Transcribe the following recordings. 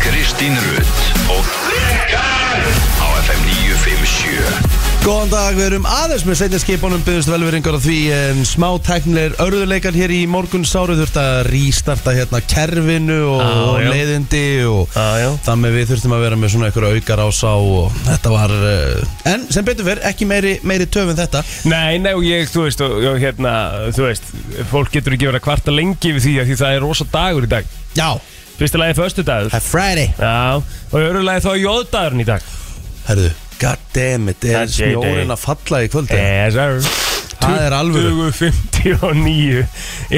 Kristín Rutt og Rikar á FM 957 Góðan dag, við erum aðeins með setja skipunum byggðust velveringar á því en smá tæknilegir örðuleikar hér í morgun sáru þurft að rístarta hérna kerfinu og, Á, og já. leiðindi og Á, já. þannig við þurftum að vera með svona einhverja aukar á sá og þetta var uh, en sem betur fyrr, ekki meiri, meiri töf en þetta Nei, nei, og ég, þú veist, og, og hérna, þú veist, fólk getur ekki verið að kvarta lengi við því að því það er rosa dagur í dag. Já, Fyrsta lagi förstu dagur. það er Friday Já, og í öðru lagi þá er jóðdagurinn í dag. Herðu, goddammit, Það er er snjórin J-Day. að falla í eh? kvöldi Yes, sir. Það er alvöru. 2059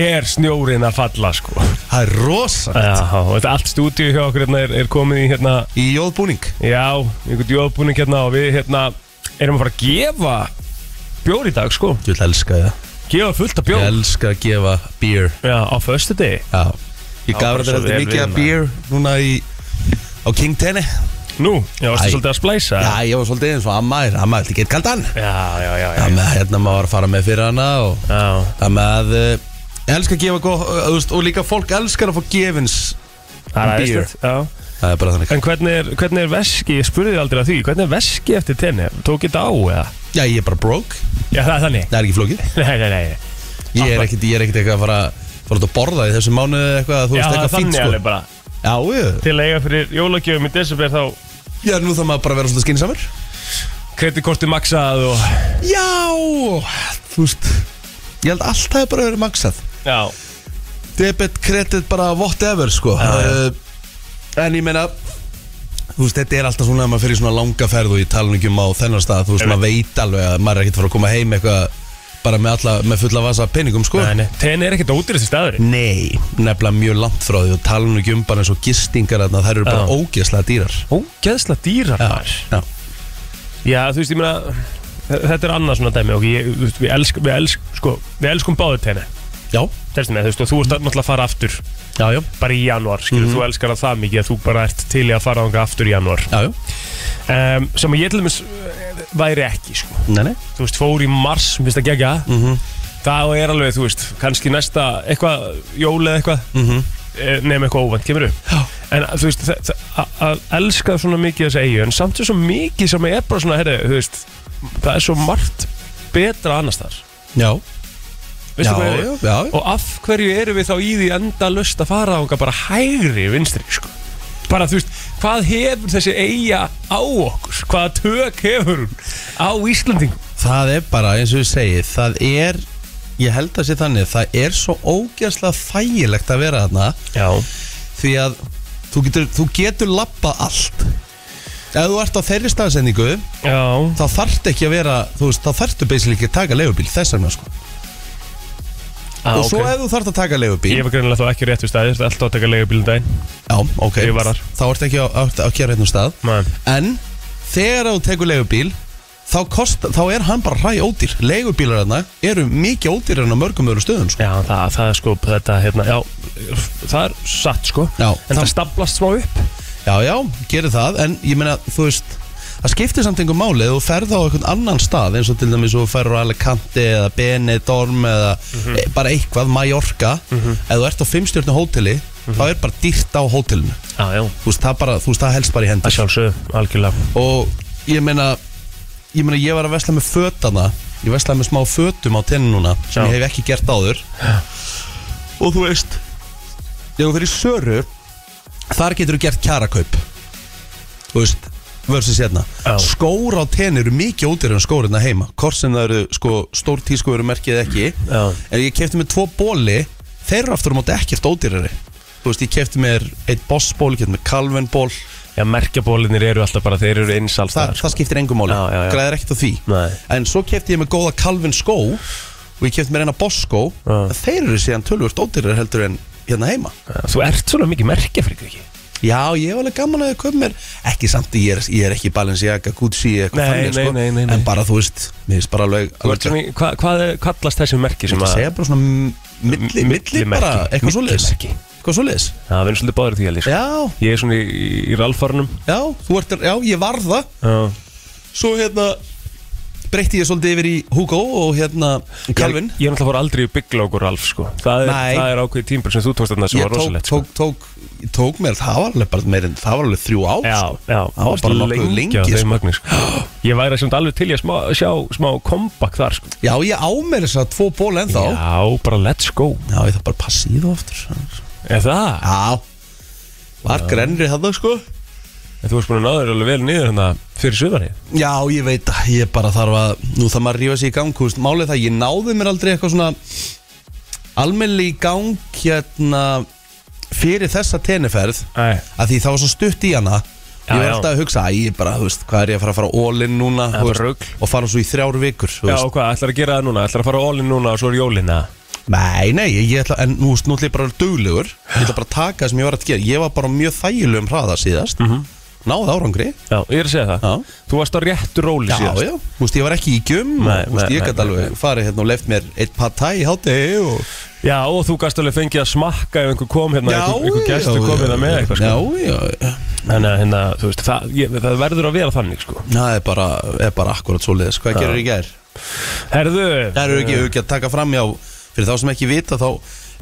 er snjórin að falla, sko. Það er rosa Já, og þetta allt stúdíu hjá okkur hérna er, er komið í hérna, Í jóðbúning já, einhvern jóðbúning hérna og við hérna erum að fara að gefa bjór í dag, sko. Ég vil elska það Gefa fullt Ég af bjór. elska að gefa beer Já, á förstu degi. Já Ég Já, gaf bara þetta svo heldur vel mikið við, að maður. beer núna í á King Tenni Nú, já, varstu Æ. svolítið að splæsa? Já, ég var svolítið eins og amma er Amma, þetta getur kaldan Já, já, já, já, Það með að hérna maður var að fara með fyrir hana og já. það með að uh, elska að gefa góð uh, þú veist, og líka fólk elskar að fá gefins Það er Beer. aðeinslegt, já Það er bara þannig En hvernig er, hvernig er veski, ég spurði þig aldrei að því Hvernig er veski eftir tenni, tók þetta á eða? Já, ég er bara broke Já, það er þannig Það er ekki flókið Nei, nei, nei Ég er ekkit, ég er ekkit eitthvað að fara fara út að borða í þessu mánu eitthvað þú Já, veist það er eitthvað fínt þannig alveg sko bara Já, ég, Til að eiga fyrir jólagjöfum í desember þá já, nú þarf maður bara að vera svolítið skinsamur Kreditkorti maksað og Já, þú veist Ég held alltaf hefur bara verið maksað Já, debit, kredit, bara whatever sko Já, já. uh, en ég meina þú veist, þetta er alltaf svona að maður fyrir svona langa ferð og ég tala nú ekki um á þennan stað þú veist, Einmitt. maður veit alveg að maður er ekkert að fara að koma heim eitthvað bara með, alla, með fulla vasa af peningum sko nei, nei Tenni er ekkert ódýrasti staður Nei, nefnilega mjög langt frá því og tala nú ekki um bara eins og gistingar þarna, þær eru bara Já. ógeðslega dýrar Ógeðsla dýrar maður. já. Já, þú veist, ég meina Þetta er annað svona dæmi og ég, þú veist, við, elsk, við, elsk, sko, við elskum báðu tenni já, Telstu með, þú veist, og þú ert náttúrulega að fara aftur já, já, bara í janúar, skilur, þú elskar það það mikið að þú bara ert til í að fara ánga aftur í janúar já, já. um, sem að ég til dæmis eh, væri ekki sko. Nei, nei. þú veist, fór í mars, mér finnst það gegja mm það er alveg, þú veist, kannski næsta eitthvað, jól eða eitthvað mm -hmm. nefn eitthvað óvænt, kemur upp Já. en þú veist, þa- þa- að- að elska svona mikið þess eigu, en samt er svo mikið sem er bara svona, herri, þú veist það er svo margt betra annars þar já, veistu Já, hvað er já, já. og af hverju eru við þá í því enda löst að fara ánga bara hægri vinstri sko bara þú veist, hvað hefur þessi eiga á okkur, hvaða tök hefur hún á Íslandingum það er bara eins og ég segi það er, ég held að sé þannig það er svo ógeðslega þægilegt að vera þarna já, því að þú getur, þú getur lappað allt ef þú ert á þeirri staðsendingu já, þá þarft ekki að vera þú veist, þá þarftu basically ekki að taka leifubíl þess vegna sko ah, og svo ef þú þarft að taka leifubíl ég var greinilega þá ekki á réttu staði, þetta er alltaf að taka leigubílum daginn já, ok, Ég var þar. þá ert ekki á, á, á kjara einnum stað Nei. en þegar þú tekur leifubíl þá, kost, þá er hann bara hræ ódýr leifubílar þarna eru mikið ódýr en á mörgum öðru stöðum sko. já, það, það er sko, þetta, hérna, já það er satt sko Já. en það staplast smá upp já, já, gerir það, en ég meina þú veist Það skiptir samt einhver máli ef þú ferð á einhvern annan stað eins og til dæmis þú ferð á Alicante eða Benidorm eða e, bara eitthvað, Mallorca ef þú ert á fimmstjörnu hóteli þá er bara dýrt á hótelinu já, já, þú veist, það, bara, þú veist, það helst bara í hendur að sjálfsögðu, algjörlega og ég meina ég meina ég var að vesla með fötana ég veslaði með smá fötum á tenni núna sem Já. ég hef ekki gert áður og þú veist þegar þú fyrir söru þar getur þú gert kjarakaup þú veist versus hérna Já. skór á tenni eru mikið ódýr en skórinna heima hvort sem það eru sko stór tísku eru merkið ekki Já. en ég kefti með tvo bóli þeir eru aftur á móti ekkert ódýrari þú veist ég kefti með eitt bossból ég kefti með kalvenból já, merkjabólinir eru alltaf bara, þeir eru eins alls Þa, staðar, sko. það skiptir engum máli, Já, já, já. græðir ekkert á því Nei. En svo kefti ég með góða Calvin skó Og ég kefti mér eina Boss skó Já. en Þeir eru síðan tölvöld ódýrar heldur en hérna heima Já, Þú ert svona mikið merkjafrík ekki? Já, ég hef alveg gaman að þau köpa mér Ekki samt, ég er, ég er ekki Balenciaga, Gucci eða eitthvað Nei, þannig, nei, sko. nei, nei, nei. En bara, þú veist, mér finnst bara alveg, Þú ert alveg svona í- Hva, hvað er, kallast þessi merki sem Ég að segja bara svona m- milli, milli Millimerki. bara, eitthvað svoleiðis Millimerki. Eitthvað svoleiðis Já, við erum svolítið báður því alveg sko. Já, Ég er svona í, í- í ralfarnum já, þú ert, já, ég varð það Já, Svo hérna breytti ég svolítið yfir í Hugo og hérna Calvin Ég, ég er náttúrulega fór aldrei í Big Logo Ralf sko. það, er, Nei. það er ákveðið tímbil sem þú tókst þarna sem Ég var tók, rosalegt sko. tók, tók, ég tók mér, það var alveg bara meir en, það var alveg þrjú ár Já, sko. já, Það var bara nokkuð lengi, á sko. þeim magni sko. Ég væri sem alveg til ég smá, sjá smá comeback þar sko. Já, ég á mér þess að tvo ból ennþá Já, Já, bara let's go ég þarf bara að passa í þú aftur Er það? Já, var grennri þarna sko En Þú varst búin að náður alveg vel niður hérna fyrir suðarið Já, ég veit að ég bara þarf að Nú þarf maður að rífa sig í gang, þú veist, málið er það Ég náði mér aldrei eitthvað svona Almenli í gang hérna Fyrir þessa teniferð Æ, að því það var svo stutt í hana Já, ég var já. alltaf að hugsa, æ, ég bara, þú veist, hvað er ég að fara að fara all-in núna Það er þú bara veist, rugl. og fara svo í þrjár vikur þú Já, veist. og hvað, ætlar að gera það núna? Ætlar að fara all-in núna og svo er jólina? nei, nei, ég ætla, en nú, veist, nú ætla ég bara að vera duglegur ég ætla bara að taka það sem ég var að gera ég var bara á mjög þægilegum hraða síðast Mhm. náði árangri Já, ég er að segja það Já. Þú varst á réttu róli já, síðast já, þú veist, ég var ekki í gjum Nei, og, þú veist, nei, ég nei, gæti nei, alveg farið hérna og leift mér eitt patæ í hátegi og Já, og þú gast alveg fengið að smakka ef einhver kom hérna, einhver, einhver gestur kom hérna með eitthvað sko. já, já, já. Þannig að hérna, þú veist, það, ég, það verður að vera þannig sko. það er bara, er bara akkurat svo liðis hvað gerir í gær? Herðu Það eru ekki, ekki að taka fram já Fyrir þá sem ekki vita þá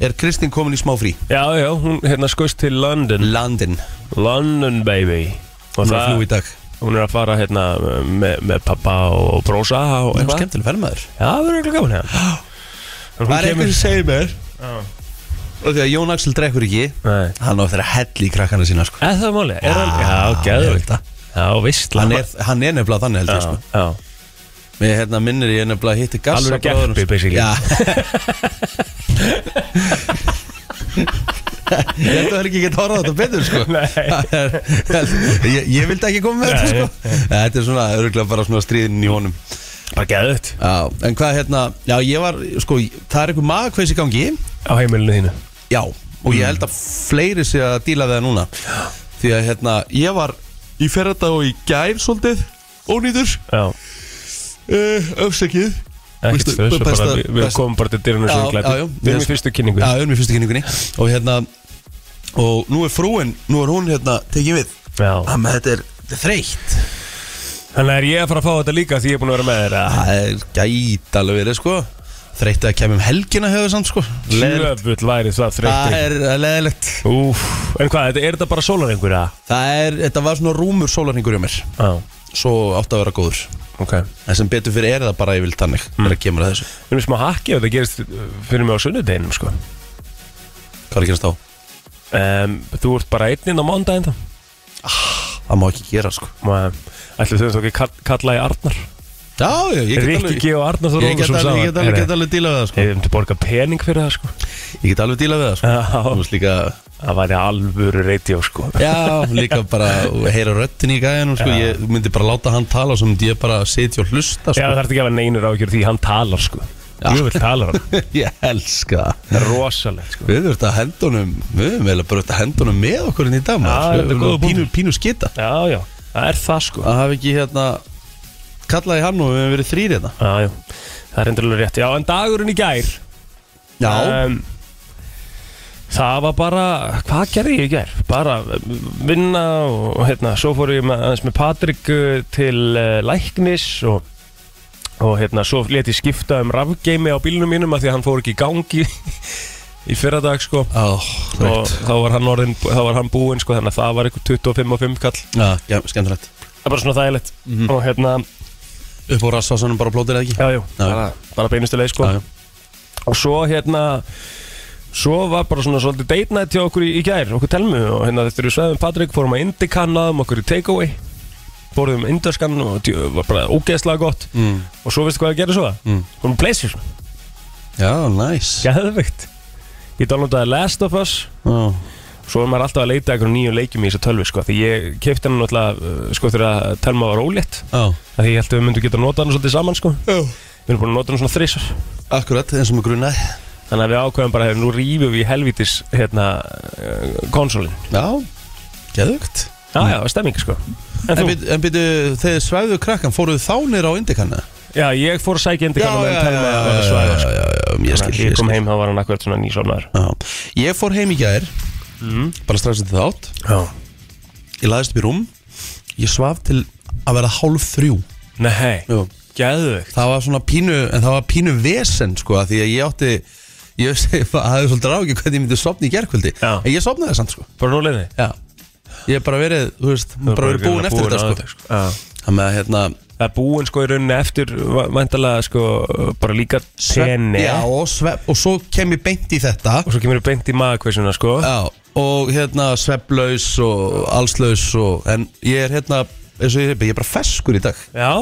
er Kristinn komin í smá frí Já, já, hún hérna skoist til London Landin London baby Og Hún er að flú í dag hún er að fara hérna með, með pappa og brósa Það og er eitthvað skemmtileg fermaður Já, það verður eitthvað gaman hérna En hún Það er kemur einhvern sem segir mér Og því að Jón Axel drekkur ekki Nei. Hann á eftir að hella í krakkana sína sko. Er það máli? Er hann, Já, já, ég gæður veit það. Já, veist hann, er, hann er nefnilega þannig held Já, ég sko. já Mér hérna, minnir ég nefnilega að hitti gassa Alveg gerpi, basically. Já Ég held að það er ekki geta horfað á þetta betur sko Nei. Það er- ég, ég vildi ekki koma með þetta Nei, sko Þetta er svona örgulega bara svona stríðin í honum Bara gæðut Já, en hvað hérna Já, ég var, sko, það er einhver maður í gangi Á heimilinu þínu Já, og Mm. ég held að fleiri sé að díla við það núna Því að hérna, ég var í ferðardag og í gær svolítið Ónýtur, Já uh, öfsækið Ekkert stöðs bara, við, við komum bara til dyrunum sem Já, já, já. glæpi Við erum í fyrstu kynningu Já, við erum í fyrstu kynningunni Og hérna, og nú er frúin, nú er hún hérna, tekið við Já Amma, þetta er þetta er þreytt Þannig er ég að fara að fá þetta líka því ég er búin að vera með þér að Það er gæt alveg verið, sko Þreytt að kemja um helgina hefur samt, sko Leðilegt Jöfull væri það Það þreytti er eh, leðilegt Úf, en hvað, þetta- er þetta bara sólar einhverja? Það er, þetta var svona rúmur sólarhingur hjá mér Já, Svo átti að vera góður ok En sem betur fyrir er það bara ég vil tannig mm. Þegar kemur að þessu Við erum smá hakki ef þetta gerist uh, fyrir mig á sunnudeginum sko Hvað er að gerast þá? um, Þú ert bara einninn á mándaginn þá Það má ekki gera sko Ætli þau þó ekki kall- kalla í Arnar Já, já, ég get Rikki alveg G og Arnar Þór Ég get Ólafsson alveg, saman ég get alveg, Heyrðu, get alveg díla við það sko Við höfum til að borga pening fyrir það sko Ég get alveg díla við það sko Þú Já, veist líka Það væri alvöru radio sko Já, líka bara heyra röttin í gæðinu sko Ég myndi bara láta hann tala og Svo myndi ég bara sitja og hlusta Já, sko það þarf ekki að vera neinur ákjör því hann talar sko Já. Jú vil talar hann Ég elska það Það er rosalegt sko Við verðum að hendunum Við verðum eiginlega bara að hendunum með okkur inn í dag maður. Já, Við þetta er verðum góður að pínu, pínu skita Já, já, það er það sko Það hafi ekki hérna Kallaði hann og við hefum verið þrýr hérna Já, já, það er endur alveg rétt Já, en dagurinn í gær Em, Það var bara, hvað gerði ég í gær? Bara um, vinna og og hérna, svo fór ég með, aðeins með Patrik uh, til uh, læknis og, og hérna, svo let ég skipta um rafgeimi á bílnum mínum af því að hann fór ekki í gangi í fyrradag sko Ó, og þá var hann, orðin, þá var hann búinn sko þannig að það var eitthvað 25 og 5 kall Já, já, skemmtilegt það er bara svona þægilegt Mhm. og hérna, Upp á rassásunum bara plótir eða ekki já, jú, Já. bara, bara beinustu leið sko Já, já. og svo hérna svo var bara svona svolítið date night hjá okkur í, í gær, okkur telmu og hérna þetta eru sveðum Patrik, fórum að Indican aðum okkur í takeaway fórum Indaskan og djö, var bara ógeðslega gott Mm. og svo veistu hvað að gera svo það? Mm. Fórum Blazers, Já, næs geðveikt ég downloadaði Last of Us Já. svo er maður alltaf að leita eitthvað nýjum leikjum í þessa tölvi sko, því ég keipti hann náttúrulega uh, sko þegar að telma var ólétt Já, því ég held að við myndum geta að nota hann svolítið saman sko Já. við erum búin að nota hann svona þrísar akkurat, eins og mig grunaði þannig að við ákveðum bara að nú rýfum við í helvitis hérna uh, konsolin Já, geðvögt já já, það er stemming sko en En, þú, byrju- en byrju, þegar svæðu krakkan, fóruðu þá nýra á indikanna? já ég fór að sækja indi kannan meðan telma var að já, svæða já, sko já, já, ég skil, þannig að ég ég kom skil heim þá var hann akkurat svona nýsofnar Já. Ég fór heim í gær Bara strax eftir þátt já Ég laðist upp í rúm Ég svaf til að vera hálf þrjú nei, Já. Gæðvegt það var svona pínu, en það var pínu vesen sko, af því að ég átti ég hafði svolítið ráki hvernig ég myndi sofna í gerkvöldi Já. en ég sofnaði samt sko Bara núleginni já. ég hef bara verið, þú veist, bara verið búin eftir þetta sko þannig að hérna Það er búin sko í rauninni eftir Væntalega sko bara líka Senni já, og, svef, og svo kem ég beint í þetta Og svo kemur þú beint í maðurkveysuna sko já, og hérna sveflaus og allslaus og, en ég er hérna, eins og ég hef ég er bara feskur í dag, Já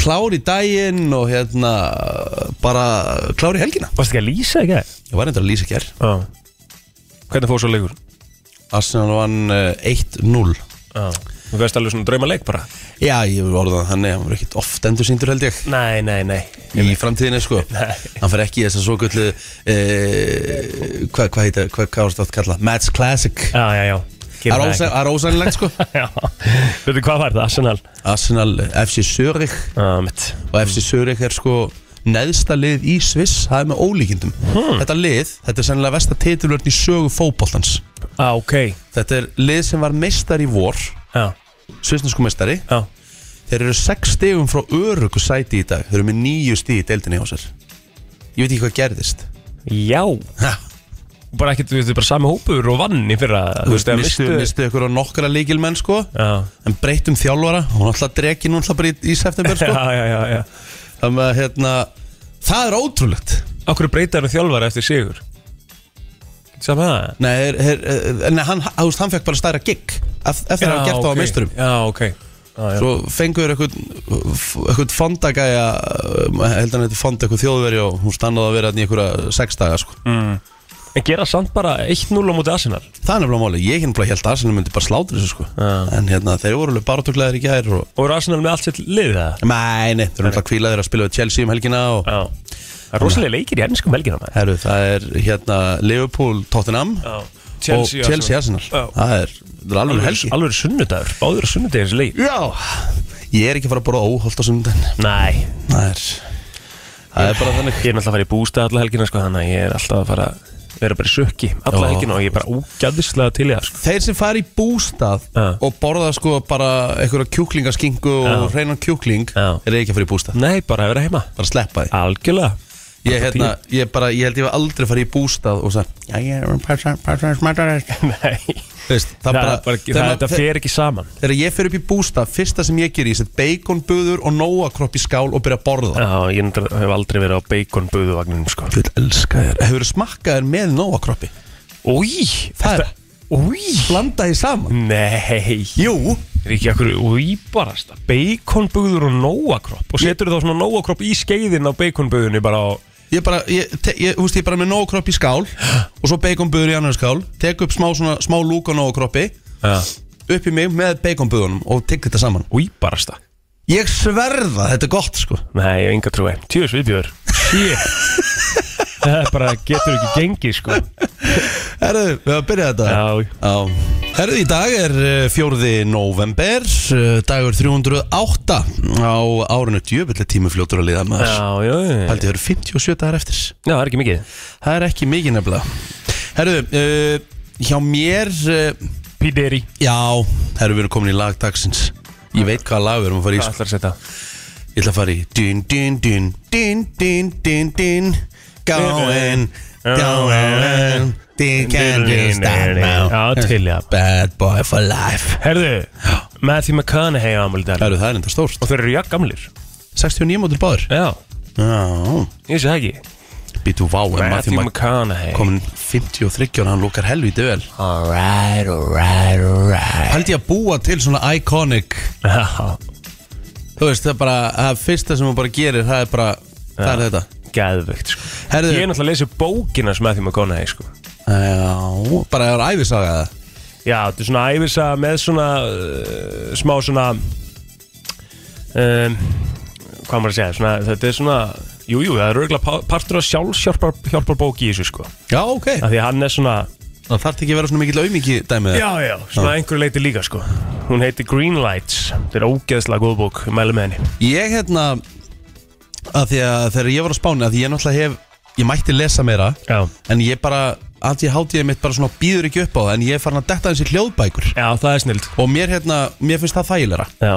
klár í daginn og hérna bara klár í helgina Varst ekki að lýsa ekki? ég var eitthvað að lýsa hér Já Hvernig fór svo leikur? Arsenal vann eh, 1-0 Já Þú veist alveg svona draumaleik bara Já, ég voru orðan þannig, hann var ekkert oft endur síndur held ég Nei, nei, nei í framtíðinni sko Nei. hann fer ekki í þess að svo gullu eh, hvað hva heita, hvað hva varst það að kalla Match Classic Já, já, já Það er Kemur það ósæ- það er ósænilegt sko ekki. Já Veitu hvað var það? Arsenal Arsenal, eh, FC Zurich Já, mitt og FC Zurich er sko neðsta lið í Sviss, það er með ólíkindum Hmm. þetta lið, þetta er sennilega versta titilvörn í sögu fótboltans Já, ok þetta er lið sem var meistar í vor Já, svissnesku meistari já Þeir eru 6 stegum frá öryggu sæti í dag Þeir eru með 9 stegi í deildinni á sér Ég veit ekki hvað gerðist Já Ha, Bara ekkert, þú veist, bara sami hópur og vann í fyrra Þú veist, mistu, misstu- mistu ykkur á nokkra líkilmenn sko Já, En breytum þjálfara Hún alltaf dregi nú alltaf bara í, í september sko já, já, já, já. Þannig að hérna Það er ótrúlegt Akkur breytar hann þjálfara eftir sigur Getur Saman það? Nei, er, er, er, nei hann, þú veist, hann fekk bara stærra gig ef- Eftir að hafa gert það á meisturum Já, ok Já, já. Svo fengur eitthvað fondagæja Heldur hann eitthvað fond eitthvað þjóðveri Og hún stannaði að vera þarna í einhverja 6 daga sko En gera samt bara 1-0 á móti Arsenal Það er nefnilega máli, ég hérna held að Arsenal myndi bara slátur þessu sko Já. En hérna, þeir voru alveg barátuklegaðir í gær og Og er Arsenal með allt sitt lið það? Nei, nei, þeir eru alltaf kvílaðir að spila við Chelsea um helgina og Já Það er rosalega leikir í ennskum helgina maður Herru, það er hérna Liverpool, Tottenham Já og Chelsea Arsenal Já. Það er, það er alveg helgi Alveg, alveg sunnudagur, báður sunnudagins leik Já, ég er ekki að fara að borða óholt á sundan Nei, Það er, það er bara þannig ég er náttúrulega að fara í bústa alla helgina sko, þannig að ég er alltaf að fara að vera bara í sökki alla Já. helgina og ég er bara ógæðislega til í það sko. Þeir sem fara í bústað Já. og borða sko bara einhverja kjúklingaskingu og Já. hreinan kjúkling Já. Þeir eru ekki að fara í bústað, Nei, bara að vera heima bara að sleppa því Algjörlega Ég, hérna, ég, bara, ég held ég var aldrei að fara í bústað og sagði, já ég er passa, passa, smartarist Nei, Veist, það það, bara, bara, það, þegar, þetta maður- fer ekki saman þegar ég fer upp í bústað, fyrsta sem ég ger ég set beikonbuður og nóakropp í skál og byrja að borða Já, ég reyndar- hef aldrei verið á beikonbúðuvagninum sko. Þú vil elska þér Hefur smakkaður með nóakroppi Új, Það er- Új Blanda því saman Nei, Jú, er ekki okkur újbarasta Beikonbúður og nóakropp Og setur þá svona nóakropp í skeiðin á beikonbúðunni bara á ég bara, ég, te, ég, húst, ég bara með nóakropp í skál og svo beikonbuður í annar skál tek upp smá, svona, smá lúk á nóakroppi ja. upp í mig með beikonbuðunum og tek þetta saman Újbarasta Ég sverða, þetta er gott sko Nei, ég hef enga trúi Tjóðis viðbjör Shit Það er bara getur ekki gengið sko Herðu, við að byrja þetta Já. Já. Herðu, í dag er eh, 4. november eh, dagur 308 á árinu djöfulli tími fljótur að liða maður Já, já, já Haldið eru 57 dagar eftir Já, það er ekki mikið Það er ekki mikið nefnilega Herðu, uh, hjá mér uh, Pideri Já, herðu, við erum komin í lag dagsins Ég veit hvaða lag við erum að fara í Hvað sko. ætlar að setja? Ég ætla að fara í Dun, dun, dun, dun, dun, dun, dun Going, going They can't just stop now Já, til já Bad boy for life Herðu, Matthew McConaughey ámæli dag Herru, það er enda stórt Og þeir eru jafn gamlir 69 mótur báður Já, Já ég sé það ekki Býtu vá, en Matthew Matthew Mc McConaughey komin 53 og hann lúkar helvítið vel Alright, alright, alright Haldi ég að búa til svona iconic Já, Þú veist, það er bara Það fyrsta sem hún bara gerir, það er bara Það er þetta geðvögt sko Herðu, Ég er náttúrulega að lesa bókina sem Matthew McConaughey sko já, bara það er æfisaga það Já, þetta er svona æfisa með svona uh, smá svona um, hvað maður að segja svona, þetta er svona, jújú, jú, það er örgulega partur af sjálfsjálpar hjálpar bóki í þessu sko, Já, ok af því að hann er svona Það þarf ekki að vera svona mikill aumingi dæmið já, já, svona einhverju leiti líka sko hún heitir Green Lights, þetta er ógeðslega góð bók, mælu með henni Ég hérna að Því að þegar ég var á Spáni að Því ég náttúrulega hef Ég mætti lesa meira Já, En ég bara, allt ég hátíði mitt bara svona býður ekki upp á það En ég er farin að detta eins í hljóðbækur já það er snild Og mér hérna, mér finnst það þægilegra Já,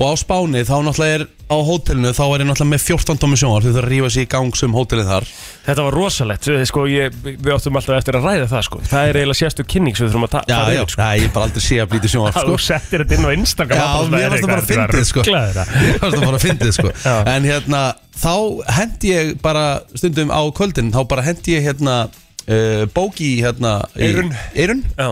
Og á Spáni þá náttúrulega er á hótelinu þá er ég náttúrulega með 14 tómi sjónvarp því það rífa sér í gang sem hótelið þar Þetta var rosalegt, við- sko, ég, við áttum alltaf eftir að ræða það, sko. Það er eiginlega sérstu kynning sem við þurfum að ta- Já, fara já, yfir, sko. Nei, ég hef bara aldrei sé að blíti sjónvarp Að sko. Þú settir þetta inn á Instagram Já, mér fannst það bara fyndið, sko. Mér fannst það bara að fyndið sko Já. En hérna, þá hendi ég bara stundum á kvöldin Þá bara hendi ég hérna uh, bóki í, hérna í- Eyrun. Eyrun Já,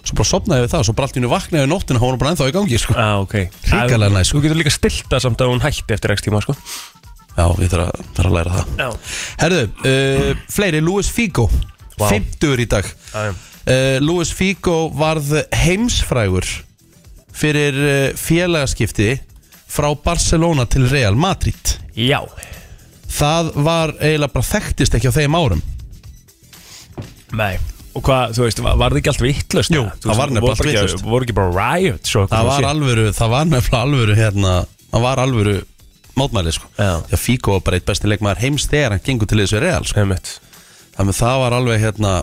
Svo bara sopnaði við það Svo bara allt í hennu vaknaði við nóttina Hún var bara ennþá í gangi sko ah, ok Hrikalega næs, sko. Þú getur líka stilt það samt að hún hætti eftir x tíma, sko Já, ég þarf að, þarf að læra það Já, Herðu, uh, fleiri, Luis Figo Vá. 50 í dag já, já uh, Luis Figo varð heimsfrægur Fyrir uh, félagaskipti Frá Barcelona til Real Madrid Já, Það var eiginlega bara þekktist ekki á þeim árum nei Og hvað, þú veist, var, var það ekki allt vittlust? Jú, það var nefnilega allt vitlaust. Voru ekki bara riot, svo Það var alvöru, það var nefnilega alvöru hérna, það var alvöru mótmæli sko Já. Því að Figo var bara eitt besti leikmaður heims þegar hann gengur til þessu real sko alveg Þannig að það var alveg hérna,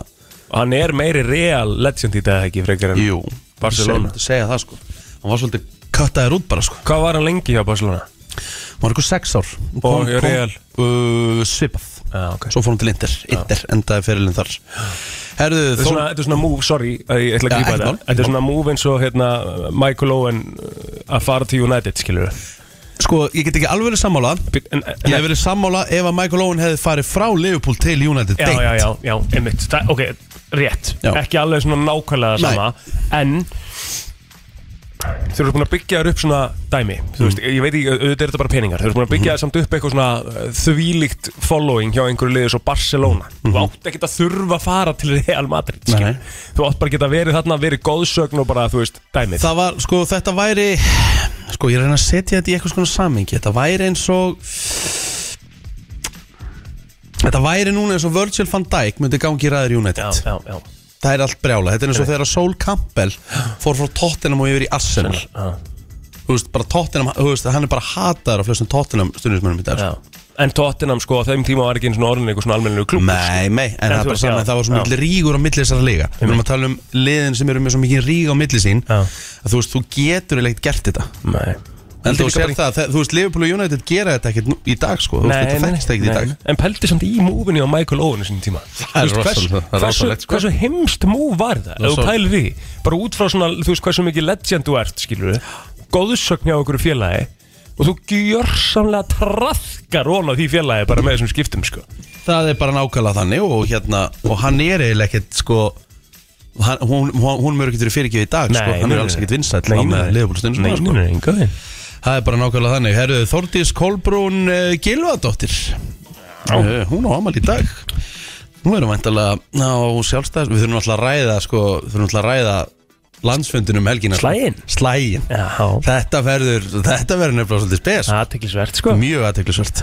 Hann er meiri real legend í dag, ekki, frekar en jú Barcelona. Segja, segja það sko Hann var svolítið köttaður út bara sko Hvað var hann lengi hjá Barcelona? Hann var eitthvað sex ár Og hjá Real? uh, Svipað Já, ok Svo fór hann til Inder, Inder endaði ferilinn þar Herðu, Þetta er svona, þetta er svona move, sorry, að Já, ég ætla að grípa ekkert þetta mál. Þetta er svona move eins og hérna, Michael Owen uh, að fara til United, skilur sko, ég get ekki alveg sammála Ég hef verið sammála ef að Michael Owen hefði farið frá Liverpool til United Já, beint. já, já, já, einmitt Þa, Ok, rétt, Já. ekki alveg svona nákvæmlega Nei. sama En Þeir eru búin að byggja þér upp svona dæmi Þú veist, Mm. ég veit ekki, auðvitað er þetta bara peningar Þeir eru búin að byggja þér samt upp eitthvað svona uh, þvílíkt following hjá einhverju liðið svo Barcelona Þú átt ekki að þurfa að fara til Real Madrid Mm-hmm. Nei, skilur. nei. Þú átt bara að geta verið þarna, verið góðsögn og bara, þú veist, dæmið Það var, sko, þetta væri Sko, ég reyna að setja þetta í eitthvað svona samingi Þetta væri eins og Þetta væri núna eins og Virgil van Dijk myndi gangi í ræður United Já, já, já Það er allt brjála, þetta er eins og þegar Sol Campbell fór frá Tottenham og yfir í Arsenal Já. Þú veist, bara Tottenham, þú veist, hann er bara hataður af flestum Tottenham stundismönnum í dag sko. Já. En Tottenham sko á þeim tíma var ekki eins og orðin eitthvað svona almennileg klub Nei, nei, en, það En þú er bara veist, saman já, að það var svo já. mikil rígur á milli þessara líga Við erum að tala um liðin sem eru með svo mikil ríg á milli sín Já. að þú veist, þú getur eiginlega ekkert gert þetta Nei, En þú sér Líka það, það, þú veist, Liverpool og United gera þetta ekkert nú- í dag, sko, þú veist, þetta þekkist ekkert í dag En pældi samt í múvinni á Michael Owen í sinni tíma er Þú rosalegt, veist, hvers- það er hversu- rosalegt, sko. Hversu heimst múv var það Ef þú Rosalegt. pælir því Bara út frá svona, þú veist hversu mikið legend þú ert Skilur við, góðsögn hjá okkur félagi Og þú gjörsamlega Traðkar ón á því félagi Bara með þessum skiptum sko Það er bara nákvæmlega þannig og hérna, og hann er eiginlega ekkert, sko hann, hún, hún, hún mörg getur fyrirgjöð í dag, sko, hann er alls ekkert vinsæll á með Liverpool stundum, Nei, sko nei, nei, nei, Það er bara nákvæmlega þannig, herruðu, Þordís Kolbrún uh, Gilvadóttir uh, Hún á amal í dag Nú erum væntalega á sjálfstæðs Við þurfum alltaf að ræða, sko, þurfum alltaf að ræða landsfundinum helgina sko. Slaginn? Slaginn Já, Þetta verður, þetta verður nefnilega svolítið spes aðteklisvert sko Mjög aðteklisvöld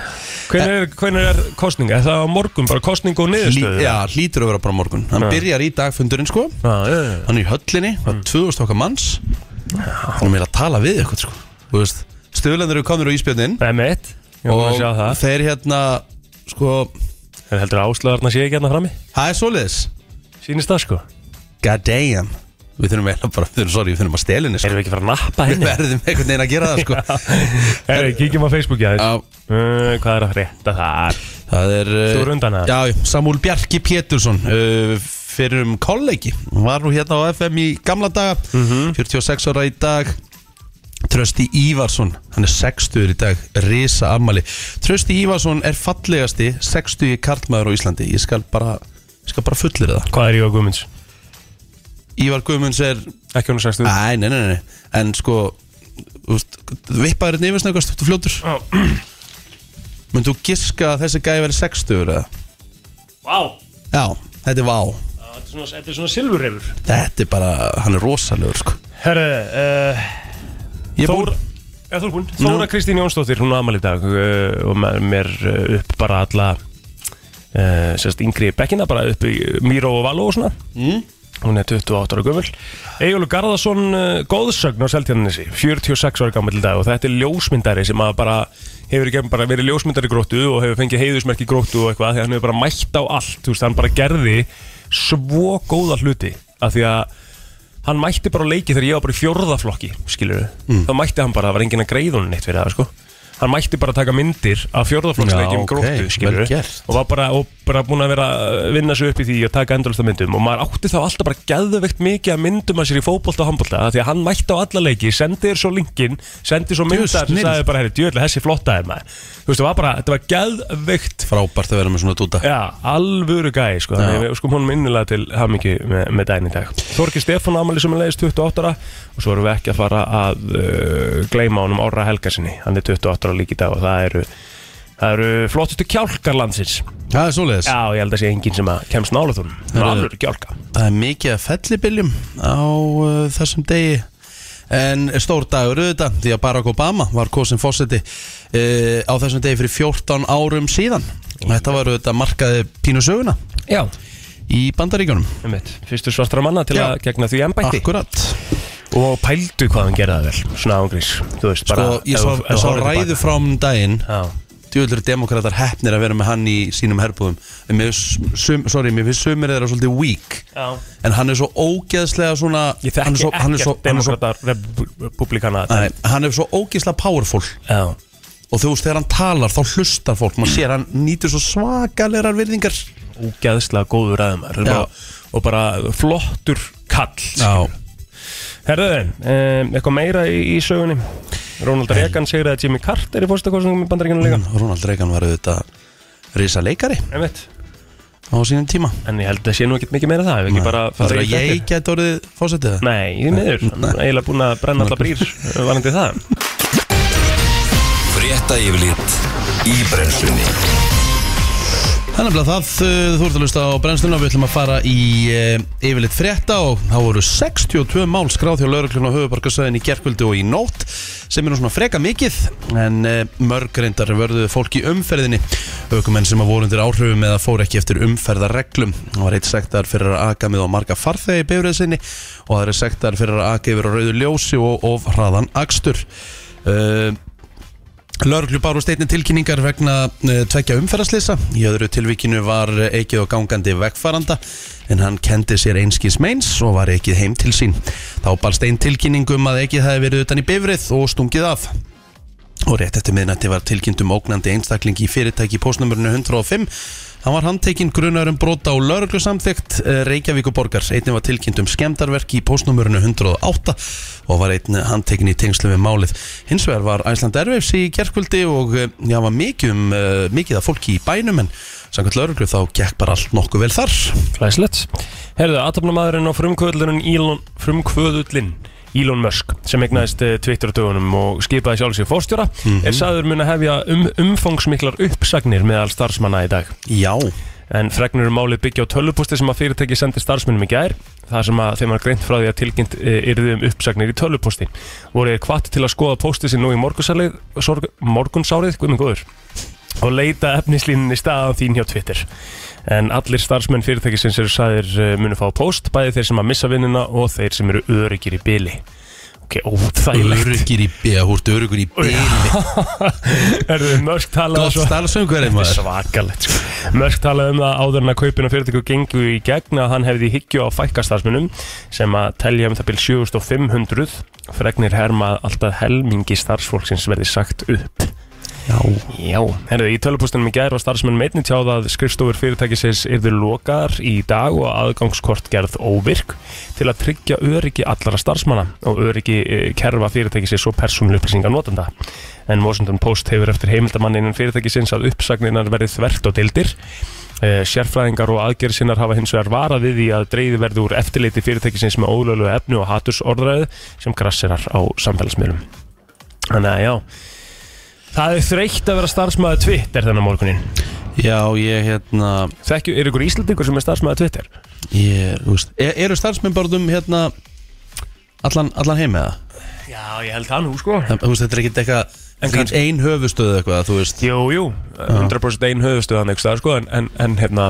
Hvernig er, hvernig er kostning? Er það á morgun, bara kostning og niðurstöðu? Já, hlýtur að vera bara á morgun Hann byrjar í dagfundurinn sko Já, já, já. Hann er í höllinni, Mm. það er 2000 okkar manns Hann er meira að tala við eitthvað sko Þú veist, Stöðlendur eru komnir á íspjörnin Það er mitt, ég var búin að sjá Og það þeir hérna Sko, Það heldur að áslöðarna sé ekki hérna frammi það er svoleiðis Sýnist það sko God damn Við þurfum eiginlega bara, við þurfum, sorry, við þurfum að stelinni sko. Erum við ekki fara að nappa hérna? Við henni? verðum einhvern veginn að gera það sko Erum við, kíkjum á Facebooki aðeins Já. uh, Hvað er að frétta þar? Það er eh, Þú eru undan að? Já, Samúl Bjarki Pétursson uh, fyrir um kollegi Hún var nú hérna á FM í gamla daga 46 ára í dag Trösti Ívarsson, hann er 60 í dag, risa ammali Trösti Ívarsson er fallegasti 60 karlmaður á Íslandi Ég skal bara, ég skal bara fullir það Hvað er Ívar Guðmunds? Ívar Guðmunds er, Ekki hún að sagstu Æ, nei, nei, nei En sko, úst, vippaður nefnir snöggast, hérna þú fljótur Vá, Mynd þú giska að þessi gæði verið 60 eða? þetta Já, þetta er vá er svona, þetta er svona silfurreifur Þetta er bara, hann er rosalegur sko Herru, uh, Ég Þór búið Já, þú er búinn Þóra Nú. Kristín Jónsdóttir, hún á amal í dag uh, og me- mér uh, upp bara alla uh, sérst yngri bekkina bara upp í Míró og Való og svona Mm. hún er 28 ára gömul Egilur Garðarsson uh, góðsögn á Seltjarnanesi 46 ára gammal dag og þetta er ljósmyndari sem að bara hefur í gegn bara verið ljósmyndari í gróttu og hefur fengið heiðusmerki í gróttu og eitthvað því að hann hefur bara mætt á allt þú veist, hann bara gerði svo góða hluti af því að hann Mm. mætti bara á leiki þegar ég var bara í fjórðaflokki skilur við, þá mætti hann bara, það var enginn að greið honum neitt fyrir það sko hann mætti bara að taka myndir af Já, fjórðaflokksleikjum ok, gróttu skilur vel gert. og var bara, og bara búin að vera að vinna svo upp í því og taka endurlust af myndum og maður átti þá alltaf bara geðveikt mikið að myndum að sér í fótbolta og handbolta af því að hann mætti á alla leiki, sendi þér svo linkin sendi svo myndar sem snill. sagði bara, herri, djöðlega, þessi flotta er maður þú veist, það var bara, þetta var geðveikt Frábært að vera með svona dúta Já, alvöru gæði sko Þannig við skum honum innilega til hamingi með, með dæn í dag Þorki Stefán Amali sem er leiðist 28 ára og svo erum við ekki að fara að uh, gleyma honum Orra Helgarsinni hann er 28 ára líka í dag og það eru það eru flottustu kjálkar landsins Það er svoleiðis Já, ég held að sé enginn sem að kemst nála þúnum Það er Herðu. alvöru kjálka Það er mikið að fellibiljum á uh, þessum degi En stór dagur auðvitað því að Barack Obama var kosin fósetti uh, á þessum degi fyrir 14 árum síðan og Þetta var auðvitað markaði pínu söguna Já í Bandaríkjunum Einmitt. Fyrstu svartra manna til Já. að gegna því embætti Akkurat Ah. Og pældu hvað hann gerði það vel Svona ángrís Þú veist bara Sko, ég ef- sá, ef ég sá horfir til ræðu baka. frá um daginn Já, djúðlur demokratar hefnir að vera með hann í sínum herbúðum en mér, finnst sum, sorry, mér finnst sumir þeirra svolítið weak já en hann er svo ógeðslega svona Ég hann er þekki svo, hann er svo, ekkert hann er svo, demokrata republikana nei, hann er svo ógeðslega powerful Já, og þú veist þegar hann talar þá hlustar fólk maður sér hann nýtur svo svakalegar virðingar ógeðslega góður aðeimar Já. og, og bara flottur kall já, Herðuðin, um, eitthvað meira í, í sögunni Ronald Reagan segir að Jimmy Carter er fórstakostningum í bandaríkinu líka Ronald Reagan var auðvitað risa leikari Einmitt. á sínum tíma En ég held að það sé nú ekkert mikið meira það Ef ekki bara það er í að fréttir. ég gæti orðið fósetið það Nei, því miður, hann er eiginlega búin að brenna alltaf brýr varandi það Frétta yfirlit í brennslunni Þannig að það, uh, þú ert að lusta á brennsluna Við ætlum að fara í uh, yfirleitt frétta og það voru 62 mál skráð hjá lauruglun og höfubarkasöðin í gerkvöldu og í nótt sem er nú svona freka mikið en uh, mörg reyndar vörðuðu fólk í umferðinni aukumenn sem að voru undir áhrifum eða fór ekki eftir umferðarreglum Það var eitt sektar fyrir að aga með á marga farþegi í befrið sinni og það eru sektar fyrir að aga yfir á rauðu ljósi og of hraðan akstur uh, Lörglu bárust einni tilkynningar vegna uh, tvekja umferðarslisa. Í öðru tilvíkinu var eh, ekið og gangandi vegfaranda en hann kendi sér einskis meins og var ekið heim til sín. Þá balst ein tilkynningum að ekið hafi verið utan í bifrið og stungið af. Og rétt eftir miðnætti var tilkynnt um ógnandi einstakling í fyrirtæki í postnumurinu 105. Hann var handtekinn grunar um brota og lauruglu samþygt Reykjavíkuborgar. eh, Einnig var tilkynnt um skemdarverki í postnumurinu 108 og var einn handtekinn í tengslu við málið. Hins vegar var Æsland Erfis í gerkvöldi og eh, já, var mikið, um, eh, mikið af fólki í bænum en samkvæmt lauruglu þá gekk bara allt nokkuð vel þar. Glæslegt. Herðu, aðtöfnamaðurinn og frumkvöðlurinn Elon, frumkvöðullinn Elon Musk sem egnaðist Twitter dögunum og skipaði sjálf sér fórstjóra er sagður mun að hefja um, umfangsmiklar uppsagnir meðal starfsmanna í dag Já, en fregnur um málið byggja á tölvupústi sem að fyrirtæki sendi starfsmennum í gær þar sem að þeim var greint frá því að tilkynnt yrði um uppsagnir í tölvupústi voru þeir hvatt til að skoða pósti sem nú í morgunsárið, sorg, morgunsárið guðminn góður og leita efnislínunni staðan þín hjá Twitter en allir starfsmenn fyrirtækisins eru sæðir eh, munu fá póst, bæði þeir sem að missa vinnuna og þeir sem eru öryggir í byli ok, óþægilegt örugir í bíða, húrt örugur í bíða. Erðu þið mörg talað Gott starfsöngur Þetta er maður. svakalegt sko. Mörk talaði um það áður en að kaupin og fyrirtæku gengu í gegn að hann hefði í hyggju á fækkastarsmunum sem að telja um það byrj 7500 fregnir herma að alltaf helmingi starfsfólksins verði sagt upp Já. Já, herðu, í tölupústunum í gær var starfsmenn meitni tjáð að skrifstofur fyrirtækisins yrðu lokaðar í dag og aðgangskort gerð óvirk til að tryggja öryggi allra starfsmanna og öryggi eh, kerfa fyrirtækisins og persónuleg upplýsinga notenda. En Washington Post hefur eftir heimildamann innan fyrirtækisins að uppsagninar verði þvert og dildir. Eh, Sérfræðingar og aðgerðsinnar hafa hins vegar varað við því að dreigði verði úr eftirliti fyrirtækisins með ólölu efnu og hatursorðræðu sem grassirar á samfélagsmiðlum. Þannig að já, Það er þreytt að vera starfsmaður Twitter þennan morgunin. Já, ég hérna... Þekkju, er ykkur Íslandingur sem er starfsmaður Twitter? Ég, þú veist, er, eru starfsmenn bara um hérna allan, allan heim eða? Já, ég held það nú, sko. Það- Þú veist, þetta er ekkert eitthvað, En þetta er ekkert ein höfustöð eða eitthvað, þú veist. Jú, jú, 100% einn höfðustöðan einhvers staðar, sko, en, en, en hérna,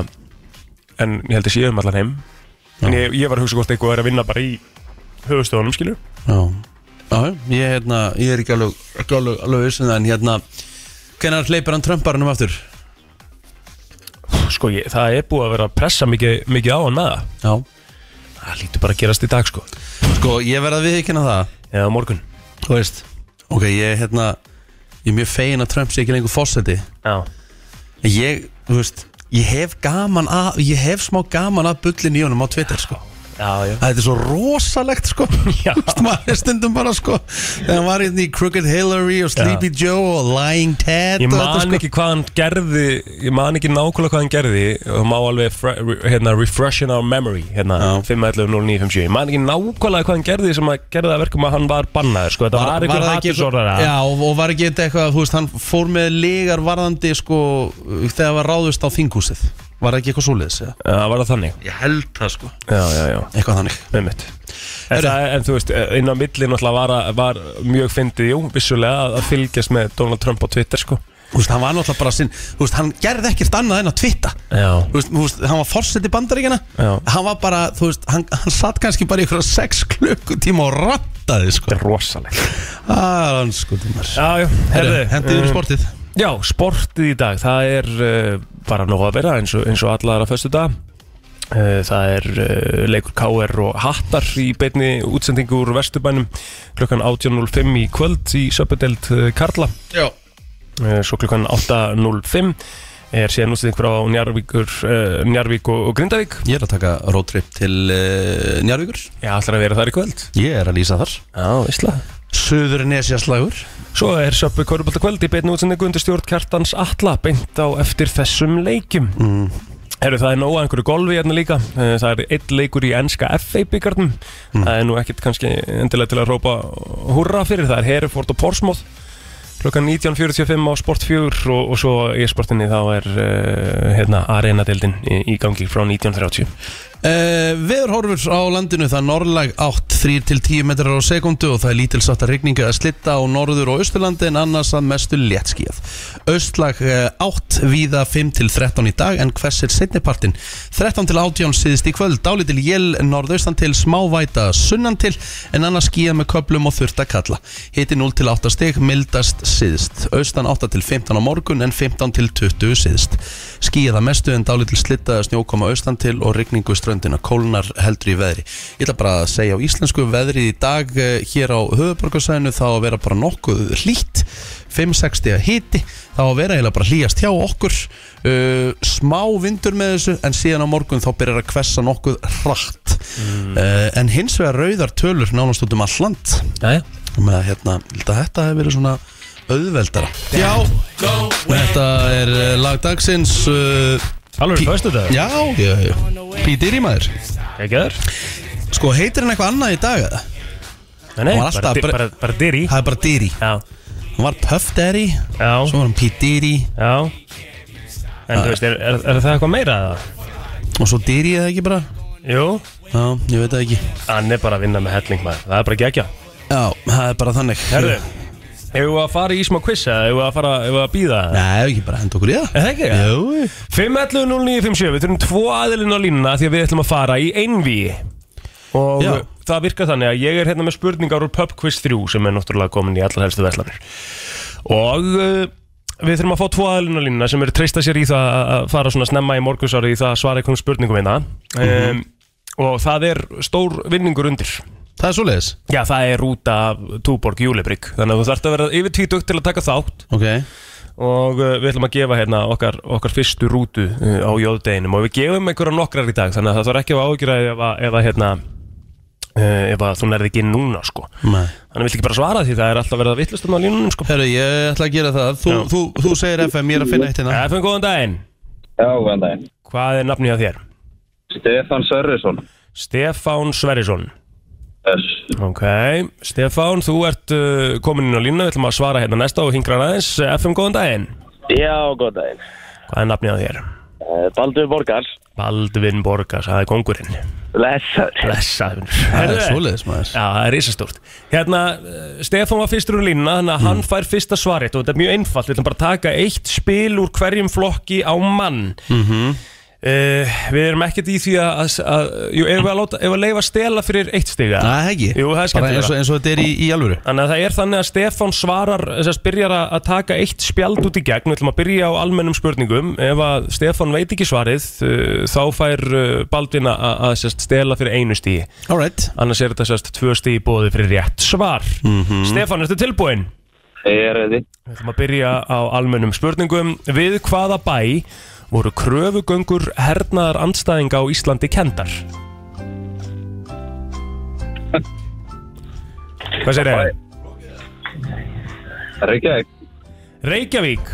en ég held að sé um allan heim. En ég, ég var að hugsa hvort eitthvað er að vinna bara í höfðustöðanum, skilur. Já, já, ég hérna, ég er ekki alveg, ekki alveg, alveg vissin það, en hérna, hvenær hleypir hann Trumparunum aftur? Sko, ég, það er búið að vera að pressa mikið, mikið á hann með það. Já. Það lítur bara að gerast í dag, sko. Sko, ég verð að viðkynna það, Eða á morgun. þú veist, ok, ég hérna, Ég er mjög fegin að Trump sé ekki lengur fósetti Já, En ég, þú veist Ég hef gaman að, ég hef smá gaman að bullin í honum á Twitter, sko já, já Þetta er svo rosalegt sko Já. Þú veist, maður er stundum bara sko Þegar hann var hérna í Crooked Hillary og Sleepy Joe og Lying Ted Ég og þetta, sko- man ekki hvað hann gerði Ég man ekki nákvæmlega hvað hann gerði og má alveg fre- re- hérna, refreshing our memory hérna, Já. 5.11.09.57 Ég man ekki nákvæmlega hvað hann gerði sem að gerði það verkum að hann var bannaður sko. Þetta var, var einhver það ekki- hattusorðara Já, og, og var ekki þetta eitthvað, þú veist, hann fór með legar varðandi sko þegar var ráðust á þinghúsið Var það ekki eitthvað svoleiðis, eða? Já, var það þannig Ég held það sko Já, já, já Eitthvað þannig með mitt En, það, en þú veist, eh, inn á milli náttúrulega var, að- var mjög fyndið, jú, vissulega að- að fylgjast með Donald Trump á Twitter, sko Þú veist, hann var náttúrulega bara sinn Þú veist, hann gerði ekkert annað en að twitta Já, Þú veist, þú veist, hann var forseti bandaríkjana Já. Hann var bara, þú veist, hann, hann satt kannski bara í ykkur sex klukkutíma og rattaði sko þetta er rosalegt Ah, hann sko, dumar Já, já, herðu mm. Hendið yfir í sportið Já, sportið í dag, það er uh, bara nóg að vera eins og, eins og allar að föstu dag uh, Það er uh, leikur KR og hattar í beinni útsendingu úr Vesturbænum klukkan 18.05 í kvöld í Söpudeld uh, Karla Já Eh, svo klukkan 8.05 er síðan útsending frá Njarvíkur, uh, Njarvík og, og Grindavík Ég er að taka roadtrip til uh, Njarvíkur Já, ætlar að vera þar í kvöld Ég er að lýsa þar Já, vissla Suður nesjaslagur Svo er Söpbu Körubalda kvöld í beinu útsendingu undir stjórn Kjartans Atla beint á eftir þessum leikim mm. Herru, það er nóga einhverju golfi hérna líka Eh, Það er einn leikur í enska FA byggarnum Mm. Það er nú ekkert kannski endilega til að rópa hurra fyrir Það er Hereford og Porsmóð Klokkan 19.45 á Sport 4 og, og svo í sportinni þá er uh, hérna, arenadeildin í, í gangi frá 19.30 uh, Veðurhorfur á landinu það er norðlag 8 3 til 10 metrar á sekundu og það er lítilsátt að rigningu að slitta á norður og austurlandi en annars að mestu léttskíð Austlag uh, 8 víða 5 til 13 í dag en hversir setnipartin 13 til 18 síðist í kvöld dálítil jél norðaustan til smávæta sunnan til en annars skíða með köplum og þurft að kalla hiti 0 til 8 stig mildast síðst austan 8 til 15 á morgun en 15 til 20 síðst skíða mestu en dálítil slitta snjókoma austan til og rigningu ströndina kólnar heldur í veðri ég ætla bara að segja á íslensku veðrið í dag eh, hér á höfuborgarsæðinu þá að vera bara nokkuð hlýtt 5-6 stiga hiti þá að vera eiginlega bara hlýjast hjá okkur uh, smá vindur með þessu en síðan á morgun þá byrjar að hvessa nokkuð hratt uh, en hins vegar rauðar tölur nánast út um alland Jæja með að hérna, ég held að þetta hefur verið svona auðveldara Já, þetta er eh, lag dagsins uh, Alveg er föstu dag Já, já, já Pítir í maður Ekki þar? Sko, heitir hann eitthvað annað í dag eða? Nei, nei, Hún var alltaf bara, að bara, bre- bara, bara dyr í Það er bara Diri Já, Hann var Puff Daddy já, Svo var hann Pete Diri já En þú veist, er, er, er það eitthvað meira að það? Og svo Diri eða ekki bara Jú, Já, ég veit það ekki hann er bara að vinna með helling maður Það er bara gegja Já, það er bara þannig Herðu, hefur við að fara í smá quiz eða hefur við að fara, hefur við að býða það? Nei, ekki bara henda okkur í það Er það ekki? Jú 5.11.09.57, við þurfum tvo aðilinn á línuna því að við ætlum að fara í einvíi og Já. það virkar þannig að ég er hérna með spurningar úr Pub Quiz 3 sem er náttúrulega komin í allar helstu verslanir og uh, við þurfum að fá tvo aðilinn á línuna sem eru treysta sér í það að fara svona snemma í morgunsári í það að svara einhvern spurningum einna Mhm. um, og það er stór vinningur undir Það er svoleiðis Já, það er út af Túborg Júlibrygg Þannig að þú þarft að vera yfir tvítugt til að taka þátt Ok og uh, við ætlum að gefa hérna okkar, okkar fyrstu rútu uh, á jóðdeginum og við gefum einhverja nokkrar í dag þannig að það þarf ekki að ágjöra ef að, ef að hérna uh, ef að þú nærði ekki inn núna sko Nei þannig að við ekki bara svara því það er alltaf verið að vitlustum á línunum sko Herru, ég ætla að gera það Þú, Já. þú, þú segir FM, ég er að finna eitt hérna FM, góðan daginn Já, góðan daginn. Hvað er nafnið á þér? Stefan Sörrisson. Stefán Sverrisson Yes. Ok, Stefán, þú ert uh, komin inn á línuna, við ætlum að svara hérna næsta og hingra aðeins FM, góðan daginn Já, góðan daginn. Hvað er nafnið á þér? Eh, Baldur Borgars. Baldvin Borgars, það er kongurinn Blessaður. Blessaður Það er Herðu, svoleiðis maður Já, það er risastórt Hérna, eh, Stefán var fyrstur úr línuna Þannig að hann Mm. fær fyrsta svarið Og þetta er mjög einfalt Við ætlum bara að taka eitt spil úr hverjum flokki á mann mm Mhm. Við erum ekkert í því að, að, að Jú, ef við að, láta, ef við að leifa stela fyrir eitt stiga Nei, Ah, það er ekki Jú, það er Bara skemmtilega. eins og, eins og þetta er í, í alvöru Þannig að það er þannig að Stefán svarar þess að byrjar að að taka eitt spjald út í gegn Við ætlum að byrja á almennum spurningum Ef að Stefán veit ekki svarið eh, Þá fær eh, Baldvin að, að, að sérst, stela fyrir einu stígi Alright annars er þetta sérst tvö stíð í bóði fyrir rétt svar Stefán, ertu tilbúinn? Ég er reyði. Við ætlum að byrja á almennum spurningum. Við hvaða bæ voru kröfugöngur hernaðar andstæðinga á Íslandi kendar? Hvað segir þið? Reykjavík. Reykjavík.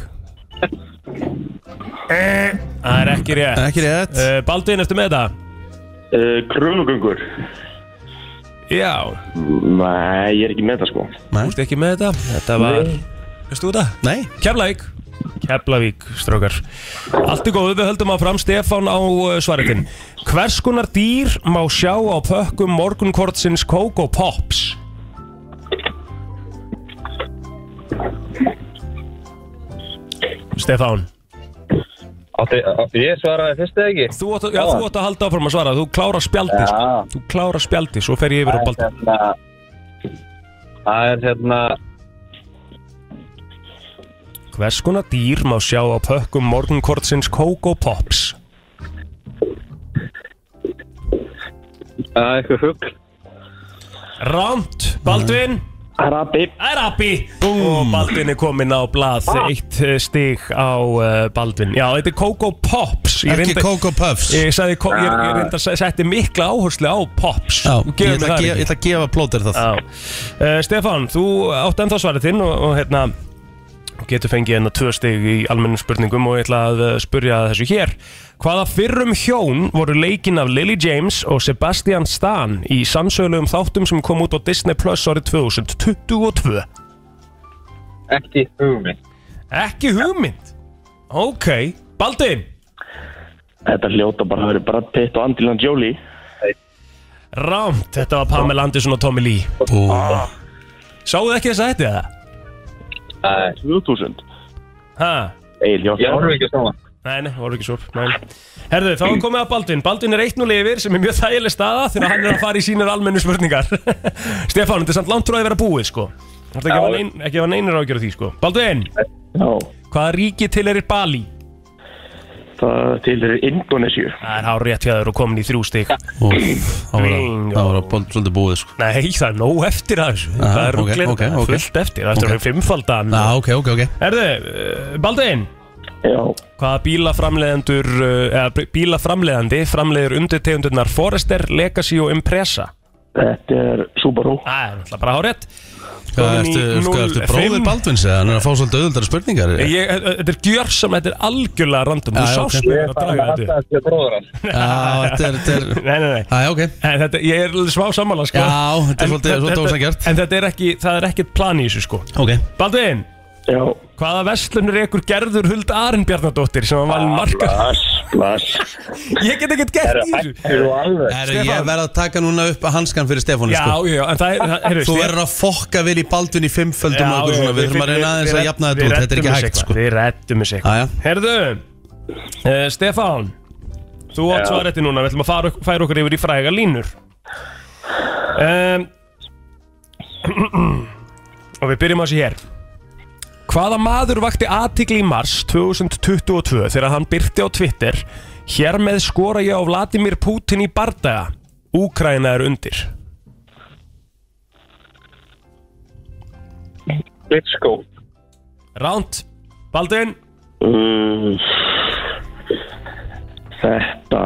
Eh, Það er ekki rétt. Ekki rétt Uh, Baldvin, eftir með þetta? Eh, Uh, Kröfugöngur. Já. Nei, ég er ekki með það sko. Nei, Þú ert ekki með þetta? Þetta var... Veistu þú þetta? Nei. Keflavík Keflavík, strókar Allt er góð, við höldum áfram Stefán á uh, svaritinn Hvers konar dýr má sjá á pökkum morgunkortsins Coco Pops? Stefán Átti, átti ég svaraði fyrst eða ekki? Þú átt, að- já, þú átt að halda áfram að svara, þú klárar spjaldi sko. Já. Þú klárar spjaldi, svo fer ég yfir á baldi hérna... Það er hérna... Hvers konar dýr má sjá á pökkum morgunkortsins Coco Pops? Það er Ah, eitthvað hugl. Rámt, Baldvin Arabi. Það er Abbi Og Baldvin er komin á blað Eitt eh, stig á uh, Baldvin Já, þetta er Coco Pops Ég ekki reyndar- Coco Puffs Ég sagði, ko- ég, ég reyndar að setti mikla áherslu á Pops Já, ég Þú ætla gefur mér að gefa- það ég ekki ætla að gefa plóter það Já. Uh, Stefan, þú átt ennþá svarið þinn og, og hérna getur fengið hérna tvö stig í almennum spurningum og ég ætla að eh, spurja að þessu hér Hvaða fyrrum hjón voru leikin af Lily James og Sebastian Stan í samsögulegum þáttum sem kom út á Disney Plus árið 2022? Ekki hugmynd. Ekki hugmynd Ok, Baldin Þetta hljóta bara að vera Brad Pitt og Angelina Jolie Rámt, þetta var Pamela Anderson og Tommy Lee Bú. Sáuðu ekki þess að þetta eða? Nei. 2000 Ha? Egil Hjort Ég horfði ekki að sama. Nei, nei, voru ekki svo nei. Herðu, þá er komið að Baldvin Baldvin er 1-0 yfir sem er mjög þægileg staða þegar hann er að fara í sínar almennu spurningar Stefán, þetta er samt langt frá að vera búið sko Þetta ekki að hafa nein- ekki að hafa neinir ágjörð því sko Baldvin, Já, hvaða ríki til er í Bali? það til er Indonesia Það er hár rétt fjæður og komin í þrjú stig Úff, Það var að- Bingo. það var að ból- svolítið búið sko Nei, það er nóg eftir að þessu Aha, Það er ok, ruglið, ok, það er ok. fullt eftir Það er eftir Ok. að við fimmfaldan Já, Ah, ok, ok, ok Erðu, uh, Baldin Já, Hvaða bílaframleðendur uh, eða br- bílaframleðandi framleiður undirtegundurnar Forester, Legacy og Impresa þetta er Subaru Það er náttúrulega bara hárétt Hvað Komin í ertu, sko, ertu 0-5? bróðir Baldvins eða hann er að fá svolítið auðvöldar spurningar Ég- ég- Þetta er gjörsam, þetta er algjörlega random Þú Já, já, sást hérna ok. mér að draga þetta að sé bróður hans. Já, Ah, þetta er, þetta er Ah, Nei, nei, nei Já, ok En þetta, ég er alveg smá sammála sko Já, þetta er En svolítið- svolítið ósanngjarnt. En þetta er ekki, það er ekkert plan í þessu sko Ok Baldin, Já, hvaða vestlunur ekkur gerður Huld Arinbjarnadóttir sem var valin markar Splash Ég get ekkert gert í þessu Þú alveg. Herru, Stefán. ég verð að taka núna upp að hanskan fyrir Stefáni Já, sko já, já, en það er, það- heyrðu Þú verður að fokka vel í Baldvin í fimmföldum og eitthvað svona Við þurfum að reyna aðeins að jafna þetta út Þetta er ekki hægt sko Við rettum þessu Já, já. eitthvað Herðu, uh, Stefán Þú átt Já. svaretti núna, við ætlum að fara, færa okkur yfir í fræga línur um, Og við byrjum á þessu hér Hvaða maður vakti aðtikli í mars 2022 þegar hann byrti á Twitter Hér með skora ég á Vladimir Putin í bardaga Úkraina er undir Bitsko. Ránt, Baldvin uh, Þetta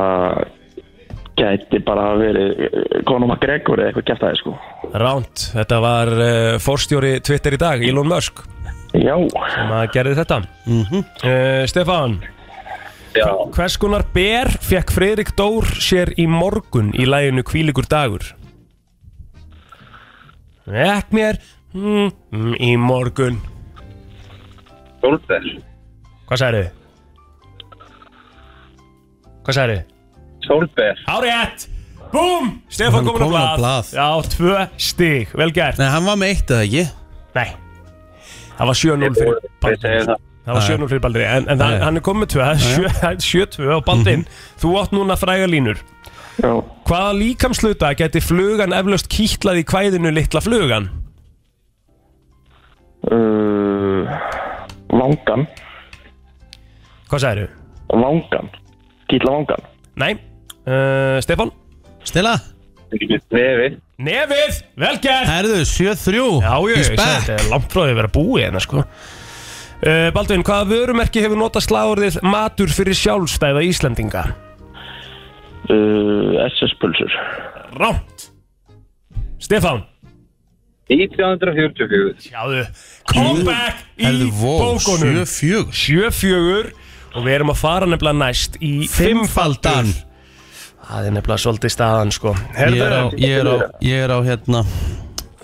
gæti bara að verið eh, Conor McGregor eða eitthvað gæft aðeins sko Ránt, þetta var uh, forstjóri Twitter í dag, Elon Musk Já, maður gerði þetta mm Mhm. Stefan, Já. hvers konar ber fekk Fredrik Dór sér í morgun í læginu Kvíligur dagur? Vekk mér mm, mm, í morgun Solberg. Hvað sagði? Hvað sagði? Solberg. Árétt! Búm! Stefan Hann er komin á kominn á blað. blað. Já, tvö stig, vel gert Nei, hann var með eitt eða ekki Nei, það var 7-0 fyrir Ég segi Baldin það. Það var Já, 7-0 fyrir Baldin En, en Já, það, já. Mhm. hann er komið tvö, það er 7 7-2 á Baldin Þú átt núna fræga línur já, Hvaða líkamsluta geti flugan eflaust kýtlað í kvæðinu litla flugan? uh, Vangan Hvað sagðirðu? Vangan Kýtla vangan Nei, uh, Stefan Stila Nefi Nefið, vel gert Herðu, 7-3 Já, já, He's ég sagði back. þetta er langt frá því að vera búið hérna, sko. Uh, Baldvin, hvaða vörumerki hefur notað slagorðið matur fyrir sjálfstæða Íslendinga? uh, SS-pulsur Rámt. Stefán, 1944 sjáðu, comeback í Herðu, wow, bókunum. 7-4 Sjöfjögur og við erum að fara nefnilega næst í Fimmfaldan Það er nefnilega svolítið staðan, sko. ég er, á, Herðu, ég, er á, ég er á hérna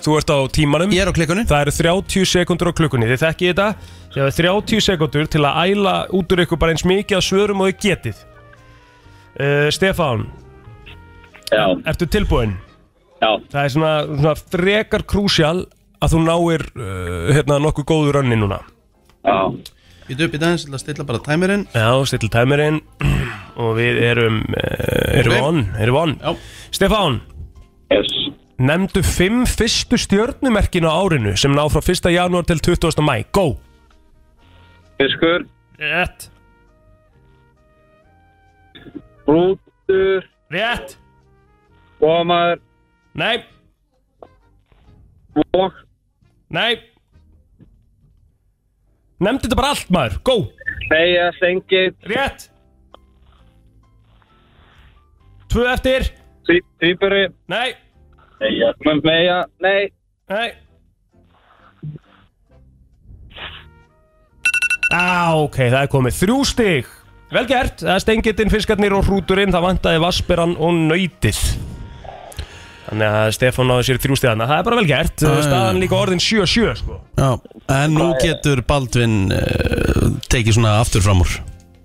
þú ert á tímanum. Ég er á klikkunni Það eru 30 sekundur á klukkunni, þið þekkið þetta Þið hafa 30 sekundur til að æla út úr ykkur bara eins mikið að svörum og þið getið uh, Stefán, Já, ertu tilbúinn? já, Það er svona, svona frekar krúsjál að þú náir uh, hérna, nokkuð góðu rönni núna já Ég dupp í dagins til að stilla bara tæmirinn Já, stillu tæmirinn og við erum, uh, erum Ok. on, erum on. Já. Stefán, Yes nefndu fimm fyrstu stjörnumerkin á árinu sem ná frá 1. janúar til 20. mæ Go! Fiskur Rétt, Brútur rétt, Gómaður nei, Og Nei Nefndi þetta bara allt maður, go, Þeia Sengið rétt Tvö eftir Týpuri Nei, Þeia Meia Nei nei Á, ok, það er komið þrjú stig Vel gert, það er stengitinn, fiskarnir og hrúturinn Það vantaði vasperan og nöytið Þannig að Stefán náði sér þrjú stigana Það er bara vel gert, Já, já, já. staðan líka orðin 7-7 sko. Já, en nú getur Baldvin uh, tekið svona aftur fram úr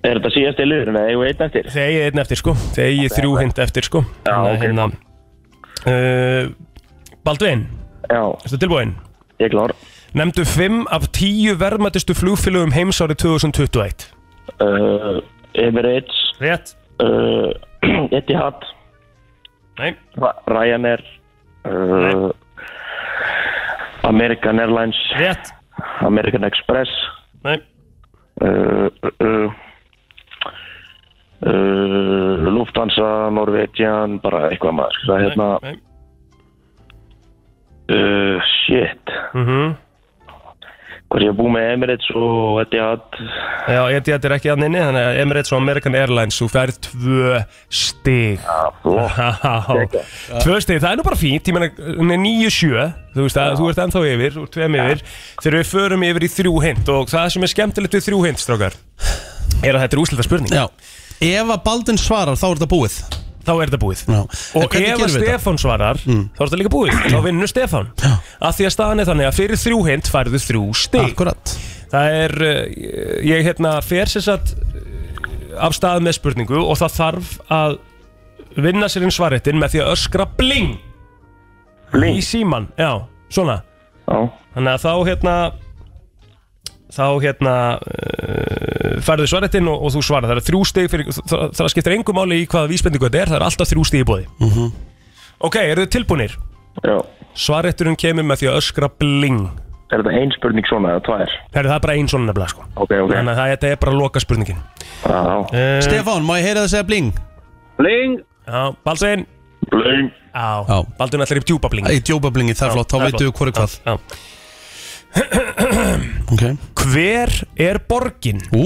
Er þetta síðast í liðurinn eða eigum við einn eftir? Þegi einn eftir sko Þegi þrjú hint eftir sko Já, ok. hérna. uh, Baldvin, Já, erstu tilbúin? ég er klár Nemndu fimm af tíu verðmættustu flugfélögum heims árið 2021 uh, Emirates Rétt uh, Etihad Nei, Ra- Ryanair uh, American Airlines rétt American Express Nei, uh, uh, uh, Lufthansa, Norwegian bara eitthvað maður það er hérna nei uh, shit mm hvað er ég að bú með Emirates og Etihad Já, ég þetta er ekki að nynni Þannig að Emirates og American Airlines Þú færð tvö stig ah, flott. Já, tvö stig, það er nú bara fínt Ég meina, hún er 9-7 Þú veist að þú ert ennþá yfir, úr tveim yfir Þegar við förum yfir í þrjú hint Og það sem er skemmtilegt við þrjú hint, strákar Er að þetta er úslita spurning Já Ef að Baldvin svarar þá er þetta búið Þá er þetta búið Já. En Og hvernig ef að gerum við þetta? Mm. Stefán svarar, þá er þetta líka búið Þá vinnur Stefán Já. Af því að staðan er þannig að fyrir þrjú hint færðu þrjú stig Akkurat Það er, uh, ég hérna fer sér satt af stað með spurningu og það þarf að vinna sér inn svarettin með því að öskra bling, í Blink. síman, já, svona Já. Þannig að þá hérna þá hérna uh, færðu svarettin og, og þú svarar það er þrjú stig fyrir, það, það skiptir engum máli í hvaða vísbendingu þetta er, það er alltaf þrjú stig í bóði Ok, eru þið tilbúnir? Já. Svaretturinn kemur með því að öskra bling er þetta ein spurning svona eða tvær Herðu, það er bara ein svona nefnilega sko ok ok Þannig að það- þetta er bara loka spurningin Já. Eh. Stefán, má ég heyra það að segja bling? Bling Já, Baldvin Blink. Já, Já. Baldvin ætlar í djúpa bling Í djópa blingi, það er flott, þá það er veitum við flott. hvori hvað Já. Ok Hver er borgin? Ú,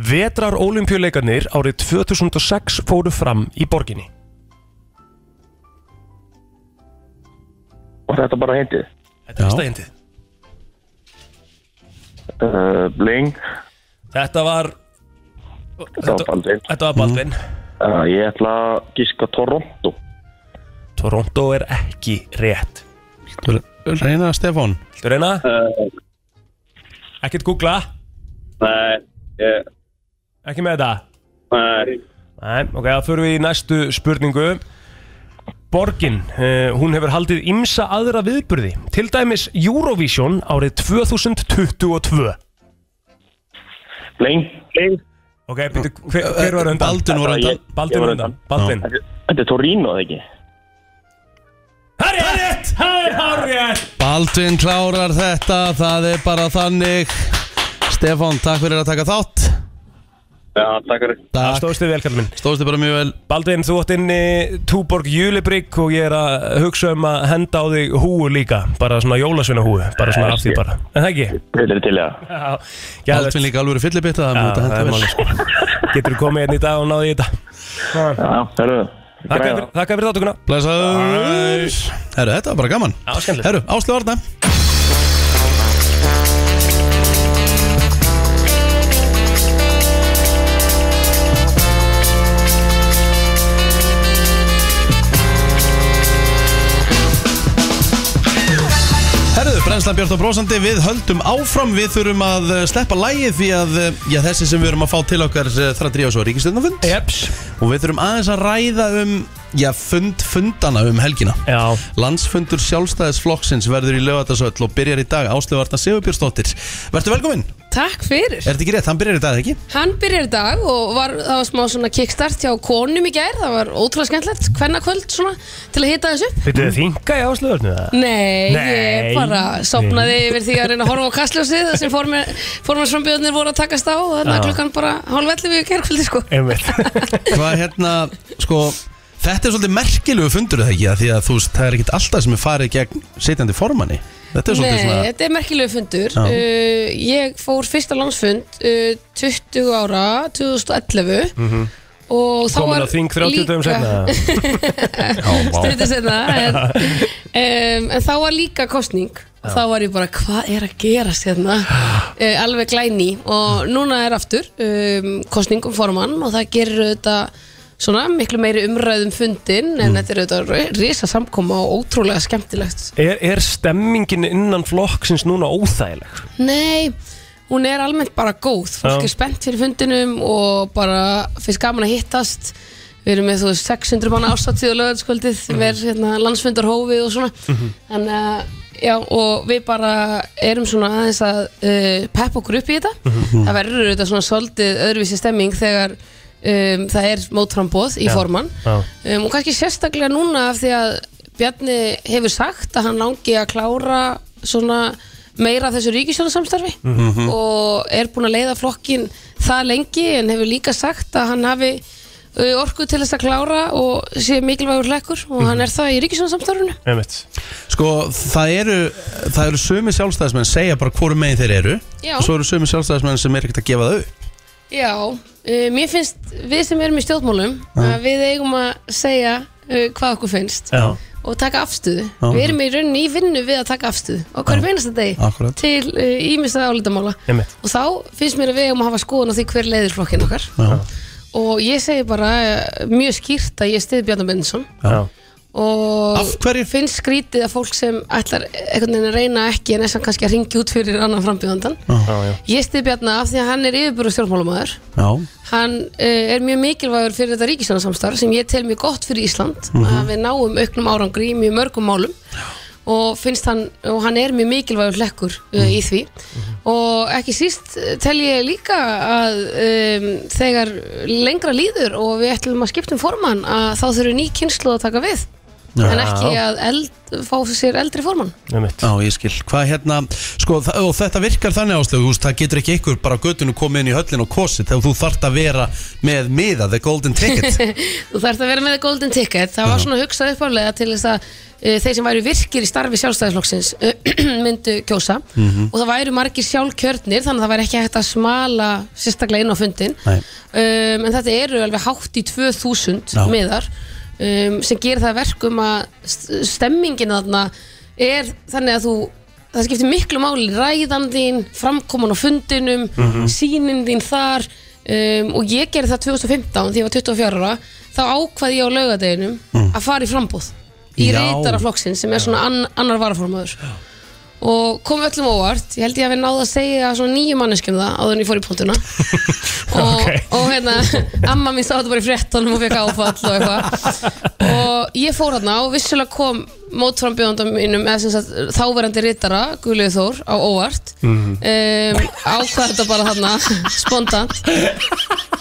Vetrar olimpíuleikarnir árið 2006 fóru fram í borginni og þetta bara hindi Þetta er Já. fyrsta hindið uh, Bling Þetta var þetta var Baldvin Þetta var Baldvin Mhm. uh, ég ætla að gíska Toronto Toronto er ekki rétt þú reyna Stefán Þú reyna? Eh. uh, Ekkert googla Nei Ég Ekki með þetta Nei Nei, ok, það fyrir við í næstu spurningu Borgin, uh, hún hefur haldið ymsa aðra viðburði Til dæmis Eurovision árið 2022 Bling Bling Ok, byrju, hver, hver var undan? Eh, Baldvin var undan Ég- Baldvin ég var undan undan. Baldvin Þetta þetta er Torino eða ekki Það er rétt! Það er hárrétt! Baldvin klárar þetta, það er bara þannig Stefán, takk fyrir að taka þátt Já, takk fyrir. Það stóðst þið vel, kallum minn Stóðst þið bara mjög vel Baldvin, þú átt inni Túborg Júlibrygg og ég er að hugsa um að henda á þig húu líka Bara svona jólasvinna húu, bara svona af því bara En það ekki? Vil eru til í það? Já, Baldvin líka alveg fyllibitta Það er mjög út að það er henda málið vel sko. Getur þú komið hérna í dag og náði í þetta Já, herru, Þakka græða. fyrir- Þakka fyrir þáttuguna Blæsaður Herru, þetta var bara gaman Já, skemmtilegt. Herru, Áslu Arna Herru, Brennslan Björn og Brósandi, við höldum áfram, við þurfum að eh, sleppa lægið því að eh, já, þessi sem við erum að fá til okkar eh, þarf að drífa svo ríkistöndafund Jeps og við þurfum aðeins að ræða um, já, fund fundana um helgina. Já, Landsfundur sjálfstæðisflokksins verður í lögatarsöll og byrjar í dag Áslöfarna Sigurbjörnsdóttir Vertu velkominn, Takk fyrir. er þetta ekki rétt? Hann byrjar í dag ekki? Hann byrjar í dag og var, það var smá svona kickstart hjá konum í gær, það var ótrúlega skemmtilegt, hvenna kvöld svona, til að hita þessu upp. veitu þið þinga í áslöðurnu það? Nei, Nei. ég bara sopnaði yfir því að reyna að horfa á kastljósið þar sem formansframbjöðnir voru að takast á og þarna Já. klukkan bara hálf 11 við gerkvöldi sko. Einmitt Hvað hérna, sko Þetta er svolítið merkilegu fundur er það ekki að því að þú veist, það er ekkit alltaf sem er farið gegn sitjandi formanni. Þetta er svolítið Nei, svona þetta er merkilegu fundur Já. uh, Ég fór fyrsta landsfund uh, 20 ára, 2011 Og þá Mhm. Komin var á þing 30 dögum senna Stundið senna en, um, en þá var líka kostning og þá var ég bara, hvað er að gerast hérna uh, alveg glæni og núna er aftur um, kostning um formann og það gerir þetta svona miklu meiri umræðum fundin en þetta er auðvitað risa samkoma og ótrúlega skemmtilegt er, er stemmingin innan flokksins núna óþægileg? Nei, hún er almennt bara góð Fólk Já. er spennt fyrir fundinum og bara finnst gaman að hittast Við erum með þú veist 600 manna ástáttíð og lögðarskvöldið Mhm. sem er hérna, landsfundar hófið og svona Þannig að Já, og við bara erum svona aðeins að uh, peppa okkur upp í þetta Mhm. Það verður auðvitað svona svolítið öðruvísi stemming þegar um, það er mótframboð í Já. formann Já. um, og kannski sérstaklega núna af því að Bjarni hefur sagt að hann langi að klára svona meira af þessu ríkisjónasamstarfi og er búin að leiða flokkin það lengi en hefur líka sagt að hann hafi uh, orku til þess að klára og sé mikilvægur hlekkur og hann er það í ríkisjónasamstarfinu Einmitt Sko, það eru, það eru sömi sjálfstæðismenn segja bara hvoru megin þeir eru Já. og svo eru sömi sjálfstæðismenn sem er ekkert að gefa það upp Já, uh, mér finnst við sem erum í stjórnmálum að við eigum að segja uh, hvað okkur finnst Já. og taka afstöðu. Já. Við erum í rauninni í vinnu við að taka afstöðu og hverju meinast þetta degi Akkurat. til uh, ímyndstæða álitamála Einmitt. og þá finnst mér að við eigum að hafa skoðun á því hver leiðir flokkinn okkar Já. og ég segi bara uh, mjög skýrt að ég stiði Bjarnar Bendinsson Já. og Af hverju? finnst skrítið að fólk sem ætlar einhvern veginn að reyna ekki en þessan kannski að ringi út fyrir annan frambjöðandan Já, já. ég stiði Bjarnar af því að hann er yfirbúru stjórnmálumæður Já, hann uh, er mjög mikilvægur fyrir þetta ríkisjónasamstarf sem ég tel mjög gott fyrir Ísland að við náum auknum árangri í mjög mörgum málum og finnst hann og hann er mjög mikilvægur hlekkur uh, í því og ekki síst eh, tel ég líka að um, þegar lengra líður og við ætlum að skipta um formann að þá þurfum ný kynslu að taka við en ekki að eld, fá sér eldri formann Einmitt Já, ég skil. Hvað hérna, sko, þa- og þetta virkar þannig áslögu, þú veist, það getur ekki ykkur bara á göttunum komið inn í höllin og kosið þegar þú þart að vera með miða, the golden ticket. Þú þarft að vera með golden ticket Það var svona hugsað uppálega til þess að uh, þeir sem væru virkir í starfi sjálfstæðisflokksins uh, myndu kjósa og það væru margir sjálfkjörnir þannig að það væri ekki hægt að smala sérstaklega inn á fundin Nei. um, en þetta eru alveg hátt í 2000 Já. miðar um, sem gerir það að verkum að st- stemmingin þarna er þannig að þú það skiptir miklu máli ræðan þín framkoman á fundinum mm sínin þín þar um, og ég gerði það 2015 því ég var 24 ára þá ákvaði ég á laugadeginum að fara í frambúð í Já. reytaraflokksin sem er svona ann, annar varaformaður og kom öllum óvart ég held ég að við náðu að segja svona nýju manneskjum það áður en ég fór í pontuna og, og hérna, amma mín sá þetta bara í fréttunum og fekk áfall og eitthvað og ég fór hérna og vissulega kom mótframbjóðandum mínum eða sem sagt þáverandi rittara, Guðlið Þór á óvart mm. um, ákvað þetta bara hérna spontant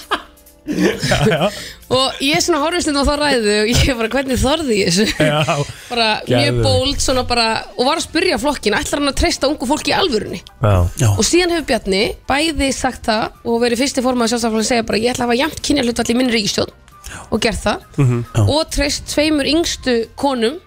og ég svona horfði stundum á þá ræðu og ég bara hvernig þorði ég þessu Já, bara mjög Geðveikt. bóld svona bara og var að spyrja flokkin ætlar hann að treysta ungu fólki í alvörunni já, og síðan hefur Bjarni bæði sagt það og verið fyrsti formaður sjálfstaflega að segja bara ég ætla að hafa jæmt kynja hlutvall í minni ríkistjón og gert það Mhm, og treyst tveimur yngstu konum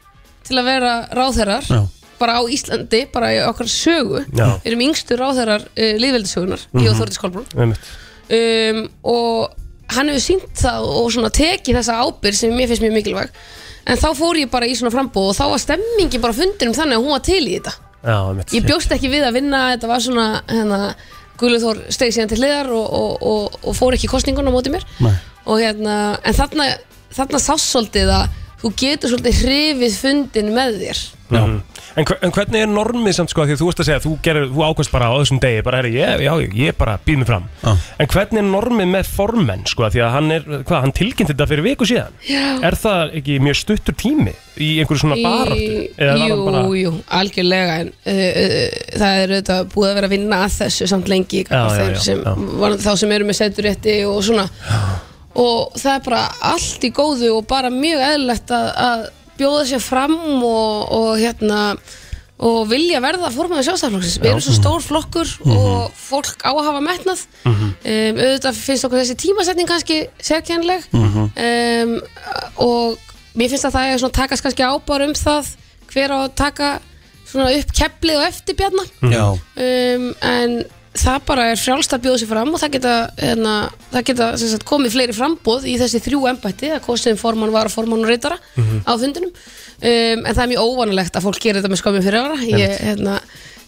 til að vera ráðherrar Já. bara á Íslandi, bara í okkar sögu Já. Mhm. við erum yngstu ráðherrar uh, liðveldisögunar í Óþórdis Kolbrún einmitt um, og hann hefur sínt það og svona tekið þessa ábyrg sem mér finnst mjög mikilvæg en þá fór ég bara í svona frambóð og þá var stemmingi bara á fundinum þannig að hún var til í þetta Já, einmitt ég bjóst ekki við að vinna, þetta var svona hérna, Guðlur Þór steig síðan til hliðar og, og, og, og fór ekki í kosninguna á móti mér Nei. og hérna, en þarna þarna sást svolítið að þú getur svolítið hrifið fundin með þér Mhm. en, hver- en hvernig er normið samt sko af Því að þú veist að segja, þú, gerir, þú ákvæmst bara á þessum degi Bara, herri, ég, já, ég bara býð mig fram Já. En hvernig er normið með formenn sko af Því að hann er, hvað, hann tilkynnt þetta fyrir viku síðan Já. Er það ekki mjög stuttur tími Í einhverju svona Í- baráttu Eða var Jú, hann bara- jú, algjörlega en uh, uh, það er auðvitað búið að vera að vinna að þessu samt lengi Já, já, gagnvart þeim já, sem, já. varðandi þá sem eru með seturétti og svona og það er bara allt í góðu og bara mjög eðlilegt að, að bjóða sér fram og, og hérna og vilja verða formaður sjálfstæðarflokksins við erum svo stór flokkur og fólk á að hafa metnað um, auðvitað finnst okkur þessi tímasetning kannski sérkennileg um, og mér finnst að það er svona takast kannski ábár um það hver á að taka svona upp keflið og eftir bjarna Já, um, en það bara er frjálst að bjóða sér fram og það geta, hérna, það geta sem sagt, komið fleiri frambóð í þessi þrjú embætti að kostum formann var formann og reytara á fundinum um, en það er mjög óvanalegt að fólk gerir þetta með skömmin fyrir ára ég hérna,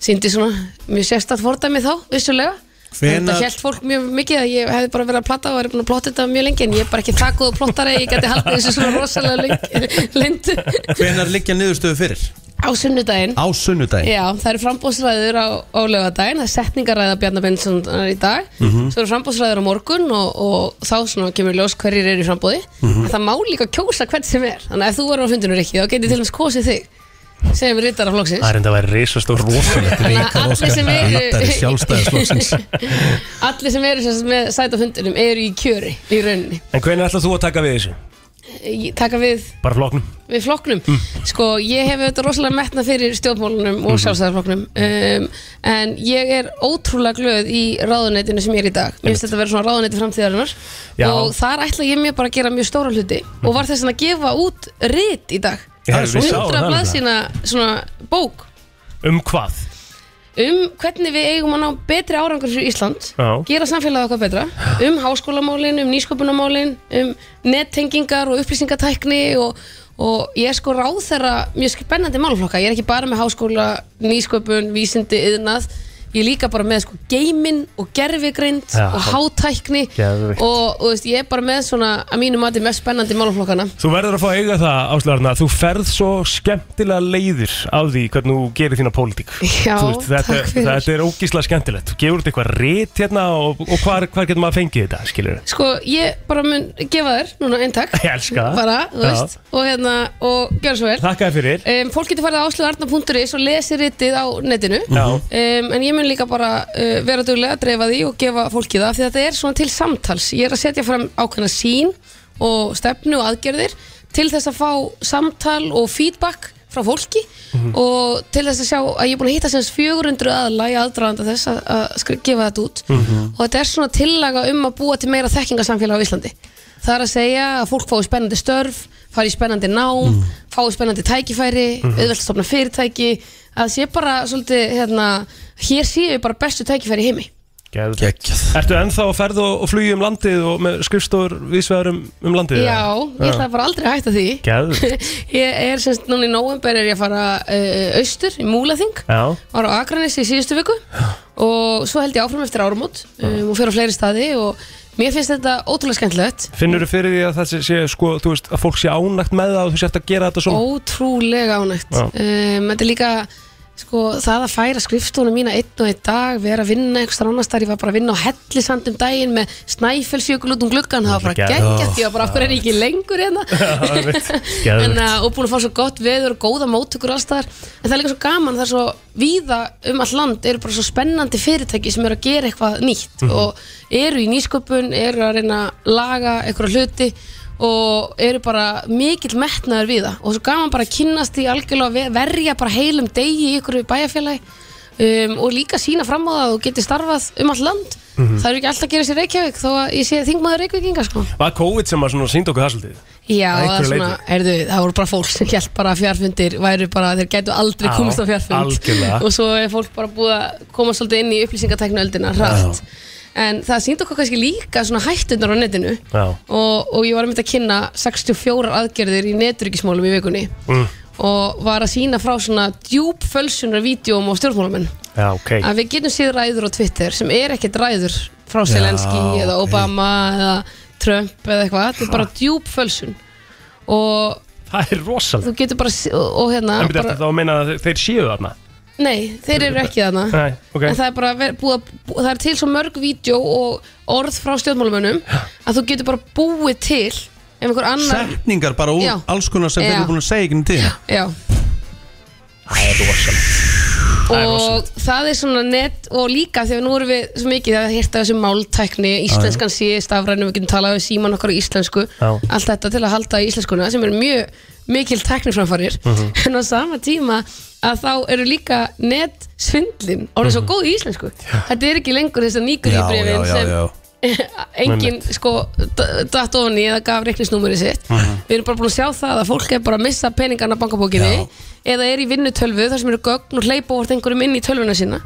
síndi svona mjög sérstætt fordæmi þá, vissulega Hvenær- Þetta held fólk mjög mikið að ég hefði bara verið að platta og verið búin að plotta þetta mjög lengi en ég er bara ekki það góð plottari að ég geti haldið þessu svona rosalega lengt hvenar liggja niðurstöðu fyrir? á sunnudaginn Á sunnudaginn Já, það eru frambóðsræður á, á lögadaginn, það er setningaræða Bjarnar Benssonar í dag, Mhm. svo eru frambóðsræður á morgun og, og þá svona kemur ljós hverjir eru í frambóði, Mhm. en það má líka kjósa hvern sem er, þannig að ef þú verður á fundinu ekki, þá getur til dæmis kosið þig sem rittar af flokksins. Það er enda að vera risastór rosalegt Þannig að allir sem Riddari Sjálfstæðisflokksins. eru, allir sem eru sem sagt með sæta fundinum eru í kjöri í rauninni, En hvernig ætlað þú að taka við þessu? Ég taka við Bara floknum? við flokknum Mm. sko ég hef auðvitað rosalega metna fyrir stjórnmálunum Mhm. og sjálfstæðarflokknum um, en ég er ótrúlega glöð í ráðuneytinu sem ég er í dag mér finnst þetta að vera svona ráðuneyti framtíðarinnar Já. og þar ætla ég mér bara að gera mjög stóra hluti og var þess að gefa út rit í dag Ég er hefði við sáum það 100 nefnilega. blaðsina svona bók Um hvað? um hvernig við eigum að ná betri árangur fyrir Ísland, Já. gera samfélagið okkar betra um háskólamálin, um nýsköpunamálin um nettengingar og upplýsingatækni og, og ég er sko ráð þeirra mjög spennandi málflokka ég er ekki bara með háskóla, nýsköpun vísindi, yðnað, ég er líka bara með sko geimin og gerfigreind Já. og hátækni Geðveikt. og, og veist, ég er bara með svona að mínu mati mest spennandi málflokkana Þú verður að fá að eiga það, Áslarna, þú ferð svo skemmtilega leiðir af því hvernig þú gerir þína pólitík. Já, Þú veist, þetta, takk fyrir. Þetta er ógíslega skemmtilegt. Þú gefur út eitthvað rít hérna og, og hvar, hvar getur maður að fengið þetta, skilur við? Sko, ég bara mun gefa þér núna eintak Ég elska það. Bara, þú Já. veist Og hérna, og gjör svo vel Þakka þér fyrir. um, Fólk getur farið á áslugarnar.is og lesi ritið á netinu Já. um, En ég mun líka bara uh, vera duglega að dreifa því og gefa fólki það Því þetta er svona til samtals Ég er að setja fram ákveðna sín og stefnu og aðgerðir Til þess að fá samtal og feedback frá fólki og til þess að sjá að ég er búin að hitta sem sagt 400 aðla í aðdraðanda þess að, að skri- gefa þetta út og þetta er svona tillaga um að búa til meira þekkingarsamfélag á Íslandi Það er að segja að fólk fái spennandi störf, fari í spennandi nám, fái spennandi tækifæri, mm. auðvelt að stopna fyrirtæki, að það sé bara svolítið, hérna, hér séu við bara bestu tækifæri í heimi. Geðveikt. Gekkjað Ertu ennþá að ferð og, og flugi um landið og með skrifstóður vísvegar um, um landið? Já, ég ætla bara aldrei að hætta því. Gæður. Ég er semst núna í nóvember er ég að fara uh, austur í Múlaþing, Já. var á Akranis í síðustu viku og svo held ég áfram eftir árumót um, og fyrir á fleiri staði og mér finnst þetta ótrúlega skemmtilegt. Finnur þú fyrir því að það sé, sé sko, þú veist, að fólk sé ánægt með það og þú sért að gera þetta svona? Ótrúlega ánægt Já. um, Þetta er líka sko, það að færa skrifstofunum mína einn og einn dag vera að vinna einhvers þar annars þar ég var bara að vinna á hellisandum daginn með snæfellsjökul út um gluggan það var bara Geggjað. geggjast, ég var bara af hverju er ég ekki lengur hérna Geðveikt. en, uh, og búin að fá svo gott veður og góða móttökur allstaðar en það er líka svo gaman, það er svo víða um all land eru bara svo spennandi fyrirtæki sem eru að gera eitthvað nýtt og eru í nýsköpun, eru að reyna að laga einhverja hluti og eru bara mikill metnaður við það og svo gaman bara að kynnast því algjörlega að ve- verja bara heilum degi í ykkur bæjarfélagi um, og líka sína fram á það að þú getur starfað um allt land það eru ekki alltaf að gera sér Reykjavík þó að ég sé þingmaður Reykjavíkinga sko. Var COVID sem að sínd okkur það svolítið? Já, Að það, er einhverju svona, erðu, það voru bara fólk sem hjælt bara að fjarfundir væru bara, þeir gætu aldrei Já, komist á fjarfund algjörlega. og svo er fólk bara búið að koma svolítið inn í upplýsingatæknuöldina hratt en það síndi okkur kannski líka svona hættunar á netinu Já. og, og ég var að mynda að kynna 64 aðgerðir í neturyggismálum í vikunni Mm. og var að sína frá svona djúb fölsunar vídjóm og stjórnmálamenn Já, ok. að við getum séð ræður á Twitter sem er ekkert ræður frá Selenski Já, eða ok. Obama eða Trump eða eitthvað, þetta er bara djúb fölsun og Það er rosalega. þú getur bara s- og, og hérna En byrja bara, eftir þá að meina að þeir séu þarna? nei, þeir eru ekki þarna Nei, ok. en það er bara ver- búið að bú- það er til svo mörg vídeo og orð frá stjórnmálumönnum að þú getur bara búið til ef einhver annar Setningar bara úr Já. alls konar sem þeir Já. eru búin að segja ekki um tíð Já. Það er rosalega. er og rosalegt. það er svona net og líka þegar nú erum við svo mikið að hérta þessi máltækni, íslenskan sé stafrænum, við getum talað við síman okkar í íslensku Já. allt þetta til að halda í íslenskuna sem er mjög mikil tækniframfarir Mhm. en á sama tíma að þá eru líka netsvindlin Mhm. orðið svo góð í íslensku þetta er ekki lengur þess að nýgur í brefin sem enginn sko d- datt ofan í eða gaf reiknisnúmerið sitt við erum bara búin að sjá það að fólk er bara að missa peningana á bankabókinni eða er í vinnutölvu þar sem eru gögn og hleypa hvort einhverjum inn í tölvuna sína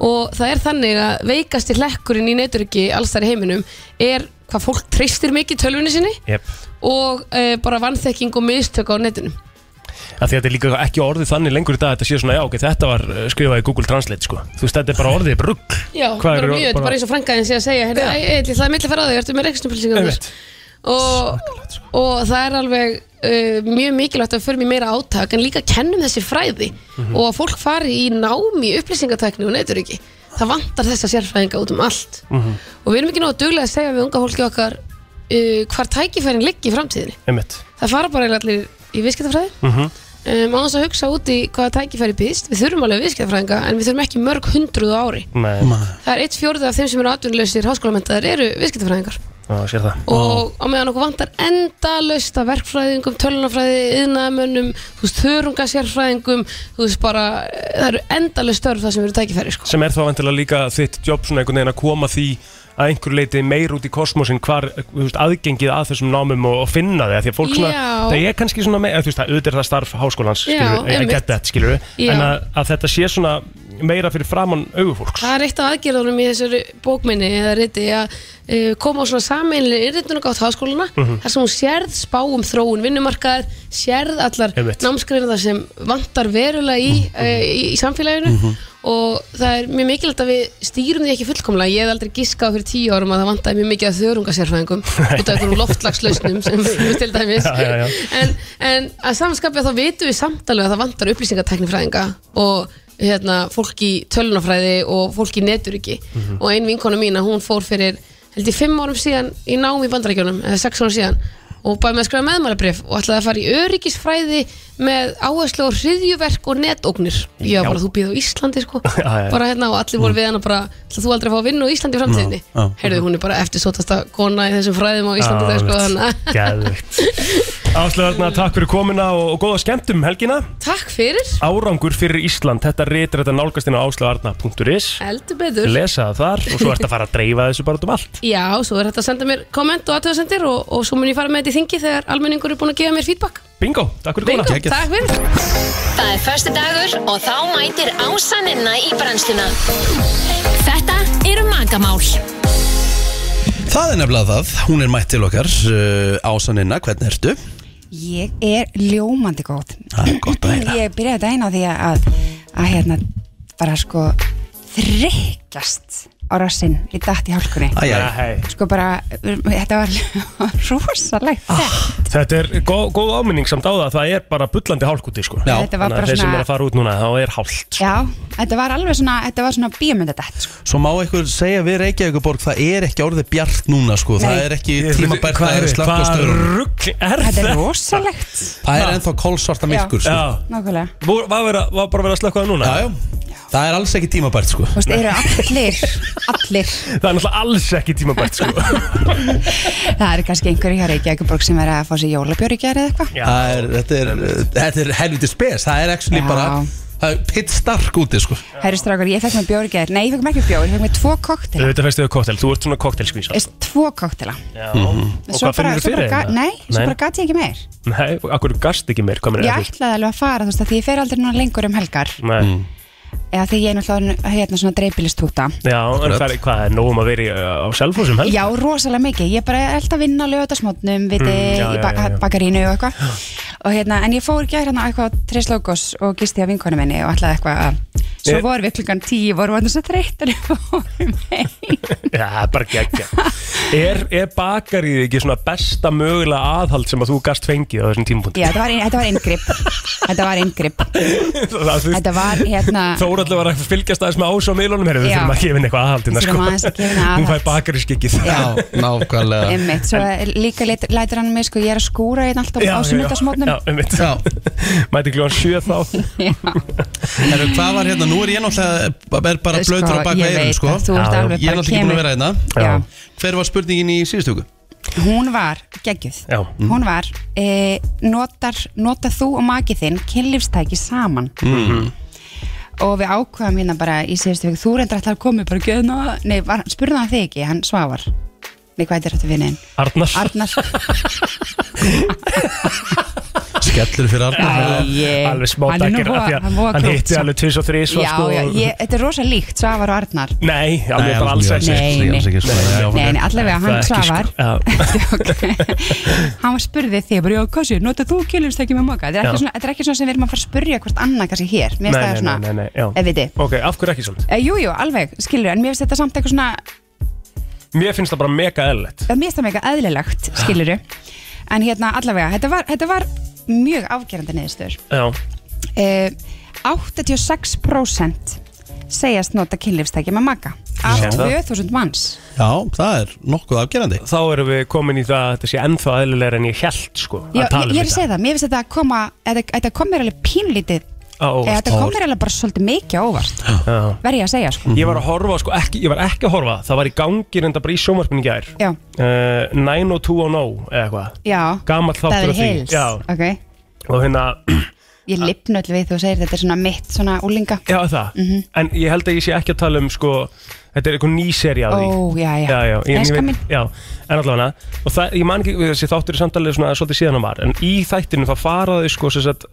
og það er þannig að veikasti hlekkurinn í neyturiki allstar í heiminum er hvað fólk treystir mikið tölvunni sinni Jep. og e, bara vannþekking og mistök á netinum Af því að Þetta er líka ekki orðið þannig lengur í dag að Þetta sé svona, já ok, þetta var uh, skrifað í Google Translate sko. Þú veist, þetta er bara orðið brugg Já, Hvað bara eru- mjög, þetta er bara- bara eins og frangaðin sé að segja hérna, æ, æ, ætli, það er millifæra á þig, ertu með reiknisnúmerið og, og það er alveg uh, mjög mikilvægt að við förum í meira átak en líka kennum þessi fræði og að fólk fari í námi upplýsingatækni og neytur ekki það vantar þessa sérfræðinga út um allt og við erum ekki nóg að duglega að segja við unga fólki okkar uh, hvar tækifærin liggi í framtíðinni Einmitt. það fara bara eiginlega allir í viðskiptafræði um, á þess að hugsa út í hvaða tækifæri býðst við þurfum alveg viðskiptafræðinga en við þurfum ekki mörg hundruð á ári Nei, það er eitt fjórði af þeim sem eru atvinnuleysir háskólamentaðar eru viðskiptafræðingar á, sér það og á meðan okkur vantar endalaust af verkfræðingum, tölunafræði, yðnaðamönnum, þú veist, þörungasérfræðingum, þú veist bara, eh, það eru endalaust störf það sem eru tækifæri, sko. Sem er þá vantilega líka þitt jobb svona einhvern veginn að koma því að einhver leiti meir út í kosmosin hvar eh, þú veist, aðgengið að þessum námum og, og finna þið, af því að fólk svona, Já. það er kannski svona meir, þú veist, það auðvitað er það starf háskólans, Já, skilur, ég einmitt. get þetta, skilur Já. en að, að þetta sé svona meira fyrir framann augufólks Það er eitt af aðgerðunum í þessari bókminni eða riti að uh, koma á svona sameinlega yriðnunagátt háskólana Mhm. þar sem hún sérð spá um þróun vinnumarkaðar, sérð allar Einmitt. Mhm. námskreinar sem vantar verulega í, uh, í, í samfélaginu og það er mjög mikilvægt að við stýrum því ekki fullkomlega. Ég hef aldrei giskað fyrir tíu árum að það vantaði mjög mikið að þörungasérfæðingum út af einhverjum loftslagslausnum sem við til dæmis Já, já, já. en, en að samanskapja þá vitum við samtalið að það vantar upplýsingateknifræðinga og hérna, fólk í tölunafræði og fólk í neturiki Mhm. og ein vinkona mín að hún fór fyrir held ég fimm árum síðan í nám í bandarækjunum eða sex árum síðan og bæði með að skrifa meðmælabrif og ætlaði að fara í öryggisfræði með áherslu á hriðjuverk og netóknir já, Já. bara þú býð á Íslandi sko já, Mm. já. bara hérna og allir voru við hana bara ætlaði þú aldrei að fá að vinna á Íslandi í framtíðinni Já, já. heyrðu hún er bara eftirsótasta kona í þessum fræðum á Íslandi þegar sko þannig að- Gæðvikt Áslaðarna, takk fyrir komina og, og góða skemmtum helgina takk fyrir Árangur fyrir Ísland, þetta reytir þetta nálgast inn á áslaðarna.is Heldur betur Lesa það þar og svo ertu að fara að dreifa þessu bara út um allt Já, svo er þetta að senda mér komment og aðtöðasendir og, og svo mun ég fara með þetta í þingi þegar almenningur er búin að gefa mér feedback Bingo, takk fyrir Bingo, komina Geggjað. takk fyrir Það er förstu dagur og þá mætir ásaninna í brennsluna. Þetta eru magamál. Það er nefnilega það, hún er mætt til okkar uh, Ásaninna, hvernig ertu? Ég er ljómandi góð Það er gott að heyra Ég byrjaði daginn á því að að hérna bara sko þryggjast á rassinn í datt í hálkunni Æja, Já, hei. sko bara, þetta var rosalegt Ah, þetta. Þetta er góð, góð áminning samt á það Það er bara bullandi hálkúti sko Já. Þetta var Þannig bara að þeir sem svona- er að fara út sko. núna, þá er hálkt já, þetta var alveg svona þetta var svona bíómyndadett sko. svo má einhver segja við Reykjavíkuborg Það er ekki orðið bjart núna sko Það Nei. er ekki tímabært Hvað að er- slökka á Hvað störum rugg er þetta er þetta? rosalegt Það er ennþá kolsvarta myrkur sko. Já, nákvæmlega Voru- var, vera, var bara verið að slökka það núna? Já, já, Það er alls ekki tímabært sko Þú veist, eru allir, allir Það er náttúrulega alls ekki tímabært sko Það eru kannski einhverju hjá Reykjavíkuborg sem er að fá sér jólabjör í gæri eða eitthvað Já. Það er, þetta er, þetta er helviti spes Það er actually Já. bara Það er pitt stark úti sko Herri strákar, ég fekk mér bjór í gæri Nei, ég fekk mér ekki bjór, ég fekk mér tvo koktela Þetta fæstu þau koktel, þú ert svona koktelsvísa Eist, Tvo koktela Og Svo hvað bara- finnur svo þú bara fyrir ga- þeim? Nei, svo bara gat ég ekki meir Nei, akkur gast ekki meir, hvað mér Ég er því? ætlaði alveg að fara, þú veist, að því ég fer aldrei núna lengur um helgar Nei, eða því ég er náttúrulega orðin, hérna svona dreifbílistúta já, en það er, hvað er nógum að vera í, uh, á selfhúsum helg? Já, rosalega mikið, ég bara er alltaf að vinna lögatasmótnum, viti, Mm, já, í já, ba já, já. bakarínu og eitthvað og hérna, en ég fór gæri hérna á eitthvað Tris Logos og gisti á vinkonu minni og ætlaði eitthvað að svo Ég- vorum við klukkan tíu, vorum við þess að þreyttur og fórum heim Já, bara geggja Er, er bakaríð ekki svona besta mögulega aðhald sem að þú gast fengið á þessum tímpunkti? Já, þetta var, ein, þetta var inngrip Þetta var inngrip Þetta Þetta var hérna Þóraldur var að fylgjast aðeins með ás á miðlunum Herru, við Já. þurfum að gefa henni eitthvað aðhaldina Við sko. þurfum aðeins að gefa henni Hún fær aðhald. bakarískikkið Já, nákvæmlega Einmitt, svo líka lét- lætur hann mig sko, ég er að skúra einn alltaf á Já, sunnudasmótnum einmitt. Já. Mæti kljóðan sjö þá Herru, hvað var hérna? Nú er ég náttúrulega Er bara blöytur á baka Sko, ég eirum veit sko að þú Já, ert já. alveg Ég er náttúrulega bara ekki búin að vera kemur hérna Já. Hver var spurningin í síðustu viku? Hún var geggjuð Já. Mm. Hún var e, notar, notar þú og makið þinn kynlífstæki saman Mhm. Og við ákvaðum hérna bara í síðustu viku Þú reyndar alltaf að koma bara gjöðna Nei, var, spurði hann þig ekki, hann svafar Nei, hvað er þetta vinnin? Arnar Arnar Skellur fyrir Arnar Æi, Alveg smá hann er nú dækir voða- Hann, hann voða hann krútt, hitti sko. alveg tvis og þrís Já, já, ég, þetta er rosa líkt Svafar og Arnar Nei, alveg bara alls ekki Nei, nei. alls ekki, sko. Nei, nei, allavega Það er hann ekki, Svavar sko, já. Djók. Hann var spurðið þig bara, já, hvað sé, notar þú kynlífstæki með maka þetta er, Já. ekki svona, þetta er ekki svona sem við erum að fara að spurja hvort annað kannski hér, mér Nei, nei, finnst það nei, svona nei, nei, já. ef viti. Ok, af hverju ekki svolítið? Eh, Jú, jú, alveg, skilur, en mér finnst þetta samt eitthvað svona Mér finnst það bara mega eðlilegt eh, mér finnst það með eitthvað eðlilegt, skilur en hérna, allavega, þetta var, þetta var mjög afgerandi niðurstöður Já, uh, 86% segjast nota kynlífstæki með maka af Já. 2000 manns Já, það er nokkuð afgerandi þá erum við komin í það að þetta sé ennþá eðlilegra en ég held sko Já, að tala ég, um ég er að segja það, mér finnst þetta að koma þetta þetta kom mér alveg pínlítið Á sko. óvart. eða þetta kom mér alveg bara svolítið mikið á óvart Já. verð ég að segja sko Ég var að horfa, sko, ekki, ég var ekki að horfa Það var í gangi reynda bara í sjómarpinu í gær Já, uh, 90210 eða eitthvað já, Gamall þáttur það af er því. heils Já. Ok, Og hérna, ég lipna öll við þú segir þetta er svona mitt svona úlinga Já það, Mhm. en ég held að ég sé ekki að tala um sko, þetta er eitthvað ný seri á því Ó, já, já. já, já, ég, ég veit, Elskan mín. já En allavega, og það, ég man ekki þessi þáttur í samtalið svona svolítið síðan hann var En í þættinu það faraði sko sem sagt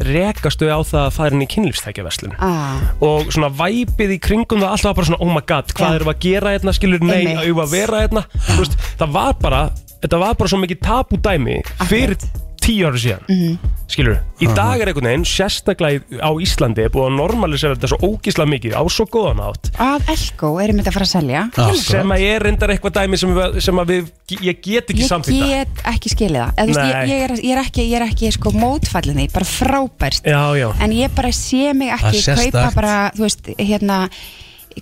rekastu á það að fara inn í kynlífstækjaverslun ah, og svona væpið í kringum það alltaf bara svona oh my god, hvað Já. erum við að gera hérna skilur, nei, Einmitt. eigum við að vera hérna Þú veist, það var bara, þetta var bara svo mikið tabú dæmi fyrir tíu ára síðan Mhm. skilur, í dag er einhvern veginn sérstaklega í- á Íslandi er búið að normalisera þetta svo ógísla mikið á svo góðan átt Að Elko erum þetta að fara að selja sem að ég er reyndar eitthvað dæmi sem, við, sem að við, ég get ekki Ég samþýta get ekki skilið það Eð, veist, Nei. ég, ég, er, ég, er ekki, ég er ekki sko mótfallin því, bara frábært Já, já. En ég bara sé mig ekki Það er kaupa sérstakt. bara, þú veist, hérna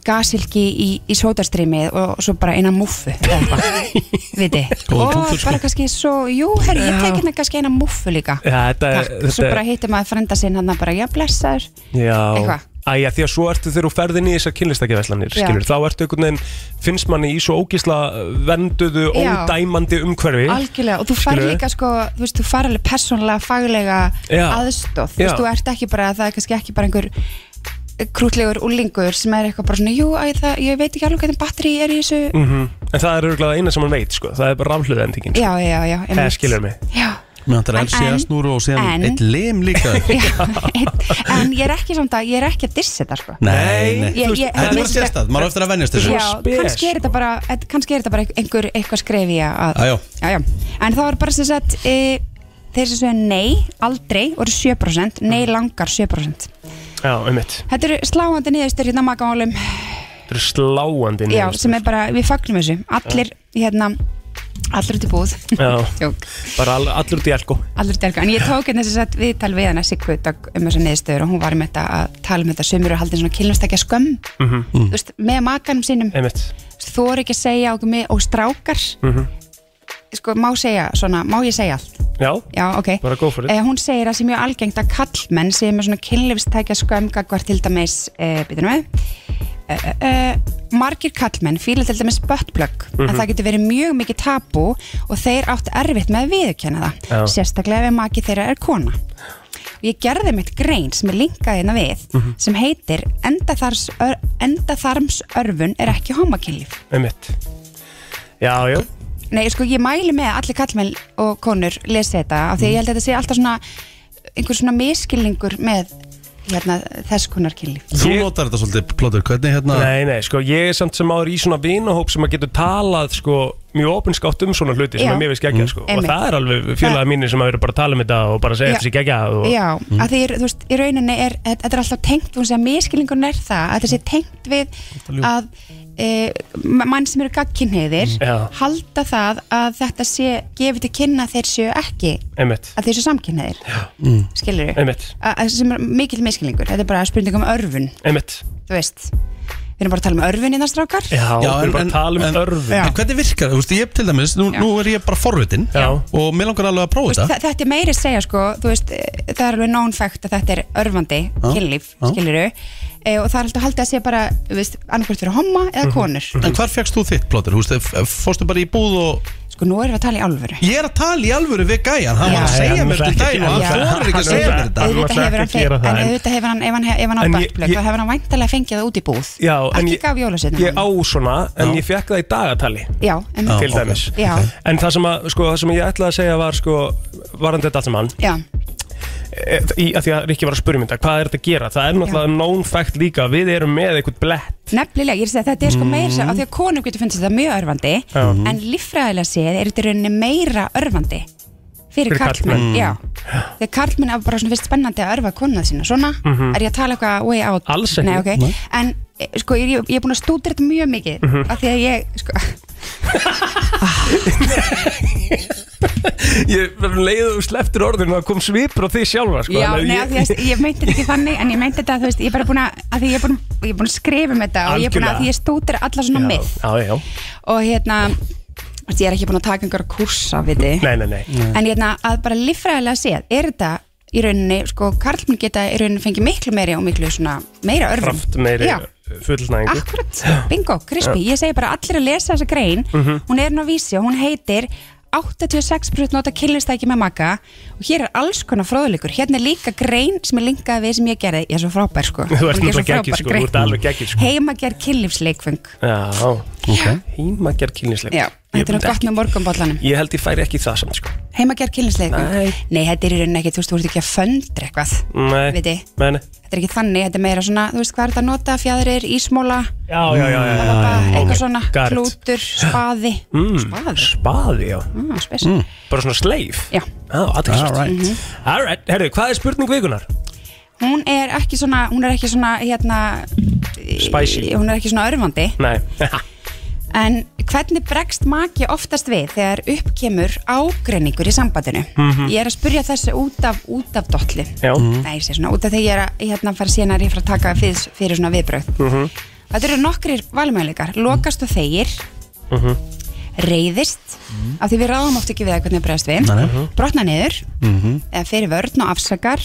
gasilki í, í sótastrýmið og svo bara eina múffu eða eitthvað, viti Góður og punktur, sko. bara kannski svo, jú, herri, ég tek hérna kannski eina múffu líka Já, þetta er- Takk, svo þetta er- bara hittum maður frenda sinn hann bara, já, blessaður Já, Eitthvað. Æja, því að svo ertu þegar þú ferðin í þessar kynlistakjafæslanir Já. skilur, þá ertu einhvern veginn finnst manni í svo ógísla venduðu, Já. ódæmandi umhverfi algjörlega, og þú far Skilurðu? líka sko, þú veist, þú far alveg persónlega, faglega Já. aðstóð, þú Já. veist, þú ert ekki bara það er kannski ekki bara einhver eh, krútlegur úlingur sem er eitthvað bara svona, jú, æ, það, ég veit ekki alveg hvernig batteri er í þessu Mhm. En það er örgulega eina sem hann veit sko. Það er bara rafhlöðu endingin sko. já, já, já Það skilur mig já. Mér hættar En- LCS núru og síðan en- eitt lim líka Já, en ég er ekki samt að ég er ekki að dissa þetta sko Nei, Nei, nei ég, ég, Þetta er bara sérstæð, maður á eftir að venjast þessu já, spes, kannski er þetta bara eh, kannski er þetta bara einhver eitthvað skrefi að, Æjó. já, já. en það var bara sem sagt e, þeir sem segja nei, aldrei voru 7%, nei Mm. langar 7% Já, einmitt þetta eru sláandi niðurstur hérna makamálum Þetta er sláandi já, niðurstöður. sem er bara, við fagnum þessu allir, hérna, allir út í búð Já. Jók. Bara all, allur út í elko Allir delga, en ég tók hérna þess að viðtal við hana Siggu dag um þessa niðurstöður og hún var með þetta að tala um þetta sömur og haldin svona kynlumstakja skömm þú veist, með makanum sínum Einmitt þú er ekki að segja okkur með og strákar sko, má segja svona, má ég segja allt? Já, Já, ok. bara go for it Eh, hún segir að það sé mjög algengt að kallmenn sé með svona kynlifstækja skömga hvert til dæmis, eh, býtum við, eh, eh, eh, margir kallmenn fíla til dæmis buttplug, að Mhm. það getur verið mjög mikið tabú og þeir átt erfitt með að viðurkenna það, Já. sérstaklega ef maki þeirra er kona. Og ég gerði mitt grein sem er linkað hérna við, Mhm. sem heitir endaþarms, ör, endaþarmsörfun er ekki homakynlíf. með mitt Já, já, Nei, sko, ég mæli með að allir kallmenn og konur lesi þetta af því að ég held að þetta sé alltaf svona einhver svona miskilningur með hérna, þess konar kynlíf. Þú Ég- notar þetta svolítið, Plóður, hvernig Ah. hérna nei, nei, sko Ég er samt sem áður í svona vinahóp sem að getur talað sko, mjög opinskátt um svona hluti sem Já. Mm. er mér veist geggja sko. og Einmitt. það er alveg fjölaða mínir sem að vera bara að tala um þetta og bara segja Já. þessi geggja og... Mm. Já, af því, þú veist, í rauninni er þetta þetta er alltaf tengt, þú veist, að miskilningun er það að Mm. þetta sé tengt við að e, mann sem eru Mm. gagkinnheiðir Já. halda það að þetta sé gefið til kynna að þeir séu ekki Einmitt, að þeir séu samkynheiðir. Skilur við? Mm. einmitt, Sem er mikill miskilningur, þetta er bara spurning um örfun. einmitt þú veist við erum bara að tala um örfin innan strákar Já, við erum bara að tala um en, örfum Já. en hvernig virkar, þú veist, ég til dæmis nú, Já. nú er ég bara forvitin Já. og mér langar alveg að Þú prófa veist, þetta þa- þetta er meiri að segja sko þú veist, eh, það er alveg known fact að þetta er örfandi Já, kynlíf, já. skiliru e, og það er alltaf haldið að segja bara þú veist, annarkvort fyrir homma Mhm. eða konur En hvar fegst þú þitt, Plóður? Þú veist, ef- ef fórstu bara í búð og sko nú erum við að tala í alvöru Ég er að tala í alvöru við gæjan Hann var að Já, segja hann mér ætlar þetta ekki- dæn og Já, hann þorir ekki að hann- segja mér þetta hann Auðvitað ætlar ekki hefur hann að fe- gera það, en en- auðvitað hefur hann ef hann, ef hann á En ég- barplögg ég- þá hefur hann væntalega fengið það út í búð Já, en ekki ég- gaf jólasetinu Ég á svona, en ég fekk það í dagatali já, en, Já. til ok. dæmis Já. En það sem, að, sko, það sem ég ætlaði að segja var sko, varandi þetta allt saman já, e, í, að því að Rikki var að spurja mynda, hvað er þetta að gera? Það er náttúrulega known fact líka, við erum með einhvern blett nefnilega, ég er að segja að þetta er sko meira mm. af því að konur getur fundið þetta mjög örfandi Mhm. en líffræðilega séð er þetta í rauninni meira örfandi fyrir, Fyrir fyrir karlmenn. karlmenn, já þegar karlmenn er bara svona fyrst spennandi að örfa konuna sína svona, er ég að tala eitthvað way out Mhm. Alls ekki. Nei, ok. en eh, sko ég, ég er búin að stúdra þetta mjög mikið Mhm. af því að ég sko, Ég leiði þú sleftir orðinu og það kom svipur á því sjálfa sko, já, þannig að nei, af því að ég meinti þetta ekki þannig en ég meinti þetta, þú veist, ég er bara búin að, að því ég er búin, ég er búin að skrifa um þetta og ég er búin Algjörlega. að, að því ég stúdra alla svona Já, mið já, já, og hérna, þú veist, ég er ekki búin að taka einhverja kursa, við þið nei, nei, nei en hérna að bara líffræðilega séð er þetta í rauninni, sko, karlmenn geta í rauninni fengið miklu meiri og miklu svona meira örfum. Kraft meiri Já, fullnæðingu akkurat, bingo, krispi, ég segi bara allir að lesa þessa grein, Mhm. hún er nú að vísi og hún heitir 86% nota kynlistæki með maka og hér er alls konar fróðuleikur, hérna er líka grein sem er linkað við sem ég gerði, ég er svo frábær sko Þú ert Ég er svo náttúrulega geggjuð, frábær sko, grein. þú ert alveg geggjuð, sko. heimagerð kynlífsleikfeng Já, okay. heimagerð kynlisleik já, þetta er nú gott með morgunbollanum Ég held ég færi ekki í það samt sko. heimagerð kynlífsleikfeng, Nei. nei þetta er í rauninni ekki þú veist, þú ert ekki að föndra eitthvað Nei, Viti. nei, nei. þetta er ekki þannig, þetta er meira svona, þú veist hvað er þetta að nota, fjæðrir, ísmóla, Já, já, já, já, já, pappa, já. eitthvað Ok, svona, got it. klútur, spaði, Mm. spaður, Spaði, já mm, spes. Mm. Bara svona sleif Já. Já, aðeinsvært All right. Alright, herru, hvað er spurning vikunar? Hún er ekki svona, hún er ekki svona, hérna, Spicy. hún er ekki svona örfandi, Nei en hvernig bregst maki oftast við þegar uppkemur ágreiningur í sambandinu? Ég er að spurja þessu út af, út af dolli. Já, Nei, ég sé svona, út af því ég er að hérna fara síðan að rífra að taka fyrir, fyrir svona viðbröð. Þetta eru nokkrir valmöðleikar, lokast og þegir, reyðist, af því við ráðum oft ekki við að hvernig bregðast við, Mhm. brotna niður, eða fyrir vörn og afsakar,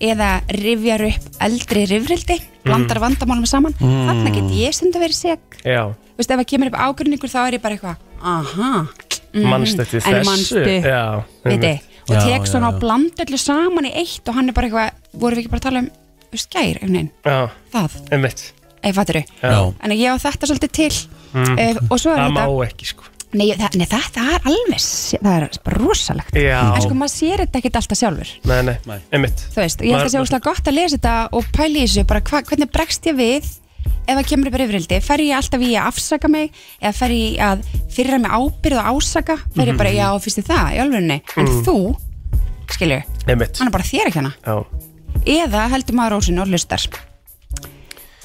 eða rifjar upp eldri rifrildi, blandar vandamálum saman, mm. þannig get ég sem þetta verið seg. já Þú veist, ef það kemur upp ágreiningur þá er ég bara eitthvað, aha, Manstu eftir Mhm. En þessu manstu. Já, viti, einmitt. og Já, tek já, svona já. og blanda öllu saman í eitt og hann er bara eitthvað, vorum við ekki bara að tala um þú veist, skær, einhvern veginn, Já, það einmitt ef fattur þau, Já, en ég á þetta svolítið til uh, og svo er Mm. Það má þetta ekki, sko nei, það, nei, það, það er alveg s- það er bara rosalegt Já. en sko maður sér þetta ekkert alltaf sjálfur Nei, nei, einmitt þú veist, og ég held að sé óslega gott að lesa þetta og pæli í þessu, bara hva, hvernig bregst ég við ef það kemur upp yfirildi, fer ég alltaf í að afsaka mig eða fer ég að fyrra mig ábyrð og ásaka, fer ég bara, já, fyrst ég það í alvegni, en þú skilju, Einmitt hann er bara þér ekki hana Já, eða heldur maður rósinu og hlustar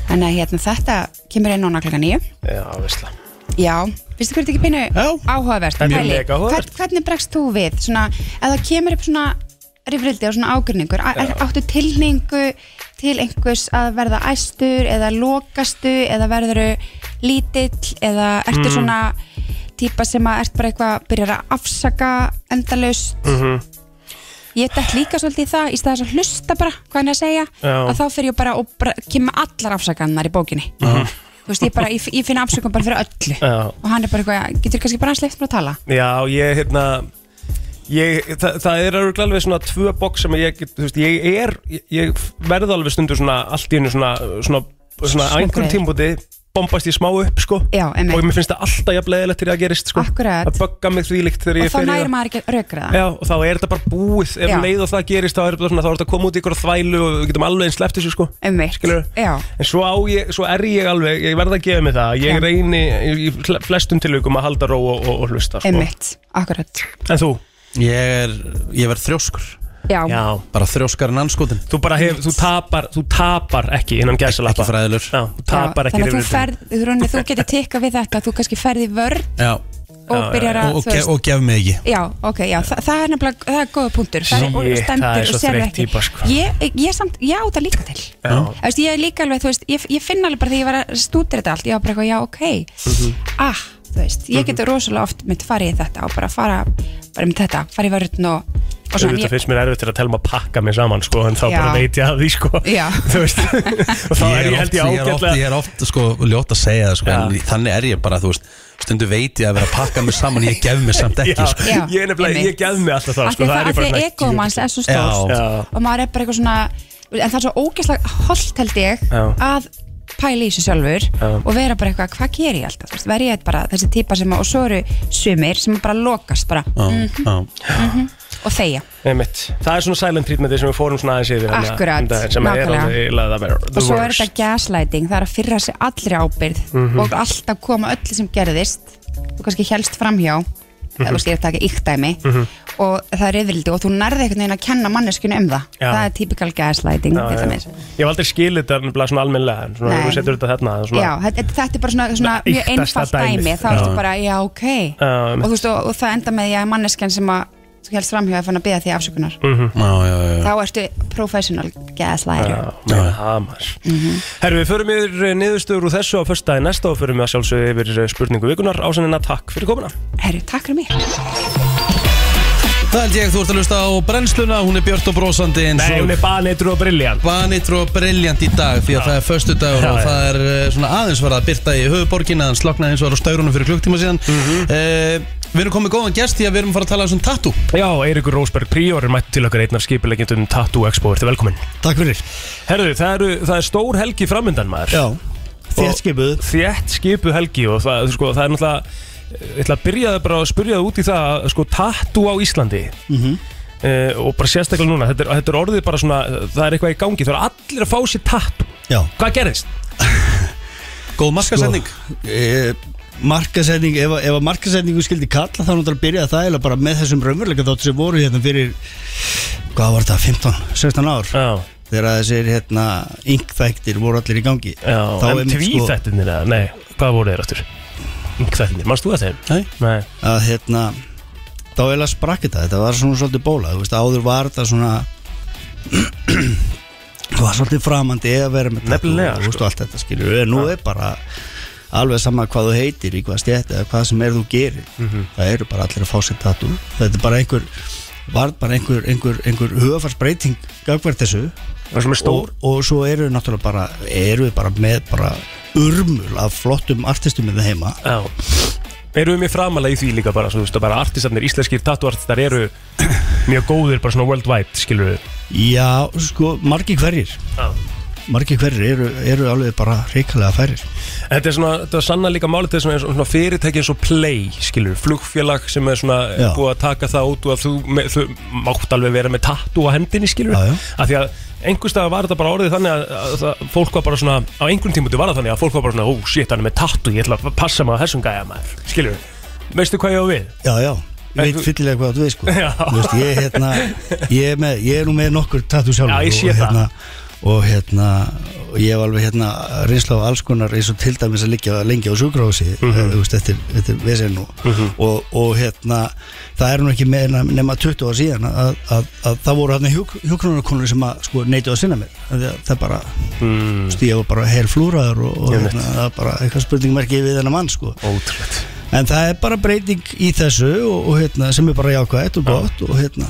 þannig að hérna, þetta kemur inn núna klokka nýju já, veistla já, finnstu hvernig þetta ekki pínu Já. áhugavert Þetta er Pæli, mega áhugavert. hvern- hvernig bregst þú við svona, ef það kemur upp svona rifrildi og svona ágrinningur áttu tilningu til einhvers að verða Mm. æstur eða lokastu eða verður lítill eða ertu svona típa sem að ert bara eitthvað byrjar að afsaka endalaust Mhm. ég dætt líka svolítið í það í staðis að hlusta bara hvað hann er að segja Já. að þá fer ég bara og bara, kemur allar afsakannar í bókinni Mhm. þú veist, ég, bara, ég, ég finna afsökun bara fyrir öllu Já. og hann er bara eitthvað, getur kannski bara sleift mér að tala Já, ég, hérna ég, þa það er örugglega alveg svona tvö bóks sem ég get, þú veist, ég er ég, ég verð alveg stundur svona allt í einu svona, svona, svona Snöggri. einhvern tímpúti bombast ég smá upp, sko Já, einmitt. og mér finnst það alltaf jafnlegilegt þegar það gerist, sko Akkurat. það bögga mig því líkt þegar ég og þá fer í næri það. maður ekki að rökra það Já, og þá er þetta bara búið ef Já. leið og það gerist, þá er þetta svona þá er þetta að koma út í ykkur þvælu og við getum alveg eins sleppt þessu, sko Einmitt. Skilurðu? Um Sko. Já. en svo, á ég, svo er ég alveg, ég verð að gefa mig það ég Já. reyni í- í fle- flestum tilvikum að halda ró og, og, og hlusta sko. einmitt, um akkurat en þú, Ég er, ég verð þrjóskur já, já, Bara þrjóskar en anskotin þú bara hef, þú tapar, þú tapar ekki innan gæsalappa Ekki fræðilur. Já, þú tapar Já, ekki þannig að þú rifrildum. ferð, þú, raunir, þú getur tikka við þetta þú kannski ferði vörn Já, og byrjar að og, og, þú gef, og gef mig ekki Já, ok, já, þa það er nefnilega, það er góða punktur Það er Shit, það orðið er stendur svo og sér þreytt ekki típa, sko. Ég, ég samt, já, það líka til Já. Þú veist, ég er líka alveg, þú veist, ég, ég finn alveg bara þegar ég var að stútir þetta allt Ég var bara eitthvað, já, ok Mhm. Ah, þú veist, ég getur rosalega oft mynd farið í þetta og bara fara, bara mynd þetta, farið í vörðn og, og svona Þetta ég, finnst mér erfitt til að telma að pakka mig saman sko, en þá Já. bara veit ég að því sko. Já. Þú veist, og þá er ég held ég ég er oft, ég ágætlega er oft sko, ljótt að segja það sko, Já. en þannig er ég bara, þú veist stundu veit ég að vera að pakka mig saman ég gef mig samt ekki sko. Já, ég er nefnilega, einmitt. ég gef mig alltaf það af sko, því það það, er af ég bara því svona- egoum hans er svo stórt Já. og maður er bara eitthvað svona en það er svo ógeðslega holdt held ég Já. að pæla í þessu sjálfur Já. og vera bara eitthvað, hvað ger ég alltaf þú veist, verð ég bara þessi típa sem, og svo eru sumir sem bara lokast bara Já, já. og þeia Einmitt. Það er svona silent treatmenti sem við fórum svona aðeins yfir hérna Akkurat, um daginn, sem er nákvæmlega. alveg laða bara the og svo er worst. Mhm. þetta gaslighting, það er að fyrra sig allri ábyrð og alltaf koma öllu sem gerðist og kannski helst framhjá það Mhm. er að taka yktæmi mm og það er yfirldi og þú nærði einhvern veginn að kenna manneskinu um það Já. það er typical gaslighting Já, til já. dæmis. Ég hef aldrei skilið þetta nefnilega svona almennlega en svona, Nei. þú setur þetta þarna svona, Já, þetta, þetta er bara svona, svona Svona mjög ýktasta einfalt dæmið. dæmi þá ertu bara, já, ok Já, og, þú veist, og, og það enda með því að manneskjan sem að þú helst framhjóða fann að byrja því afsökunar Mhm. Já, já, já, já. þá ertu professional gaslæri Já, meina það maður. Mhm. Herru, við förum yfir eh, niðurstöður úr þessu á fyrsta næsta og förum við að sjálfsögðu yfir eh, spurningu vikunar ásennina takk fyrir komuna Herru, takk fyrir mig Það held ég, þú ert að lusta á brennsluna hún er björt og brósandi eins Nei, og hún er baneitur og brilljant Banitro briljant í dag því að það er förstu dagur Já, og já. það er eh, svona aðeins verið að byrta í höfuborgina en sloknaði eins og var á staurunum fyrir klukktíma síðan Mhm. Eh, Við erum komið góðan gest því að við erum að fara að tala um svona tattoo Já, Eirikur Rósberg Príor er mætt til okkar einn af skipilegjendum Tattoo Expo, ertu velkominn Takk fyrir Herru, það, eru, það er stór helgi framöndan maður Já, þétt skipuð Þétt skipu helgi og það, sko, það er náttúrulega Ég ætla að byrja bara að spyrja það út í það að, sko, Tattoo á Íslandi mm Mhm. og bara sérstaklega núna þetta er, þetta er orðið bara svona, það er eitthvað í gangi það er allir að fá sér tattoo Já Hvað gerðist? Góð markasending e, Markasetning, ef, ef að markasetningu skildi kalla þá náttúrulega byrjaði það eiginlega bara með þessum raunveruleika þáttu sem voru hérna fyrir hvað var þetta, 15, 16 ár Já, þegar að þessir hérna inkþæktir voru allir í gangi já, Þá en einmitt, sko, tvíþættinir eða, nei, hvað voru þeir áttur? Þættinir, mannst þú að þeim? Nei. Nei. að hérna þá eiginlega sprakk þetta, þetta var svona svolítið bóla þú veist, áður var þetta svona það var svolítið framandi að vera með tattoo, Nefnilega, þú veist, og allt þetta skilur við, nú er bara alveg sama hvað þú heitir í hvað stjætti eða hvað sem er þú gerir það eru bara allir að fá sér tattu þetta er bara einhver var bara einhver, einhver, einhver hugafarsbreyting gagvert þessu Það sem er og, stór og svo eru við náttúrulega bara eru við bara með bara urmul af flottum artistum með það heima Já Erum við mjög framalega í því líka bara, svo þú veist, að bara artisanir, íslenskir tatuartistar eru mjög góðir, bara svona worldwide, skilur við já, sko, margi hverjir Já margir hverjir eru, eru alveg bara reikalega færir Þetta er svona, þetta er sanna líka málið til svona, svona fyrirtæki eins og Play, skilur við, flugfélag sem er svona Já. búið að taka það út og að þú, með, þú mátt alveg vera með tattoo á hendinni, skilur Já, já. Af því að einhverstað var þetta bara orðið þannig að, að það, fólk var bara svona, á einhvern tímutu var það þannig að fólk var bara svona, ó, shit, hann er með tattoo, ég ætla að passa mig á þessum gæja maður, skilur Veistu hvað ég á við? já, já, ég En veit þú- fyllilega hvað þú veist sko Já. Þú veist, ég, hérna, ég, er með, ég er nú með nokkur tattoo sjálfur Já, ég sé og, það. hérna, og hérna og ég hef alveg hérna reynsla á alls konar eins og til dæmis að liggja lengi á sjúkrahósi Mhm. þú veist, eftir, eftir vesinn og, og, og hérna það er nú ekki meina nema 20 ára síðan að, að, að, það voru hérna hjúk, hjúkrunarkonur sem að sko neitið að sinna mér Af því að það bara Mm, Þú veist, ég var bara heil flúraður og, og Ég veit. hérna, það var bara eitthvað spurningmerki við þennan mann sko. ótrúlegt en það er bara breyting í þessu og, og hérna, sem er bara jákvæðt og gott og hérna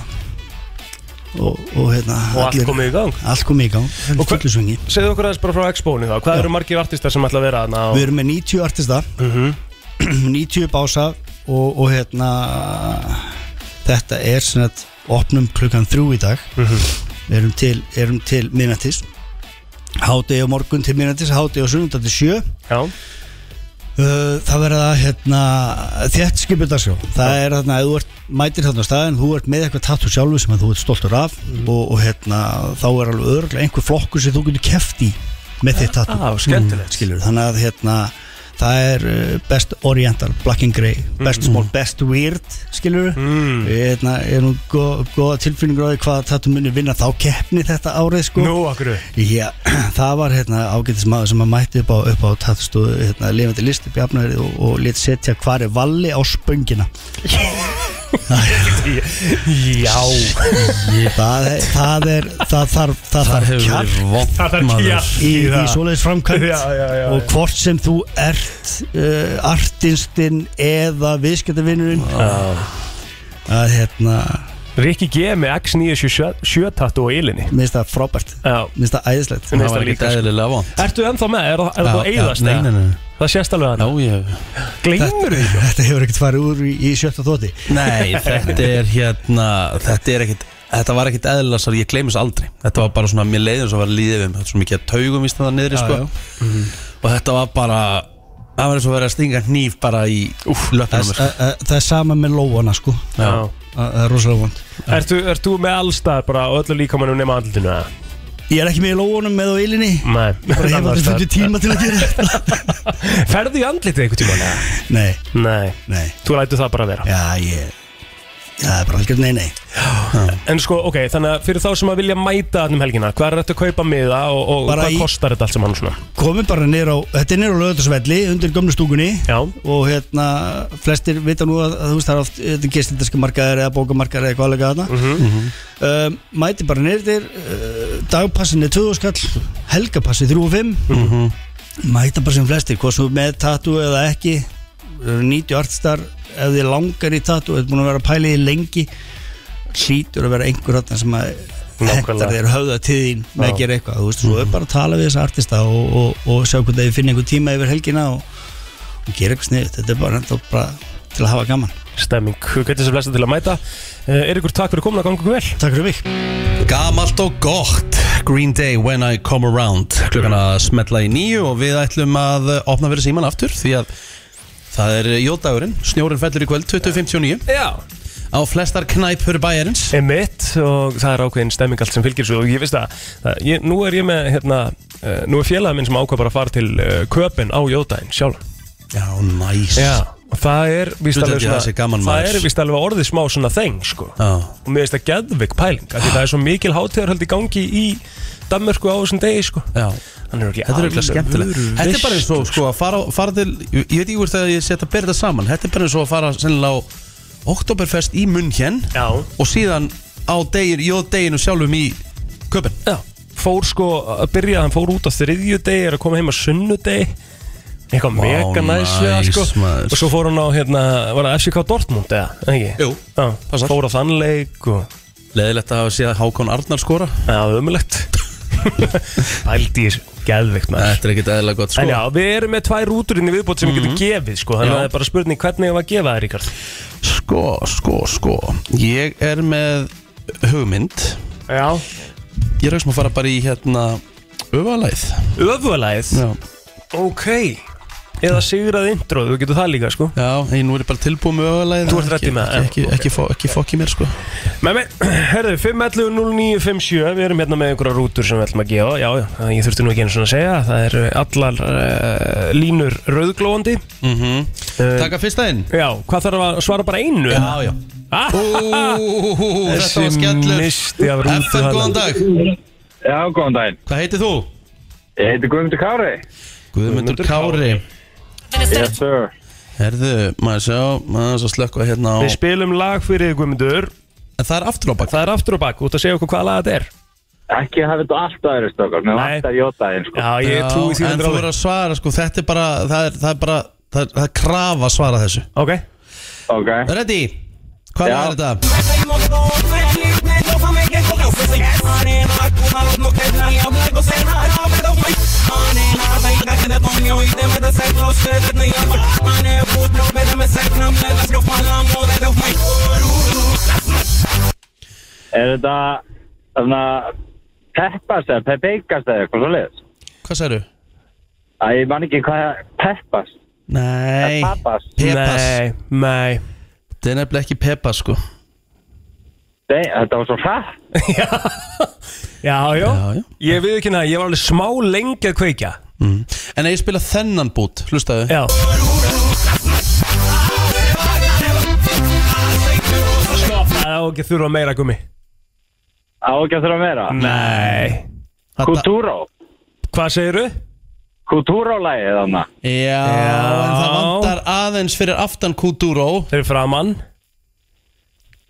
og, og hérna Og allt komið í gang. allt komið í gang, það er Og hver- fullu svingi Segðu okkur aðeins bara frá Expo-unu þá Hvað eru margir artistar sem ætla að vera þarna og... Við erum með 90 artista Mhm. 90 bása og, og hérna þetta er svona að opnum klukkan þrjú í dag Mhm. við erum til, erum til minnatis hádegi og morgun til minnatis hádegi og sunnundag til sjö Já, Uh, það verða hérna þétt skiputarsjó það er þarna, ef þú ert mætir þarna á staðin þú ert með eitthvað tattu sjálfu sem að þú ert stoltur af og, og hérna, þá er alveg öðruglega einhver flokkur sem þú getur keft í með þitt tattu Á, skemmtilegt. skilur, þannig að hérna það er uh, best oriental, black and grey best small, best weird, skilur Mm. hérna, er nú gó, góða tilfinningur á því hvað tattu munir vinna þá keppni þetta árið sko nú okkur Já, það var hérna ágætis maður sem að mætti upp á, upp á tattustöðu, hérna, lifandi listi bjafnæri og, og létt setja hvar er valli á spöngina. Já Það, er- það er, það þarf, það þarf kjark vond Það þarf kjark í, í í það. svoleiðis framkvæmt Já, já, já, og hvort sem þú ert uh, artistinn eða viðskiptavinnurinn að hérna, Rikki G með X977 tattu og ilinni minnst það frábært, Já, minnst það æðislegt. Nei. Það var ekki dæðilega vond Ertu ennþá með? Er, er sko. það eigðast? Nei, nei, nei Það sést alveg Já, hann ég Gleimur þig Þetta hefur ekkert farið úr í, í sjötta þóti. Nei, þetta er hérna Þetta er ekkit Þetta var ekkit eðlilega svar, ég gleymis aldrei Þetta var bara svona, mér leiðum svo að vera líðið við Þetta var svo mikið að taugum í standa niðri, sko Og þetta var bara Það var eins og að vera að stinga hníf bara í Það, löpunum sko. það, það er sama með lóana sko, Já. það það er rosalega vond. Ertu, ertu með allstað bara á öllu líkamannum nema andlutinu? eða? Ég er ekki með í lóunum með á eilinni Nei Bara hef aldrei fundið tíma til að gera þetta Ferðu í andlitið einhvern tíma? Nei, Nei, nei þú lætur það bara vera Já, ég Já, það er bara algjörn nei, nei En sko, ok, þannig að fyrir þá sem að vilja mæta þarna um helgina Hvað er þetta að kaupa miða og, og Bara hvað í- kostar þetta allt sem hann svona? Komum bara nýr á, þetta er nýr á lögutarsvelli Undir gömlu stúkunni Já, Og hérna, flestir vita nú að, að þú veist það er oft eh, Þetta er gestindarska markaðar eða bókamarkaðar eða hvað lega þarna um, Mæti bara nýr þér uh, Dagpassin er 20 skall Helgapassi 3 og 5 Mæta bara sem flestir, hvað sem með tatu eða ekki Við erum 90 artistar ef þið langar í tatu, þetta er búin að vera að pæla í því lengi hlýtur að vera einhver þarna sem að hentar Nákvæmlega. þér höfða til þín með Já. að gera eitthvað, þú veist, svo er bara að tala við þessa artista og, og, og sjá hvernig þið finna einhver tíma yfir helgina og, og gera eitthvað sniðut, þetta er bara, ennþá bara til að hafa gaman. stemming Hvernig sem flesta til að mæta uh, Er ykkur takk fyrir komin að ganga ykkur vel? Takk fyrir mig Gamalt og gott Green Day When I Come Around Klukkan að smetla í nýju og við ætlum að opna fyrir síman aftur Því að það er jódagurinn Snjórin fellur í kvöld 2059 Já Á flestar knæpur bæjarins Emitt og það er ákveðin stemming allt sem fylgir svo og ég veist að að ég, nú er ég með hérna, uh, nú er félagið minn sem ákvað bara að fara til uh, Köpen á Jódæn sjálf Já, næs og það er víst Þú alveg tekur svona þessi gaman það maður. er víst alveg orðið smá svona þeng sko Já. og mér veist að geðvik pæling af því það er svo mikil hátíðarhald í gangi í Danmörku á þessum degi sko Já. Hann er ekki Þetta er eitthvað alveg skemmtilega vöruveisla. Þetta er bara eins og sko að fara, fara til Ég ég veit ekki hvort að ég setja að bera þetta saman Þetta er bara eins og að fara sennilega á Oktoberfest í munn Já. Og síðan á degin, jóð deginu sjálfum í köpinn Já, fór sko að byrja, hann fór út á þriðjudegi, er að koma heim á sunnudegi Eitthvað Vá, mega næs við það næs, sko maður. Og svo fór hann á, hérna, var það FCK Dortmund eða, ekki? Jú, Já, passar. fór á þann leik og, Leðilegt að hafa séð Hákon Arnar skora já, ömulegt Pældi í þessu, geðvikt maður Þetta er ekkit eðlilega gott En sko já, við erum með tvær rútur inn í viðbót sem við getum gefið sko Þannig að það er bara spurning hvernig ég var að gefa það, Ríkard Sko, sko, sko Ég er með hugmynd Já Ég er ekki sem að fara bara í hérna Öfalæð Öfulæð, Já, ok Eða sigrað intro, þú getur það líka sko já en nú er ég bara tilbúið með öfalæð Þú ert ready með það, Ekki, ekki, ekki, fó- ekki fokk í mér sko Með mér, herðu, 5.11.09.57 Við erum hérna með einhverja rútur sem við ætlum að gefa Já, já, ég þurfti nú ekki einu svona að segja Það eru allar uh, línur rauðglóandi mm uh, Takka fyrsta inn Já, hvað þarf að svara bara einu? Já, já Ah, Ú, Þetta var skellur misti af FN, rútu þarna. góðan dag Já, góðan daginn. Hvað heitir þú? Ég heiti Guðmundur Kári. Guðmundur Kári Yes, sir. Herðu, maður sjá, maður sjá slökka hérna á Við spilum lag fyrir þig, Guðmundur En það er aftur á bak Það er aftur og bakk, út að segja okkur hvað lag þetta er Ekki að hafa þetta alltaf aðeins, stokkar. Mér Nei. vantar jótaðinn, sko. Já, ég trúi því En þú verður að svara, sko, þetta er bara Það er, það er bara það, það er krafa að svara þessu Ok Ok Ready? Hvað Já. er þetta? Er þetta Þannig að Peppas eða Pepeikas eða eitthvað svo leiðis Hvað særu? Æ, ég man ekki hvað Peppas Nei Peppas Pepas Nei, nei Þetta er nefnilega ekki Pepas sko Nei, þetta var svo hratt Já, já, Já, já. Ég við ekki að ég var alveg smá lengi að kveikja mm. En að ég spila þennan bút, hlustaðu Já Það á ekki að þurfa meira gummi Á ekki að þurfa meira Mm. Nei Þetta- Kutúró Hvað segirðu? Kutúró-lægið þannig Já, en það vantar aðeins fyrir aftan Kuduro Þeir eru framann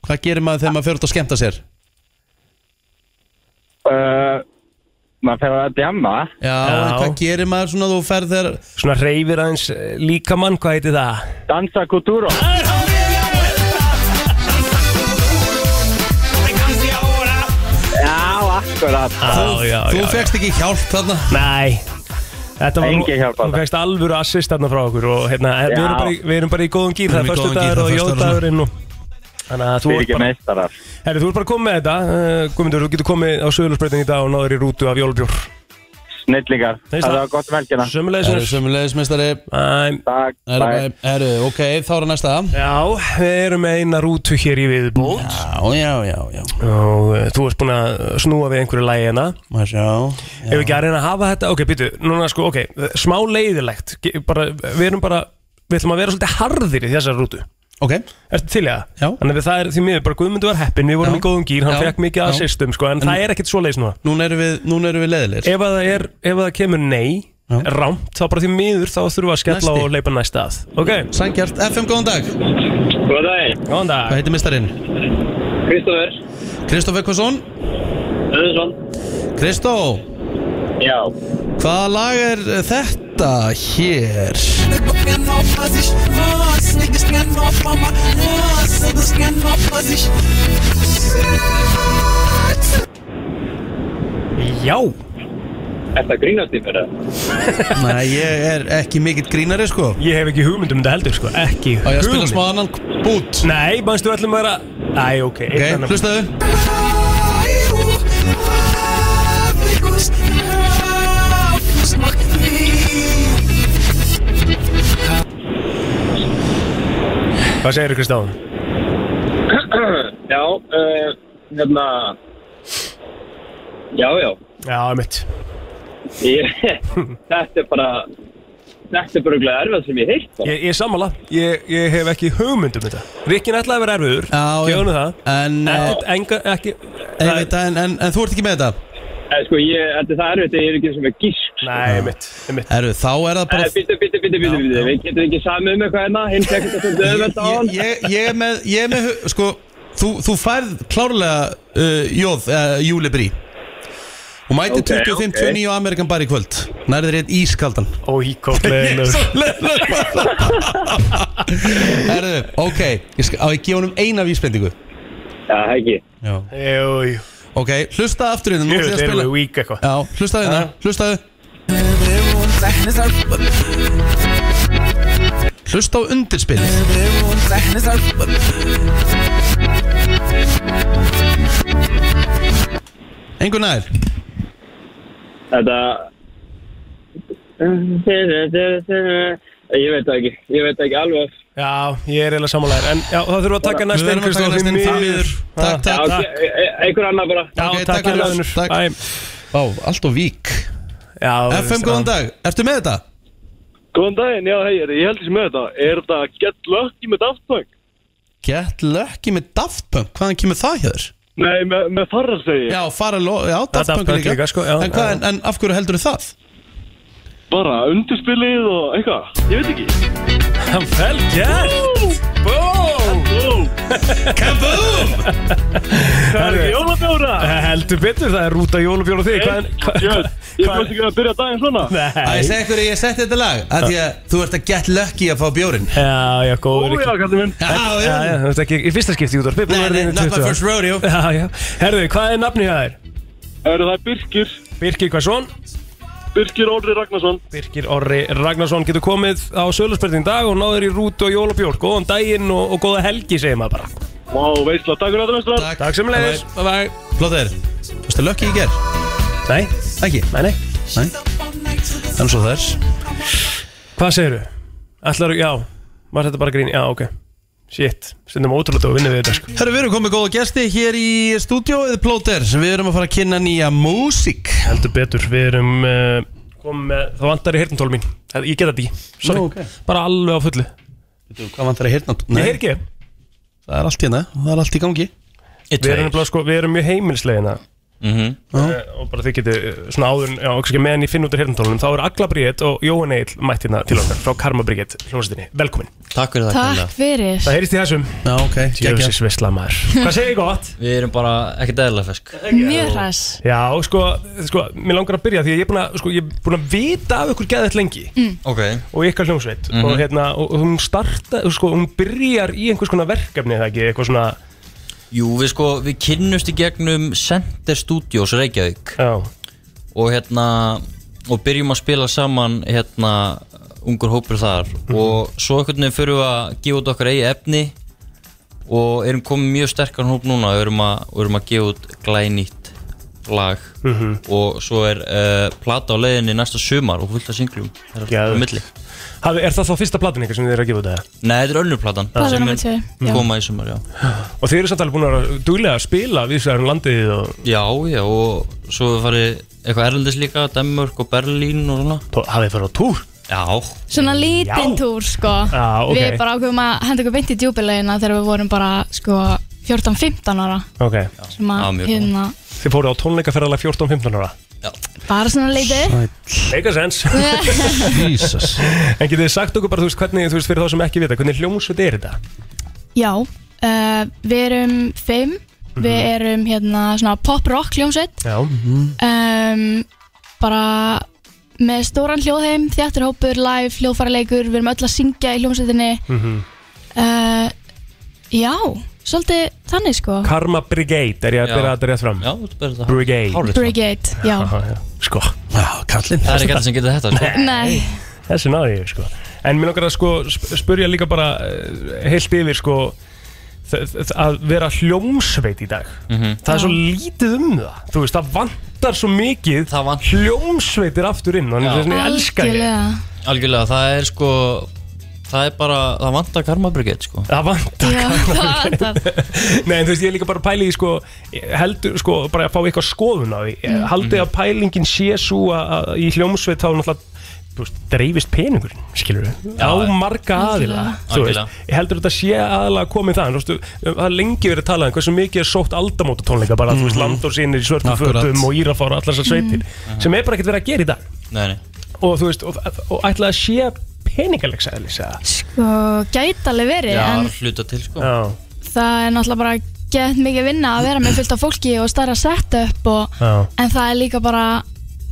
Hvað gerir maður þegar maður fyrir út að skemmta sér? uh, Maður fer að djamma Já, en hvað gerir maður svona þú ferð þegar Svona reyfir aðeins eh, líkamann, hvað heiti það? Dansa Kutúró Já, akkurat Já, já, Þú já, já. fegst ekki hjálp þarna Nei Þetta var Engi hjálp Þú þarna. fegst alvöru assist þarna frá okkur og hérna, við erum, Já. bara í, við erum bara í góðum gýr, Við það erum er í góðum förstu gýr, dagur það er og föstudagurinn. jótagurinn og Þannig að þú Fyrir ert ekki bara, meistarar herri, þú ert bara komið með þetta uh, Guðmundur, þú getur komið á Söðulusbreytin í dag og náður í rútu af jólbjór Snillingar, Nei, það það- var gott Hérna. velkina Það eru Sömulegis sömulegis meistari Já, Takk, bye. Eru, ok, þá er næsta við erum með eina rútu hér í viðbót Já, já, já, já og uh, þú ert búin að snúa við einhverju lægi hérna Má sjá Ef við ekki að reyna að hafa þetta, ok, býtu, núna sko, ok, smá leiðilegt, Ge- bara, við erum bara, við ætlum að vera svolítið harðir í þessari rútu Ok, Ertu til í það? Já. Þannig að það er því miður bara Guðmundur var heppin, við vorum Já. í góðum gýr, hann Já. fekk mikið Já. assistum sko, en, það er ekkert svo leiðis núna. núna erum við, núna erum við leðilir Ef að það, er, ef að það kemur nei, Já. rámt, þá bara því miður þá þurfum við að skella Næsti. og leipa næsta að. Ok, Sangjart, FM, góðan dag Góða daginn, góðan dag. Hvað heitir meistarinn? Kristoffer Kristóf Ekvason Öðursson Kristó, Já hvaða lag er eh, þetta hér? Já, Þetta grínast í mér það Nei, ég er ekki mikill grínari sko ég hef ekki hugmynd um þetta heldur sko, ekki Á ég að spila hugmynd. smá annan bút Nei, mannstu við ætlum að vera, æ, ok, einn Ok, annan. hlustaðu Hvað segir þú Kristján? Já, uh, hérna Já, já Já, mitt. ég, Þetta er bara Þetta er bara glæð erfið sem ég heilt bara. Ég, ég er sammála, ég, ég hef ekki hugmynd um þetta. Rikkin ætlaði að vera erfiður, Já, já. gefum við það. En, eh, Ekkert, enga, ekki, ég veit það, en, en, en þú ert ekki með þetta Eh, Sko, ég, þetta er það erfið Ég er ekki sem er gísk Eh, Nei, mitt, mitt. Herru, þá er það bara Býttu, býttu, býttu, býttu, býttu Við getum ekki samið um eitthvað hérna Hinn fekk þetta sem döðum þetta á ég, hann ég, ég er með, ég er með hu- sko, þú, þú færð klárlega uh, jóð, uh, júlibrí og mæti Ok, 2059 okay. Amerikan bar í kvöld nærður einn ískaldan Óhíkókleginur. Herðu, ok, ég skal, á ég gefa honum eina vísbendingu Já, ekki Já. Jú, jú. ok, hlusta aftur hérna nú Jú, ætlum ég að þeir eru spila- með vík eitthvað Já, hlustaðu hérna, hlustaðu Hlusta á undirspilið Engu nær Þetta Ég veit það ekki Ég veit það ekki alveg Já, ég er eiginlega sammálaður En já, þá þurfum við að taka Við næst verðum að taka næst inn því miður Takk, Já, takk ok, e- e- Einhver annar bara Já, Ok, takk takk fyrir fyrir það. það Takk. Ó, allt og vík FM, góðan dag, ertu með þetta? Góðan daginn, já, hei, ég held því sem með þetta Er þetta Get Lucky með Daft Punk? Get Lucky með Daft Punk, hvaðan kemur það hjá þér? Nei, með, með farrar segi ég Já, fara, lo- já, Daft Daft Punk Punk líka, líka, sko, já, en, hvað, já. en, en af hverju heldur það? Bara undirspilið og eitthvað Ég veit ekki Vel gert Bó Ó, Kaboom! Það er ekki jólabjóra Heldur betur, það er rúta jólabjóra þig Hvað- hvað- Jörn, ég bjóðst ekki að byrja daginn svona Að ég Nei segi ykkur að ég setti þetta lag að Því að þú ert að get lucky að fá bjórin Já, já, góður Ója, kallið minn Já, já Já, já, þú veist ekki, í fyrsta skipti út á Nei, nei, not my first rodeo Já, já, herðu, hvað er nafnið það er? Eru það Birkir, Birgir Hvarsson Birkir Orri Ragnarsson Birgir Orri Ragnarsson getur komið á sölusbyrðin dag og náður í rút og jólabjór Góðan daginn og, og góða helgi, segir maður bara Má veisla, takk fyrir þetta mestrar Takk sem leiðis, bye bye Flott er Varstu lucky í ger? Nei, Ekki nei, nei, Nei Þannig svo það er hvað segirðu? Ætlar, já, var þetta bara grín, já, ok Shit, stundum ótrúlega að vinna við þetta, sko Herru, við erum komið góða gesti hér í stúdíóið Plóter sem við erum að fara að kynna nýja músík Heldur betur, við erum uh, komið með, það vantar í hirtintól mín Það- Ég get þetta í, sorry, Nú, ok. bara alveg á fullu Hvað vantar að hérna? Ég heyr ekki Það er allt hérna, það er allt í gangi Við erum, nefnilega, sko, við erum mjög heimilslegina Já. og bara þið getið eh, svona áður en- já, kannski meðan ég finn út af hirtantólunum þá eru Agla Bríett og Jóhann Egil mættina til okkar frá Karma Bríett hljómsveitinni velkomin Takk fyrir það Takk fyrir Það heyrist í þessum Já, ok, geggja Jöfnsis Vesla maður Hvað segir ég gott? Við erum bara ekkert eðlilega fersk Mjög hræs Já, sko, sko, mér langar að byrja því að ég er búin að, sko, ég er búin að vita af ykkur geðið lengi Ok Mhm. og ykkar hljómsveit og hérna, og, og hún starta, sko, hún byrjar í einhvers konar verkefni, er það ekki, eitthvað svona, Jú, við sko, við kynnumst í gegnum Center Studios Reykjavík já, Og hérna, og byrjum að spila saman hérna ungur hópur þar Mhm. Og svo einhvern veginn fyrir við að gefa út okkar eigi efni Og erum komið mjög sterkan hóp núna og erum að, og erum að gefa út glænýtt lag Og svo er uh, plata á leiðinni næsta sumar og fullt af singlum Það er Geðveikt. á milli Hafi- er það þá fyrsta platin ykkar sem þið er að gefa út að það? Nei, þetta er önnur platan Platan sem númer tvö, já. mun koma í sumar, já Og þið eru samt alveg búin að vera duglega að spila við sér landið og Já, já, og svo við farið eitthvað erlendis líka, Danmörk og Berlín og svona. hafið farið á túr Já, Svona lítinn Já. túr sko Já, ok. Við bara ákveðum að henda okkur beint í djúbilegina þegar við vorum bara sko 14-15 ára okay. sem Já, að mjög hérna Þið fóruð á tónleikaferðalega 14-15 ára bara svona lítið Make a sense Jesus En getið þið sagt okkur bara, þú veist, hvernig, þú veist, fyrir þá sem ekki vita Hvernig hljómsveit er þetta? Já, uh, við erum fimm Við erum hérna svona pop-rock hljómsveit Já um, bara með stóran hljóðheim, þjátturhópur, live, hljóðfæraleikur, við erum öll að syngja í hljómsveitinni uh, Já, svolítið þannig sko Karma Brigade, er ég að Já. byrja þetta rétt fram? já, þetta er bara þetta. Brigade Hárrétt. Brigade, já Aha, já. Sko, Já, kallinn Það er ekki alltaf sem getur þetta, sko. Nei, þessi náði ég, sko En mér langar að sko sp- spurja líka bara eh, heilt yfir, sko þ- þ- að vera hljómsveit í dag Mhm. það er Já. svo lítið um það þú veist, það vantar svo mikið Það vant hljómsveitir aftur inn þannig Já. að þess að ég elska ég algjörlega algjörlega, það er sko, það er bara, það vantar karmabrygget, sko. það vantar Já, það var það Nei, en þú veist, ég er líka bara að pæla í sko, heldur, sko, bara að fá eitthvað skoðun á því Eh, Mm. Haldið að pælingin sé svo að, að í hljómsveit þá náttúrulega þú veist, dreifist peningurinn, skilur við á Já. marga aðila þú veist, Algjörlega. ég heldur þetta sé aðalega komið það en þú veist, það er lengi verið að tala um hversu mikið er sótt aldamóta tónleika bara, Mm-hmm. þú veist, landórsýnir í svörtum Akkurat. fötum og írafára allar þessar sveitir sem er bara ekkert verið að gera í dag Nei, nei. og þú veist, og, og ætla að sé peningalegs aðlis eða? Sko, gæti alveg verið Já, það En er að hluta til, sko. Já, það er náttúrulega bara gett mikið vinna að vera með fullt af fólki og stærra setup og, já, en það er líka bara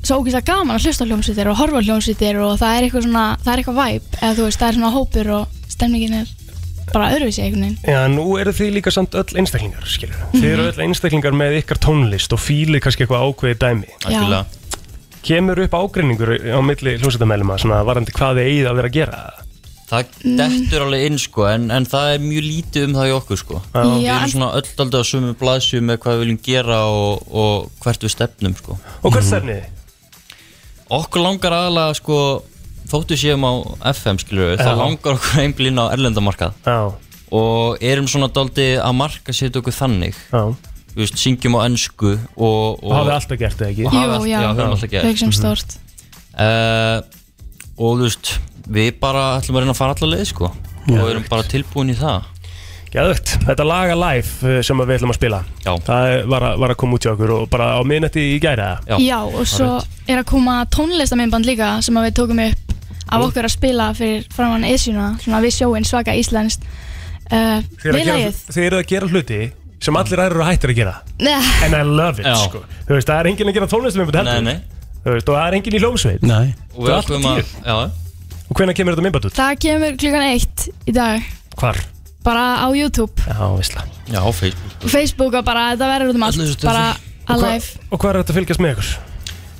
svo ógist að gaman að hlusta á hljómsýttir og horfa á hljómsýttir og það er eitthvað svona, það er eitthvað væp eða þú veist, það er svona hópur og stemningin er bara öðruvísi einhvern veginn Já, nú eru þið líka samt öll einstaklingar, skilur Þið eru öll einstaklingar með ykkar tónlist og fílið kannski eitthvað ákveðið dæmi Algjörlega. Kemur upp ágreiningur á milli hljómsveitamæluma, svona varandi hvað þið eigið að vera að gera Það dettur alveg inn, sko, en, en það er mjög lítið um það í okkur, sko. Við Já, erum en- svona öll aldrei á sumu blaðsju með hvað við viljum gera og, og hvert við stefnum, sko. Og Mhm. hvert stefnið þið? Okkur langar aðalega, sko, þóttu séum á FM, skilur við, Já. það langar okkur einblín á erlendamarkað. Já, og erum svona daldi að marka setja okkur þannig já Þú veist, syngjum á ennsku og, Og hafið alltaf gert það ekki? og hafa allt- Jú, já. já, höfum alltaf yeah. gert Mhm. sem stórt uh, og þú veist við bara ætlum að reyna að fara allar leið sko og erum bara tilbúin í það Geðvögt, þetta laga live eh, sem að við ætlum að spila Já. Það er- var að, var að koma út hjá okkur og bara á miðnætti í gæra já, Já, og svo er að koma tónlistaminnband líka sem að við tókum upp af okkur að spila fyrir framann Esjuna, svona við sjóin svaka íslenskt uh, Þið eru að gera- viðlægið þið eruð að gera hluti sem allir aðrir eru hættir að gera Nei, And I love it, Já. sko Þú veist, það er enginn að gera tónlist með þetta Nei, nei. Þú veist, og það er enginn í hljómsveit Nei Og við ákveðum að, já Og hvenær kemur þetta minnbætt út? það kemur klukkan eitt í dag Hvar? bara á YouTube Já, vissla Já, á Facebook og Facebook og bara þetta verður út um Öllu allt þessu bara Og hvað- alive Og hvað er þetta að fylgjast með ykkur?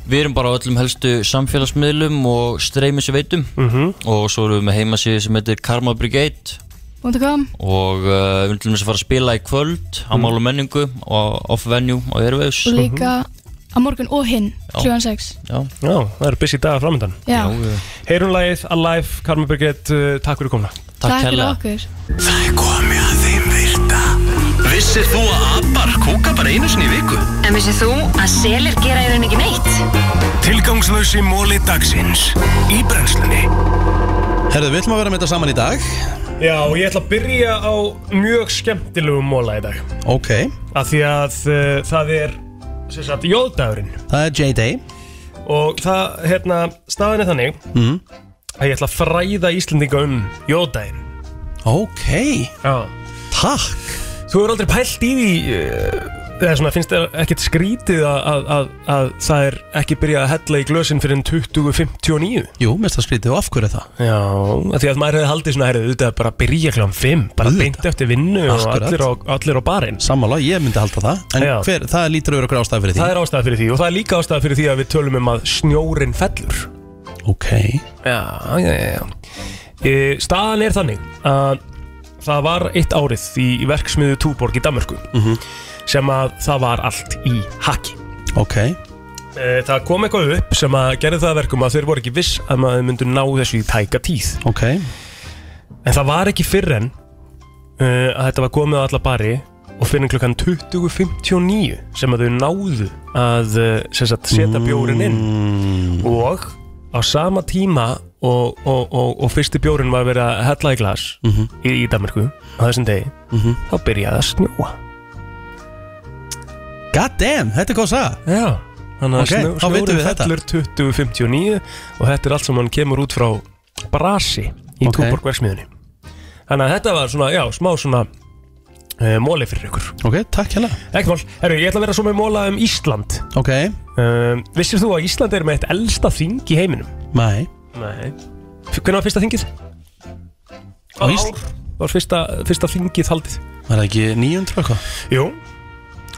Við erum bara á öllum helstu samfélagsmiðlum og streymis veitum Mhm. Og svo erum við með heimasíðu sem heitir Karma Brigade .com Og eh, uh, við ætlum þess að fara að spila í kvöld Mhm. á Mál og Menningu og off-venue á Airwaves og líka á morgun og hinn Já. klukkan 6 Já, Já það eru busy dagar framöndan Já. Heyrun lagið, Alive, Karma Birgit, uh, takk fyrir komna Takk fyrir okkur Það er komið að þeim virta Vissir þú að abar kúka bara einu sinni í viku? En vissið þú að selir gera í raun ekki neitt? Tilgangslösi móli dagsins Í brennslunni Herðu, við ætlum að vera með þetta saman í dag Já, og ég ætla að byrja á mjög skemmtilegum móla í dag Ok, Af því að uh, það er, sem sagt, jóðdagurinn það er J-Day Og það, hérna, staðan er þannig mm. að ég ætla að fræða Íslendinga um jóðdaginn Ok, Já Takk Þú hefur aldrei pælt í því eh, eða svona finnst þér ekkert skrítið að, að, að, að það er ekki byrjað að hella í glösin fyrir en 2059 jú, mest að skrítið og af hverju er það Já, af því að maður hefði haldið svona herrið auðvitað bara að byrja klám 5 bara beint eftir vinnu og Akkurat. allir á, allir á barinn Sammála, ég myndi halda það En Já. hver, það lítur að vera okkur ástæð fyrir því Það er ástæða fyrir því og það er líka ástæða fyrir því að við tölum um að snjórin fellur Ok, Já, já, já, já e, Staðan er þannig að það var eitt árið í verksmiðu Túborg í Danmörku sem að það var allt í haki ok Eh, Það kom eitthvað upp sem að gerði það að verkum að þeir voru ekki viss að maður myndu ná þessu í tæka tíð Ok, En það var ekki fyrr en uh, að þetta var komið á alla bari og fyrr en klukkan 20.59 sem að þau náðu að uh, sem sagt, setja bjórin inn og á sama tíma og, og, og, og fyrsti bjórin var verið að hella í glas í, í Danmarku á þessum degi þá byrjaði að snjóa god damn, þetta er góð sag Já, þannig að Ok, okay, þá vitum snjórin við þetta. fellur 2059 og þetta er allt sem hann kemur út frá Brasi í Ok. okay. Túborgverksmiðunni Þannig að þetta var svona, já, smá svona uh, móli fyrir ykkur Ok, takk hérna Ekki mál, herru, ég ætla að vera svo með móla um Ísland Ok, um, Vissir þú að Ísland er með eitt elsta þing í heiminum? mæ Nei Hvernig var fyrsta þingið? Á Hvaða Ísl- ár Var fyrsta, fyrsta þingið haldið? Var það ekki 900 eitthvað? Jú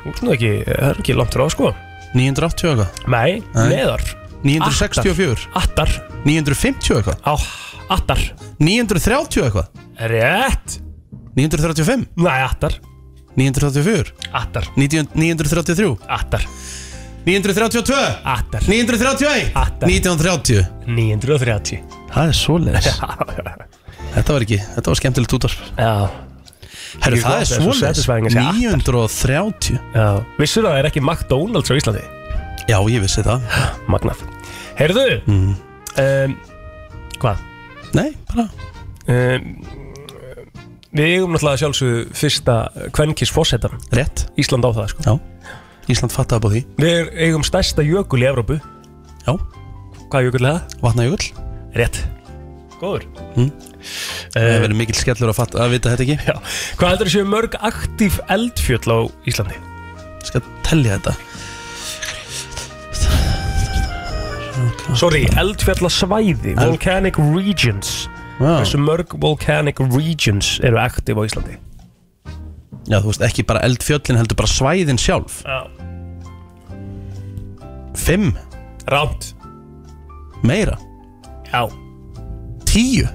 Þú veist nú ekki, það er ekki langt frá sko 980 eitthvað? Nei, Nei. neðar 964? Attar, 950 eitthvað? á, attar 930 eitthvað? Rétt 935? Nei, attar 934? Attar 90 933? Attar 932? Attar 931? Attar. 1930? 930 Það er svoleiðis Þetta var ekki, þetta var skemmtilegt útvarp Já Herru, það er Ég gott, það er svo satisfying að svoleiðis segja 930 Já Vissur það að það er ekki McDonalds á Íslandi? Já, ég vissi það Magnað Heyrðu Mm. um, Hvað? Nei, bara Um, við eigum náttúrulega að sjálfsögðu fyrsta kvenkis fósettan rétt Ísland á það sko Já, Ísland fattaði bá því Við eigum stærsta jökul í Evrópu Já. Hvað jökul er það? Vatnajökull Rétt Góður Mm. Það um, verður mikill skellur að, fatta, að vita þetta ekki Já Hvað heldur þessu mörg aktíf eldfjöll á Íslandi? Ég skal tellja þetta Sorry, eldfjallasvæði, volcanic regions Já. Þessu mörg volcanic regions eru aktíf á Íslandi Já, þú veist, ekki bara eldfjöllin heldur bara svæðin sjálf Já Fimm, Rámt meira Já Tíu,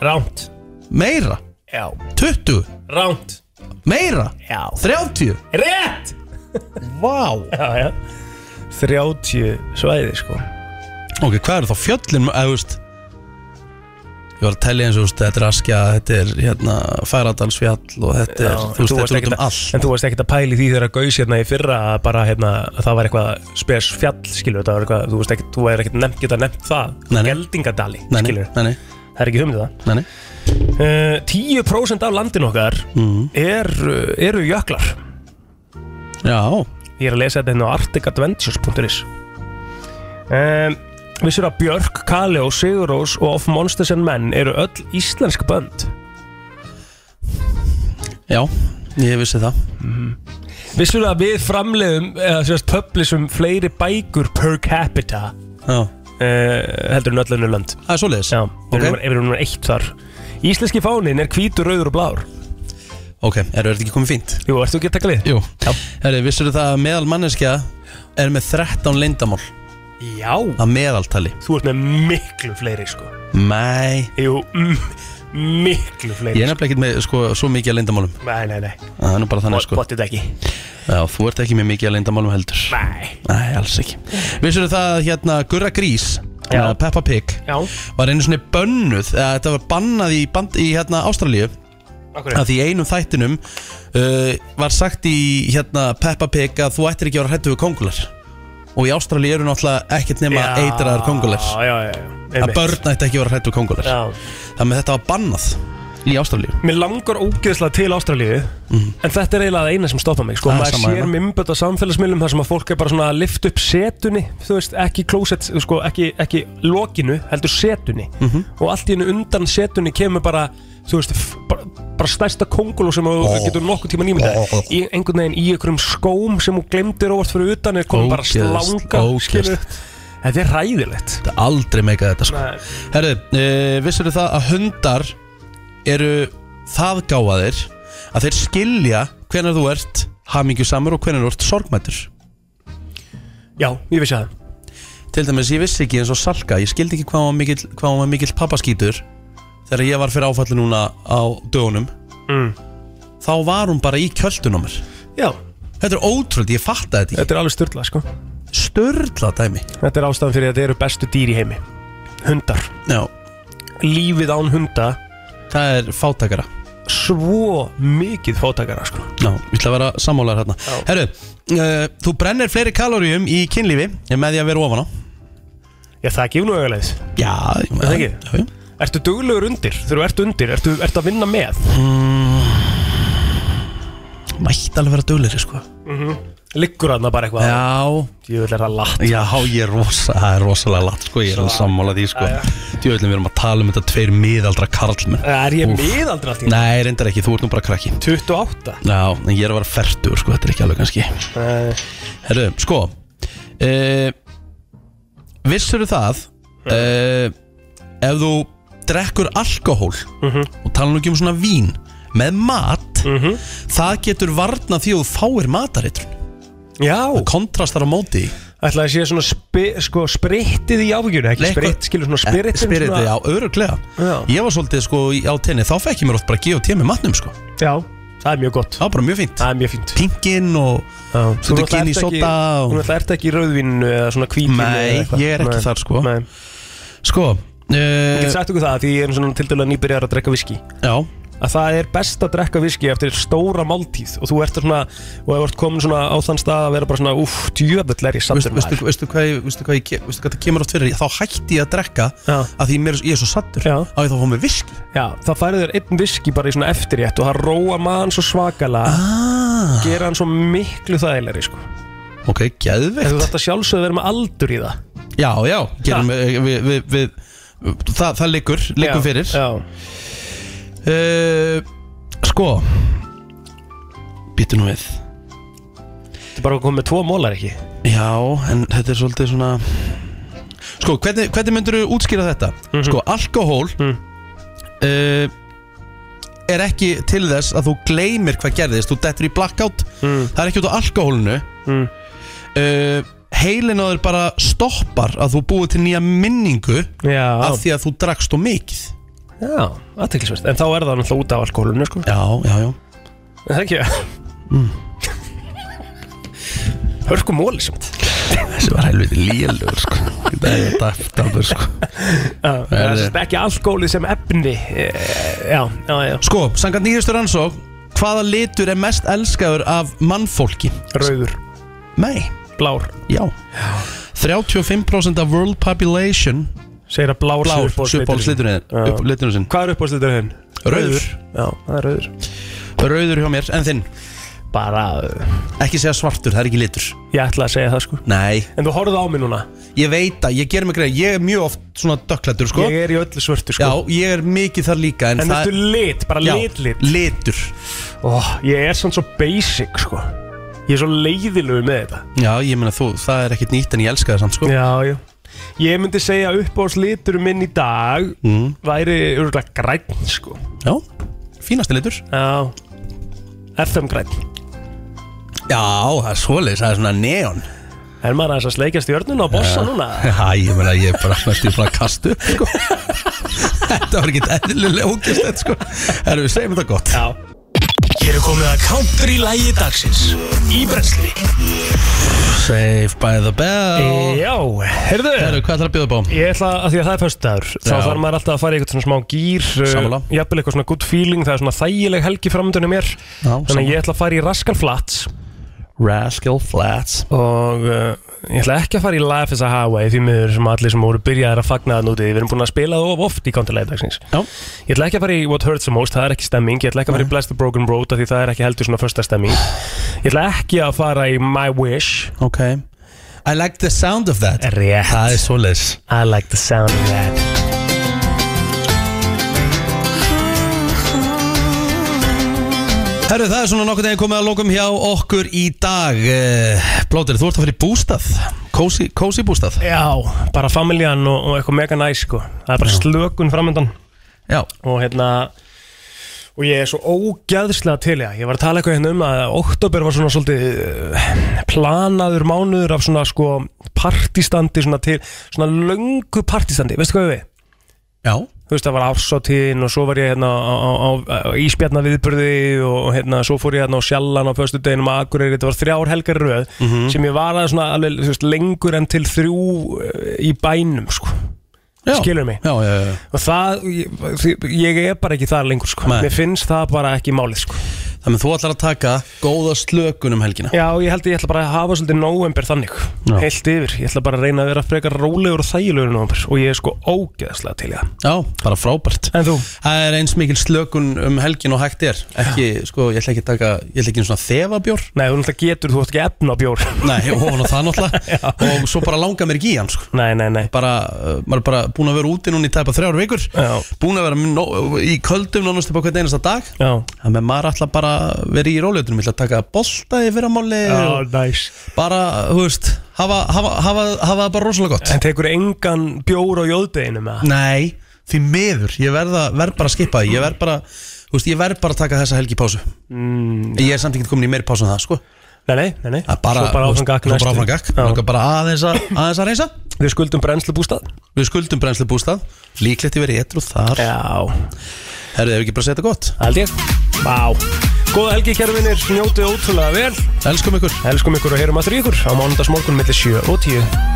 Rámt meira Já Tuttu, Rámt meira Já Þrjátíu Rétt Vá Já, já 30 svæði sko Ok, hvað eru þá fjöllin, eða, þú veist Ég var að tellja eins og, þú veist, þetta er Askja Þetta er, hérna, Færadalsfjall Og þetta er, þú veist, þetta er út um allt En þú varst ekkert að pæli því þegar að gaus hérna í fyrra að bara hérna að það var eitthvað spes fjall skilur það var eitthvað þú veist ekkert þú er ekkert nefnt geta nefnt það Nei, nei. Geldingadali Nei, nei, skilur nei, nei, það er ekki humið það nei, nei. uh, 10% af landin okkar Mm. er, uh, eru jöklar Já, Ég er að lesa þetta hérna á articadventures.is um, Vissur að Björk, Kaljó, Sigurós og Of Monsters and Men eru öll íslensk bönd Já, ég vissi það Vissur að við framleiðum eða sérst publisum fleiri bækur per capita eh, Já heldur en öll önnur lönd Það er svoleiðis Já, við erum okay. núna eitt þar Íslenski fánin er hvítur, rauður og blár Ok, eru þetta ekki komið fínt? Jú, ertu ekki að taka lið? Jú Herri, vissir það að meðal manneskja er með 13 leyndamál Já Að meðaltali Þú ert með miklu fleiri sko Nei Jú, mm, miklu fleiri sko. Ég er nefnilega ekkert með sko, svo mikið að leyndamálum Nei, nei, nei Það er nú bara þannig sko Bóttið ekki Já, þú ert ekki með mikið að leyndamálum heldur Nei Nei, alls ekki Vissir það að hérna Gurra Grís Já. Peppa Pig Já. var einu svona bönnuð eða þetta var bannað í, band, í hérna, Ástralíu Akkurri. að því í einum þættinum uh, var sagt í hérna, Peppa Pig að þú ættir ekki að vera hrættu við kongular og í Ástralíu eru náttúrulega ekkert nema Já, eitraðar kongular Já, já, já að einmitt. börn ætti ekki að vera hrættu við kongular Já. þannig að þetta var bannað í Ástralíu Mér langar ógeðslega til Ástralíu En þetta er eiginlega það eina sem stoppa mig sko. Mhm. Það er Maður sama sér hérna. mymböld á samfélagsmiðlum þar sem að fólk er bara svona að lifta upp setunni Þú veist, ekki klósett, sko, ekki, ekki lokinu, heldur setunni Mhm. Og allt í hennu undan setunni kemur bara Þú veist, f- bara, bara stærsta konguló sem þú Ó. getur nokkuð tíma nýmynda Ó. Í einhvern veginn í einhverjum skóm sem þú glemdir óvart fyrir utan Er komið bara Ógeðst- slanga ógeðst. skilur. Þetta er ræðilegt Þetta er aldrei meika þetta sko Nei. Herru, uh, vissir það að hundar eru það gáðir að þeir skilja hvenær þú ert hamingjusamur og hvenær þú ert sorgmættur Já, ég vissi það Til dæmis ég vissi ekki eins og Salka ég skildi ekki hvað hún var mikill, hvað hún var mikill pappaskítur þegar ég var fyrir áfallu núna á dögunum mm. þá var hún bara í kjöldunumir Já Þetta er ótrúld, ég fatta þetta ekki Þetta er alveg styrla sko Störla dæmi Þetta er ástæðan fyrir að þeir eru bestu dýr í heimi Hundar Já. Lífið án hunda Það er fátakara Svo mikið fátakara sko Já, ég ætla að vera sammálaður hérna Herru, uh, þú brennir fleiri kaloríum í kynlífi en með því að vera ofan á Já, það gefur nú auðvitað Já, ég Það ekki? Já, já Ertu duglegur undir? Þegar þú ert undir, ertu, ertu að vinna með? Mætti alveg vera dugleiri sko Mm Liggur hann bara eitthvað Já Ég vil er það latt Já, ég er rosa, það er rosalega latt sko, ég er alveg sammála því sko Djöðlum við erum að tala um þetta tveir miðaldra karlmenn Er ég Úff. miðaldra allt í einu? Nei, reyndar ekki, þú ert nú bara krakki 28 Já, en ég er að vera færtur sko, þetta er ekki alveg kannski Herru, sko uh, Vissur það uh, Ef þú drekkur alkohól Mhm. Og tala nú ekki um svona vín Með mat Það getur varna því að þú fáir mataritrun Já Það kontrastar á móti Ætla að sé svona spi, sko, sprittið í áfengjunu Ekki spritt, skilur svona spiritin Spiritið, Eh, já, öruglega Já. Ég var svolítið sko í- á tenni Þá fekk ég mér oft bara að gefa tíð með matnum sko Já, það er mjög gott Það er bara mjög fínt Það er mjög fínt Pinkin og Þú Svolítið kyn í sóta og... Þú ert ekki í rauðvinu eða svona kvítinu Nei, ég er ekki þar sko Nei. Sko Ég uh, get sagt okkur það því ég er svona til dæla nýbyrjar að drekka viski Já að það er best að drekka viski eftir stóra máltíð og þú ert svona og þú ert komin svona á þann stað að vera bara svona úff, djöfull er ég sattur veistu, veistu, hvað, ég- veistu, hvað, ég, ke- veistu hvað það kemur átt fyrir Þá hætti ég að drekka Já. að því mér, ég er svo sattur Já. að ég þá fá mér viski Já, það færið þér einn viski bara í svona eftirrétt og það róa mann svo svakala ah. gera hann svo miklu þægilegri sko. Ok, en þú geðveikt þarft að sjálfsögðu vera með aldur í það Já, já, gerum við, við, við, við það, það liggur, liggur Já, fyrir já Sko Býtu nú við Þetta er bara að koma með tvo mólar ekki Já, en þetta er svolítið svona Sko, hvernig, hvernig myndur þú útskýra þetta? Sko, alkohól uh, er ekki til þess að þú gleymir hvað gerðist Þú dettur í blackout Það er ekki út á alkohólinu mm. uh, Heilin á þér bara stoppar að þú búið til nýja minningu Já. af því að þú drakst og mikið Já, aðteklisvert En þá er það náttúrulega út af alkohólinu sko. Já, já, já Það ekki Mm. Hörku móli samt Þessi var helviti lélugur sko Þetta er dæftabur sko Já, Það er sem sagt ekki alkohólið sem efni Eh, Já, já, já Sko, sangat nýjustu rannsók Hvaða litur er mest elskaður af mannfólki? Rauður Nei Blár Já 35% af world population Segir að blár sé Blár uppáhaldsliturinn. Sjöpálsliturinn Já. Hvað er uppáhaldsliturinn? Rauður Rauður Já, það er rauður Rauður hjá mér, en þinn? bara eh, Ekki segja svartur, það er ekki litur Ég ætla að segja það sko Nei En þú horfðu á mig núna Ég veit að, ég ger mig greið Ég er mjög oft svona dökklættur sko Ég er í öllu svörtu sko Já, ég er mikið þar líka En, En það- þetta er lit, bara Já, lit, lit Litur Ó, Ég er svona svo basic sko Ég er svo leiðilegu með þetta Já, ég meina þú, það er ekkit nýtt en ég elska það samt sko Já, já Ég myndi segja uppáhaldslitur minn í dag Mm. væri örgulega græn sko Já, fínasti litur Já FM græn Já, það er svoleiðis, það er svona neon Er maður aðeins að sleikjast í örnuna og bossa Já. núna? Já, ég meina ég er bara næstu bara að kasta upp sko. Þetta var ekkert eðlilega ógist þetta sko Erum við segjum þetta gott Já Hér er komið að kántur í lægi dagsins Í brensli Save by the bell Já, heyrðu Herru, hvað ætlar að bjóða upp á? Ég ætla að því að það er föstudagur Þá Já. þarf maður alltaf að fara í eitthvað svona smá gýr Sammála. Jafnvel eitthvað svona good feeling Það er svona þægileg helgi framöndunum mér Þannig að sammála. ég ætla að fara í Rascal Flats Rascal Flats Og uh, ég ætla ekki að fara í Life is a Highway Því miður sem allir sem voru byrjaðir að fagna það núti Við erum búin að spila það of oft í counterlega dagsins Já. Ég ætla ekki að fara í What Hurts the Most Það er ekki stemming Ég ætla ekki að fara í Bless the Broken Road af Því það er ekki heldur svona första stemming Ég ætla ekki að fara í My Wish Ok I like the sound of that Rétt Það er svoleiðis I like the sound of that Herru, það er svona nokkuð degið komið að lokum hjá okkur í dag Eh, Blóter, þú ert að fara í bústað Cozy, cozy bústað Já, bara familjan og, og eitthvað mega næs sko. Það er bara slökun framöndan Já Og hérna Og ég er svo ógæðslega til ég Ég var að tala eitthvað hérna um að Oktober var svona svolítið eh, Planaður mánuður af svona sko Partistandi svona til Svona löngu partistandi, veistu hvað við? Já Þú veist, það var ársáttíðin og svo var ég hérna á, á, á, á íspjarna viðburði og hérna, svo fór ég hérna á sjallan á föstudeginum að Akureyri, þetta var þrjár helgar í röð Mhm. sem ég var að svona alveg, þú veist, lengur en til þrjú eh, í bænum, sko Já. skilur mig Já, já, já og það, ég, því- ég er bara ekki þar lengur, sko Nei. mér finnst það bara ekki málið, sko Þannig að þú ætlar að taka góða slökun um helgina Já, ég held að ég ætla bara að hafa svolítið november þannig Já. heilt yfir, ég ætla bara að reyna að vera frekar rólegur og þægilegur í november og ég er sko ógeðslega til í það Já, bara frábært En þú? Það er eins mikil slökun um helgin og hægt er Ekki, sko, ég ætla ekki að taka Ég ætla ekki einu svona þefabjór Nei, þú náttúrulega getur, þú ætti ekki efna á bjór Nei, ofan á það náttúrulega Og svo bara langa mér ekki í hann, sko Nei, nei, nei bara, uh, maður er bara búin að vera úti núna í tæpa þrjár vikur Já. búin að vera no, í köldum nánast upp á hvern einasta dag Já. þannig að maður ætla bara að vera í róleitunum ætla að taka bolta í fyrramáli Já, næs bara, þú veist, hafa, hafa, hafa, hafa það bara rosalega gott En tekur engan bjór á jóðdeginu með það? Nei, því miður, ég verð, að, verð bara að skipa því ég verð bara, þú veist, ég verð bara að taka þessa helgi í pásu Mm, ég er samt ekki komin í meiri pásu en það, sko nei, nei, nei, nei. Það er bara, Svo bara áfram gakk næstu næstu bara áfram gakk, Já. Langar bara aðeins að, aðeins að reysa Við skuldum brennslubústað við skuldum brennslu líklegt ég verið etru þar Já, herðu, ef ekki bara að segja þetta gott held ég Vá Góða helgi kæru vinnir, njótið ótrúlega vel elskum ykkur Elskum ykkur og heyrum aftur í ykkur á mánudagsmorgun millir 7 og 10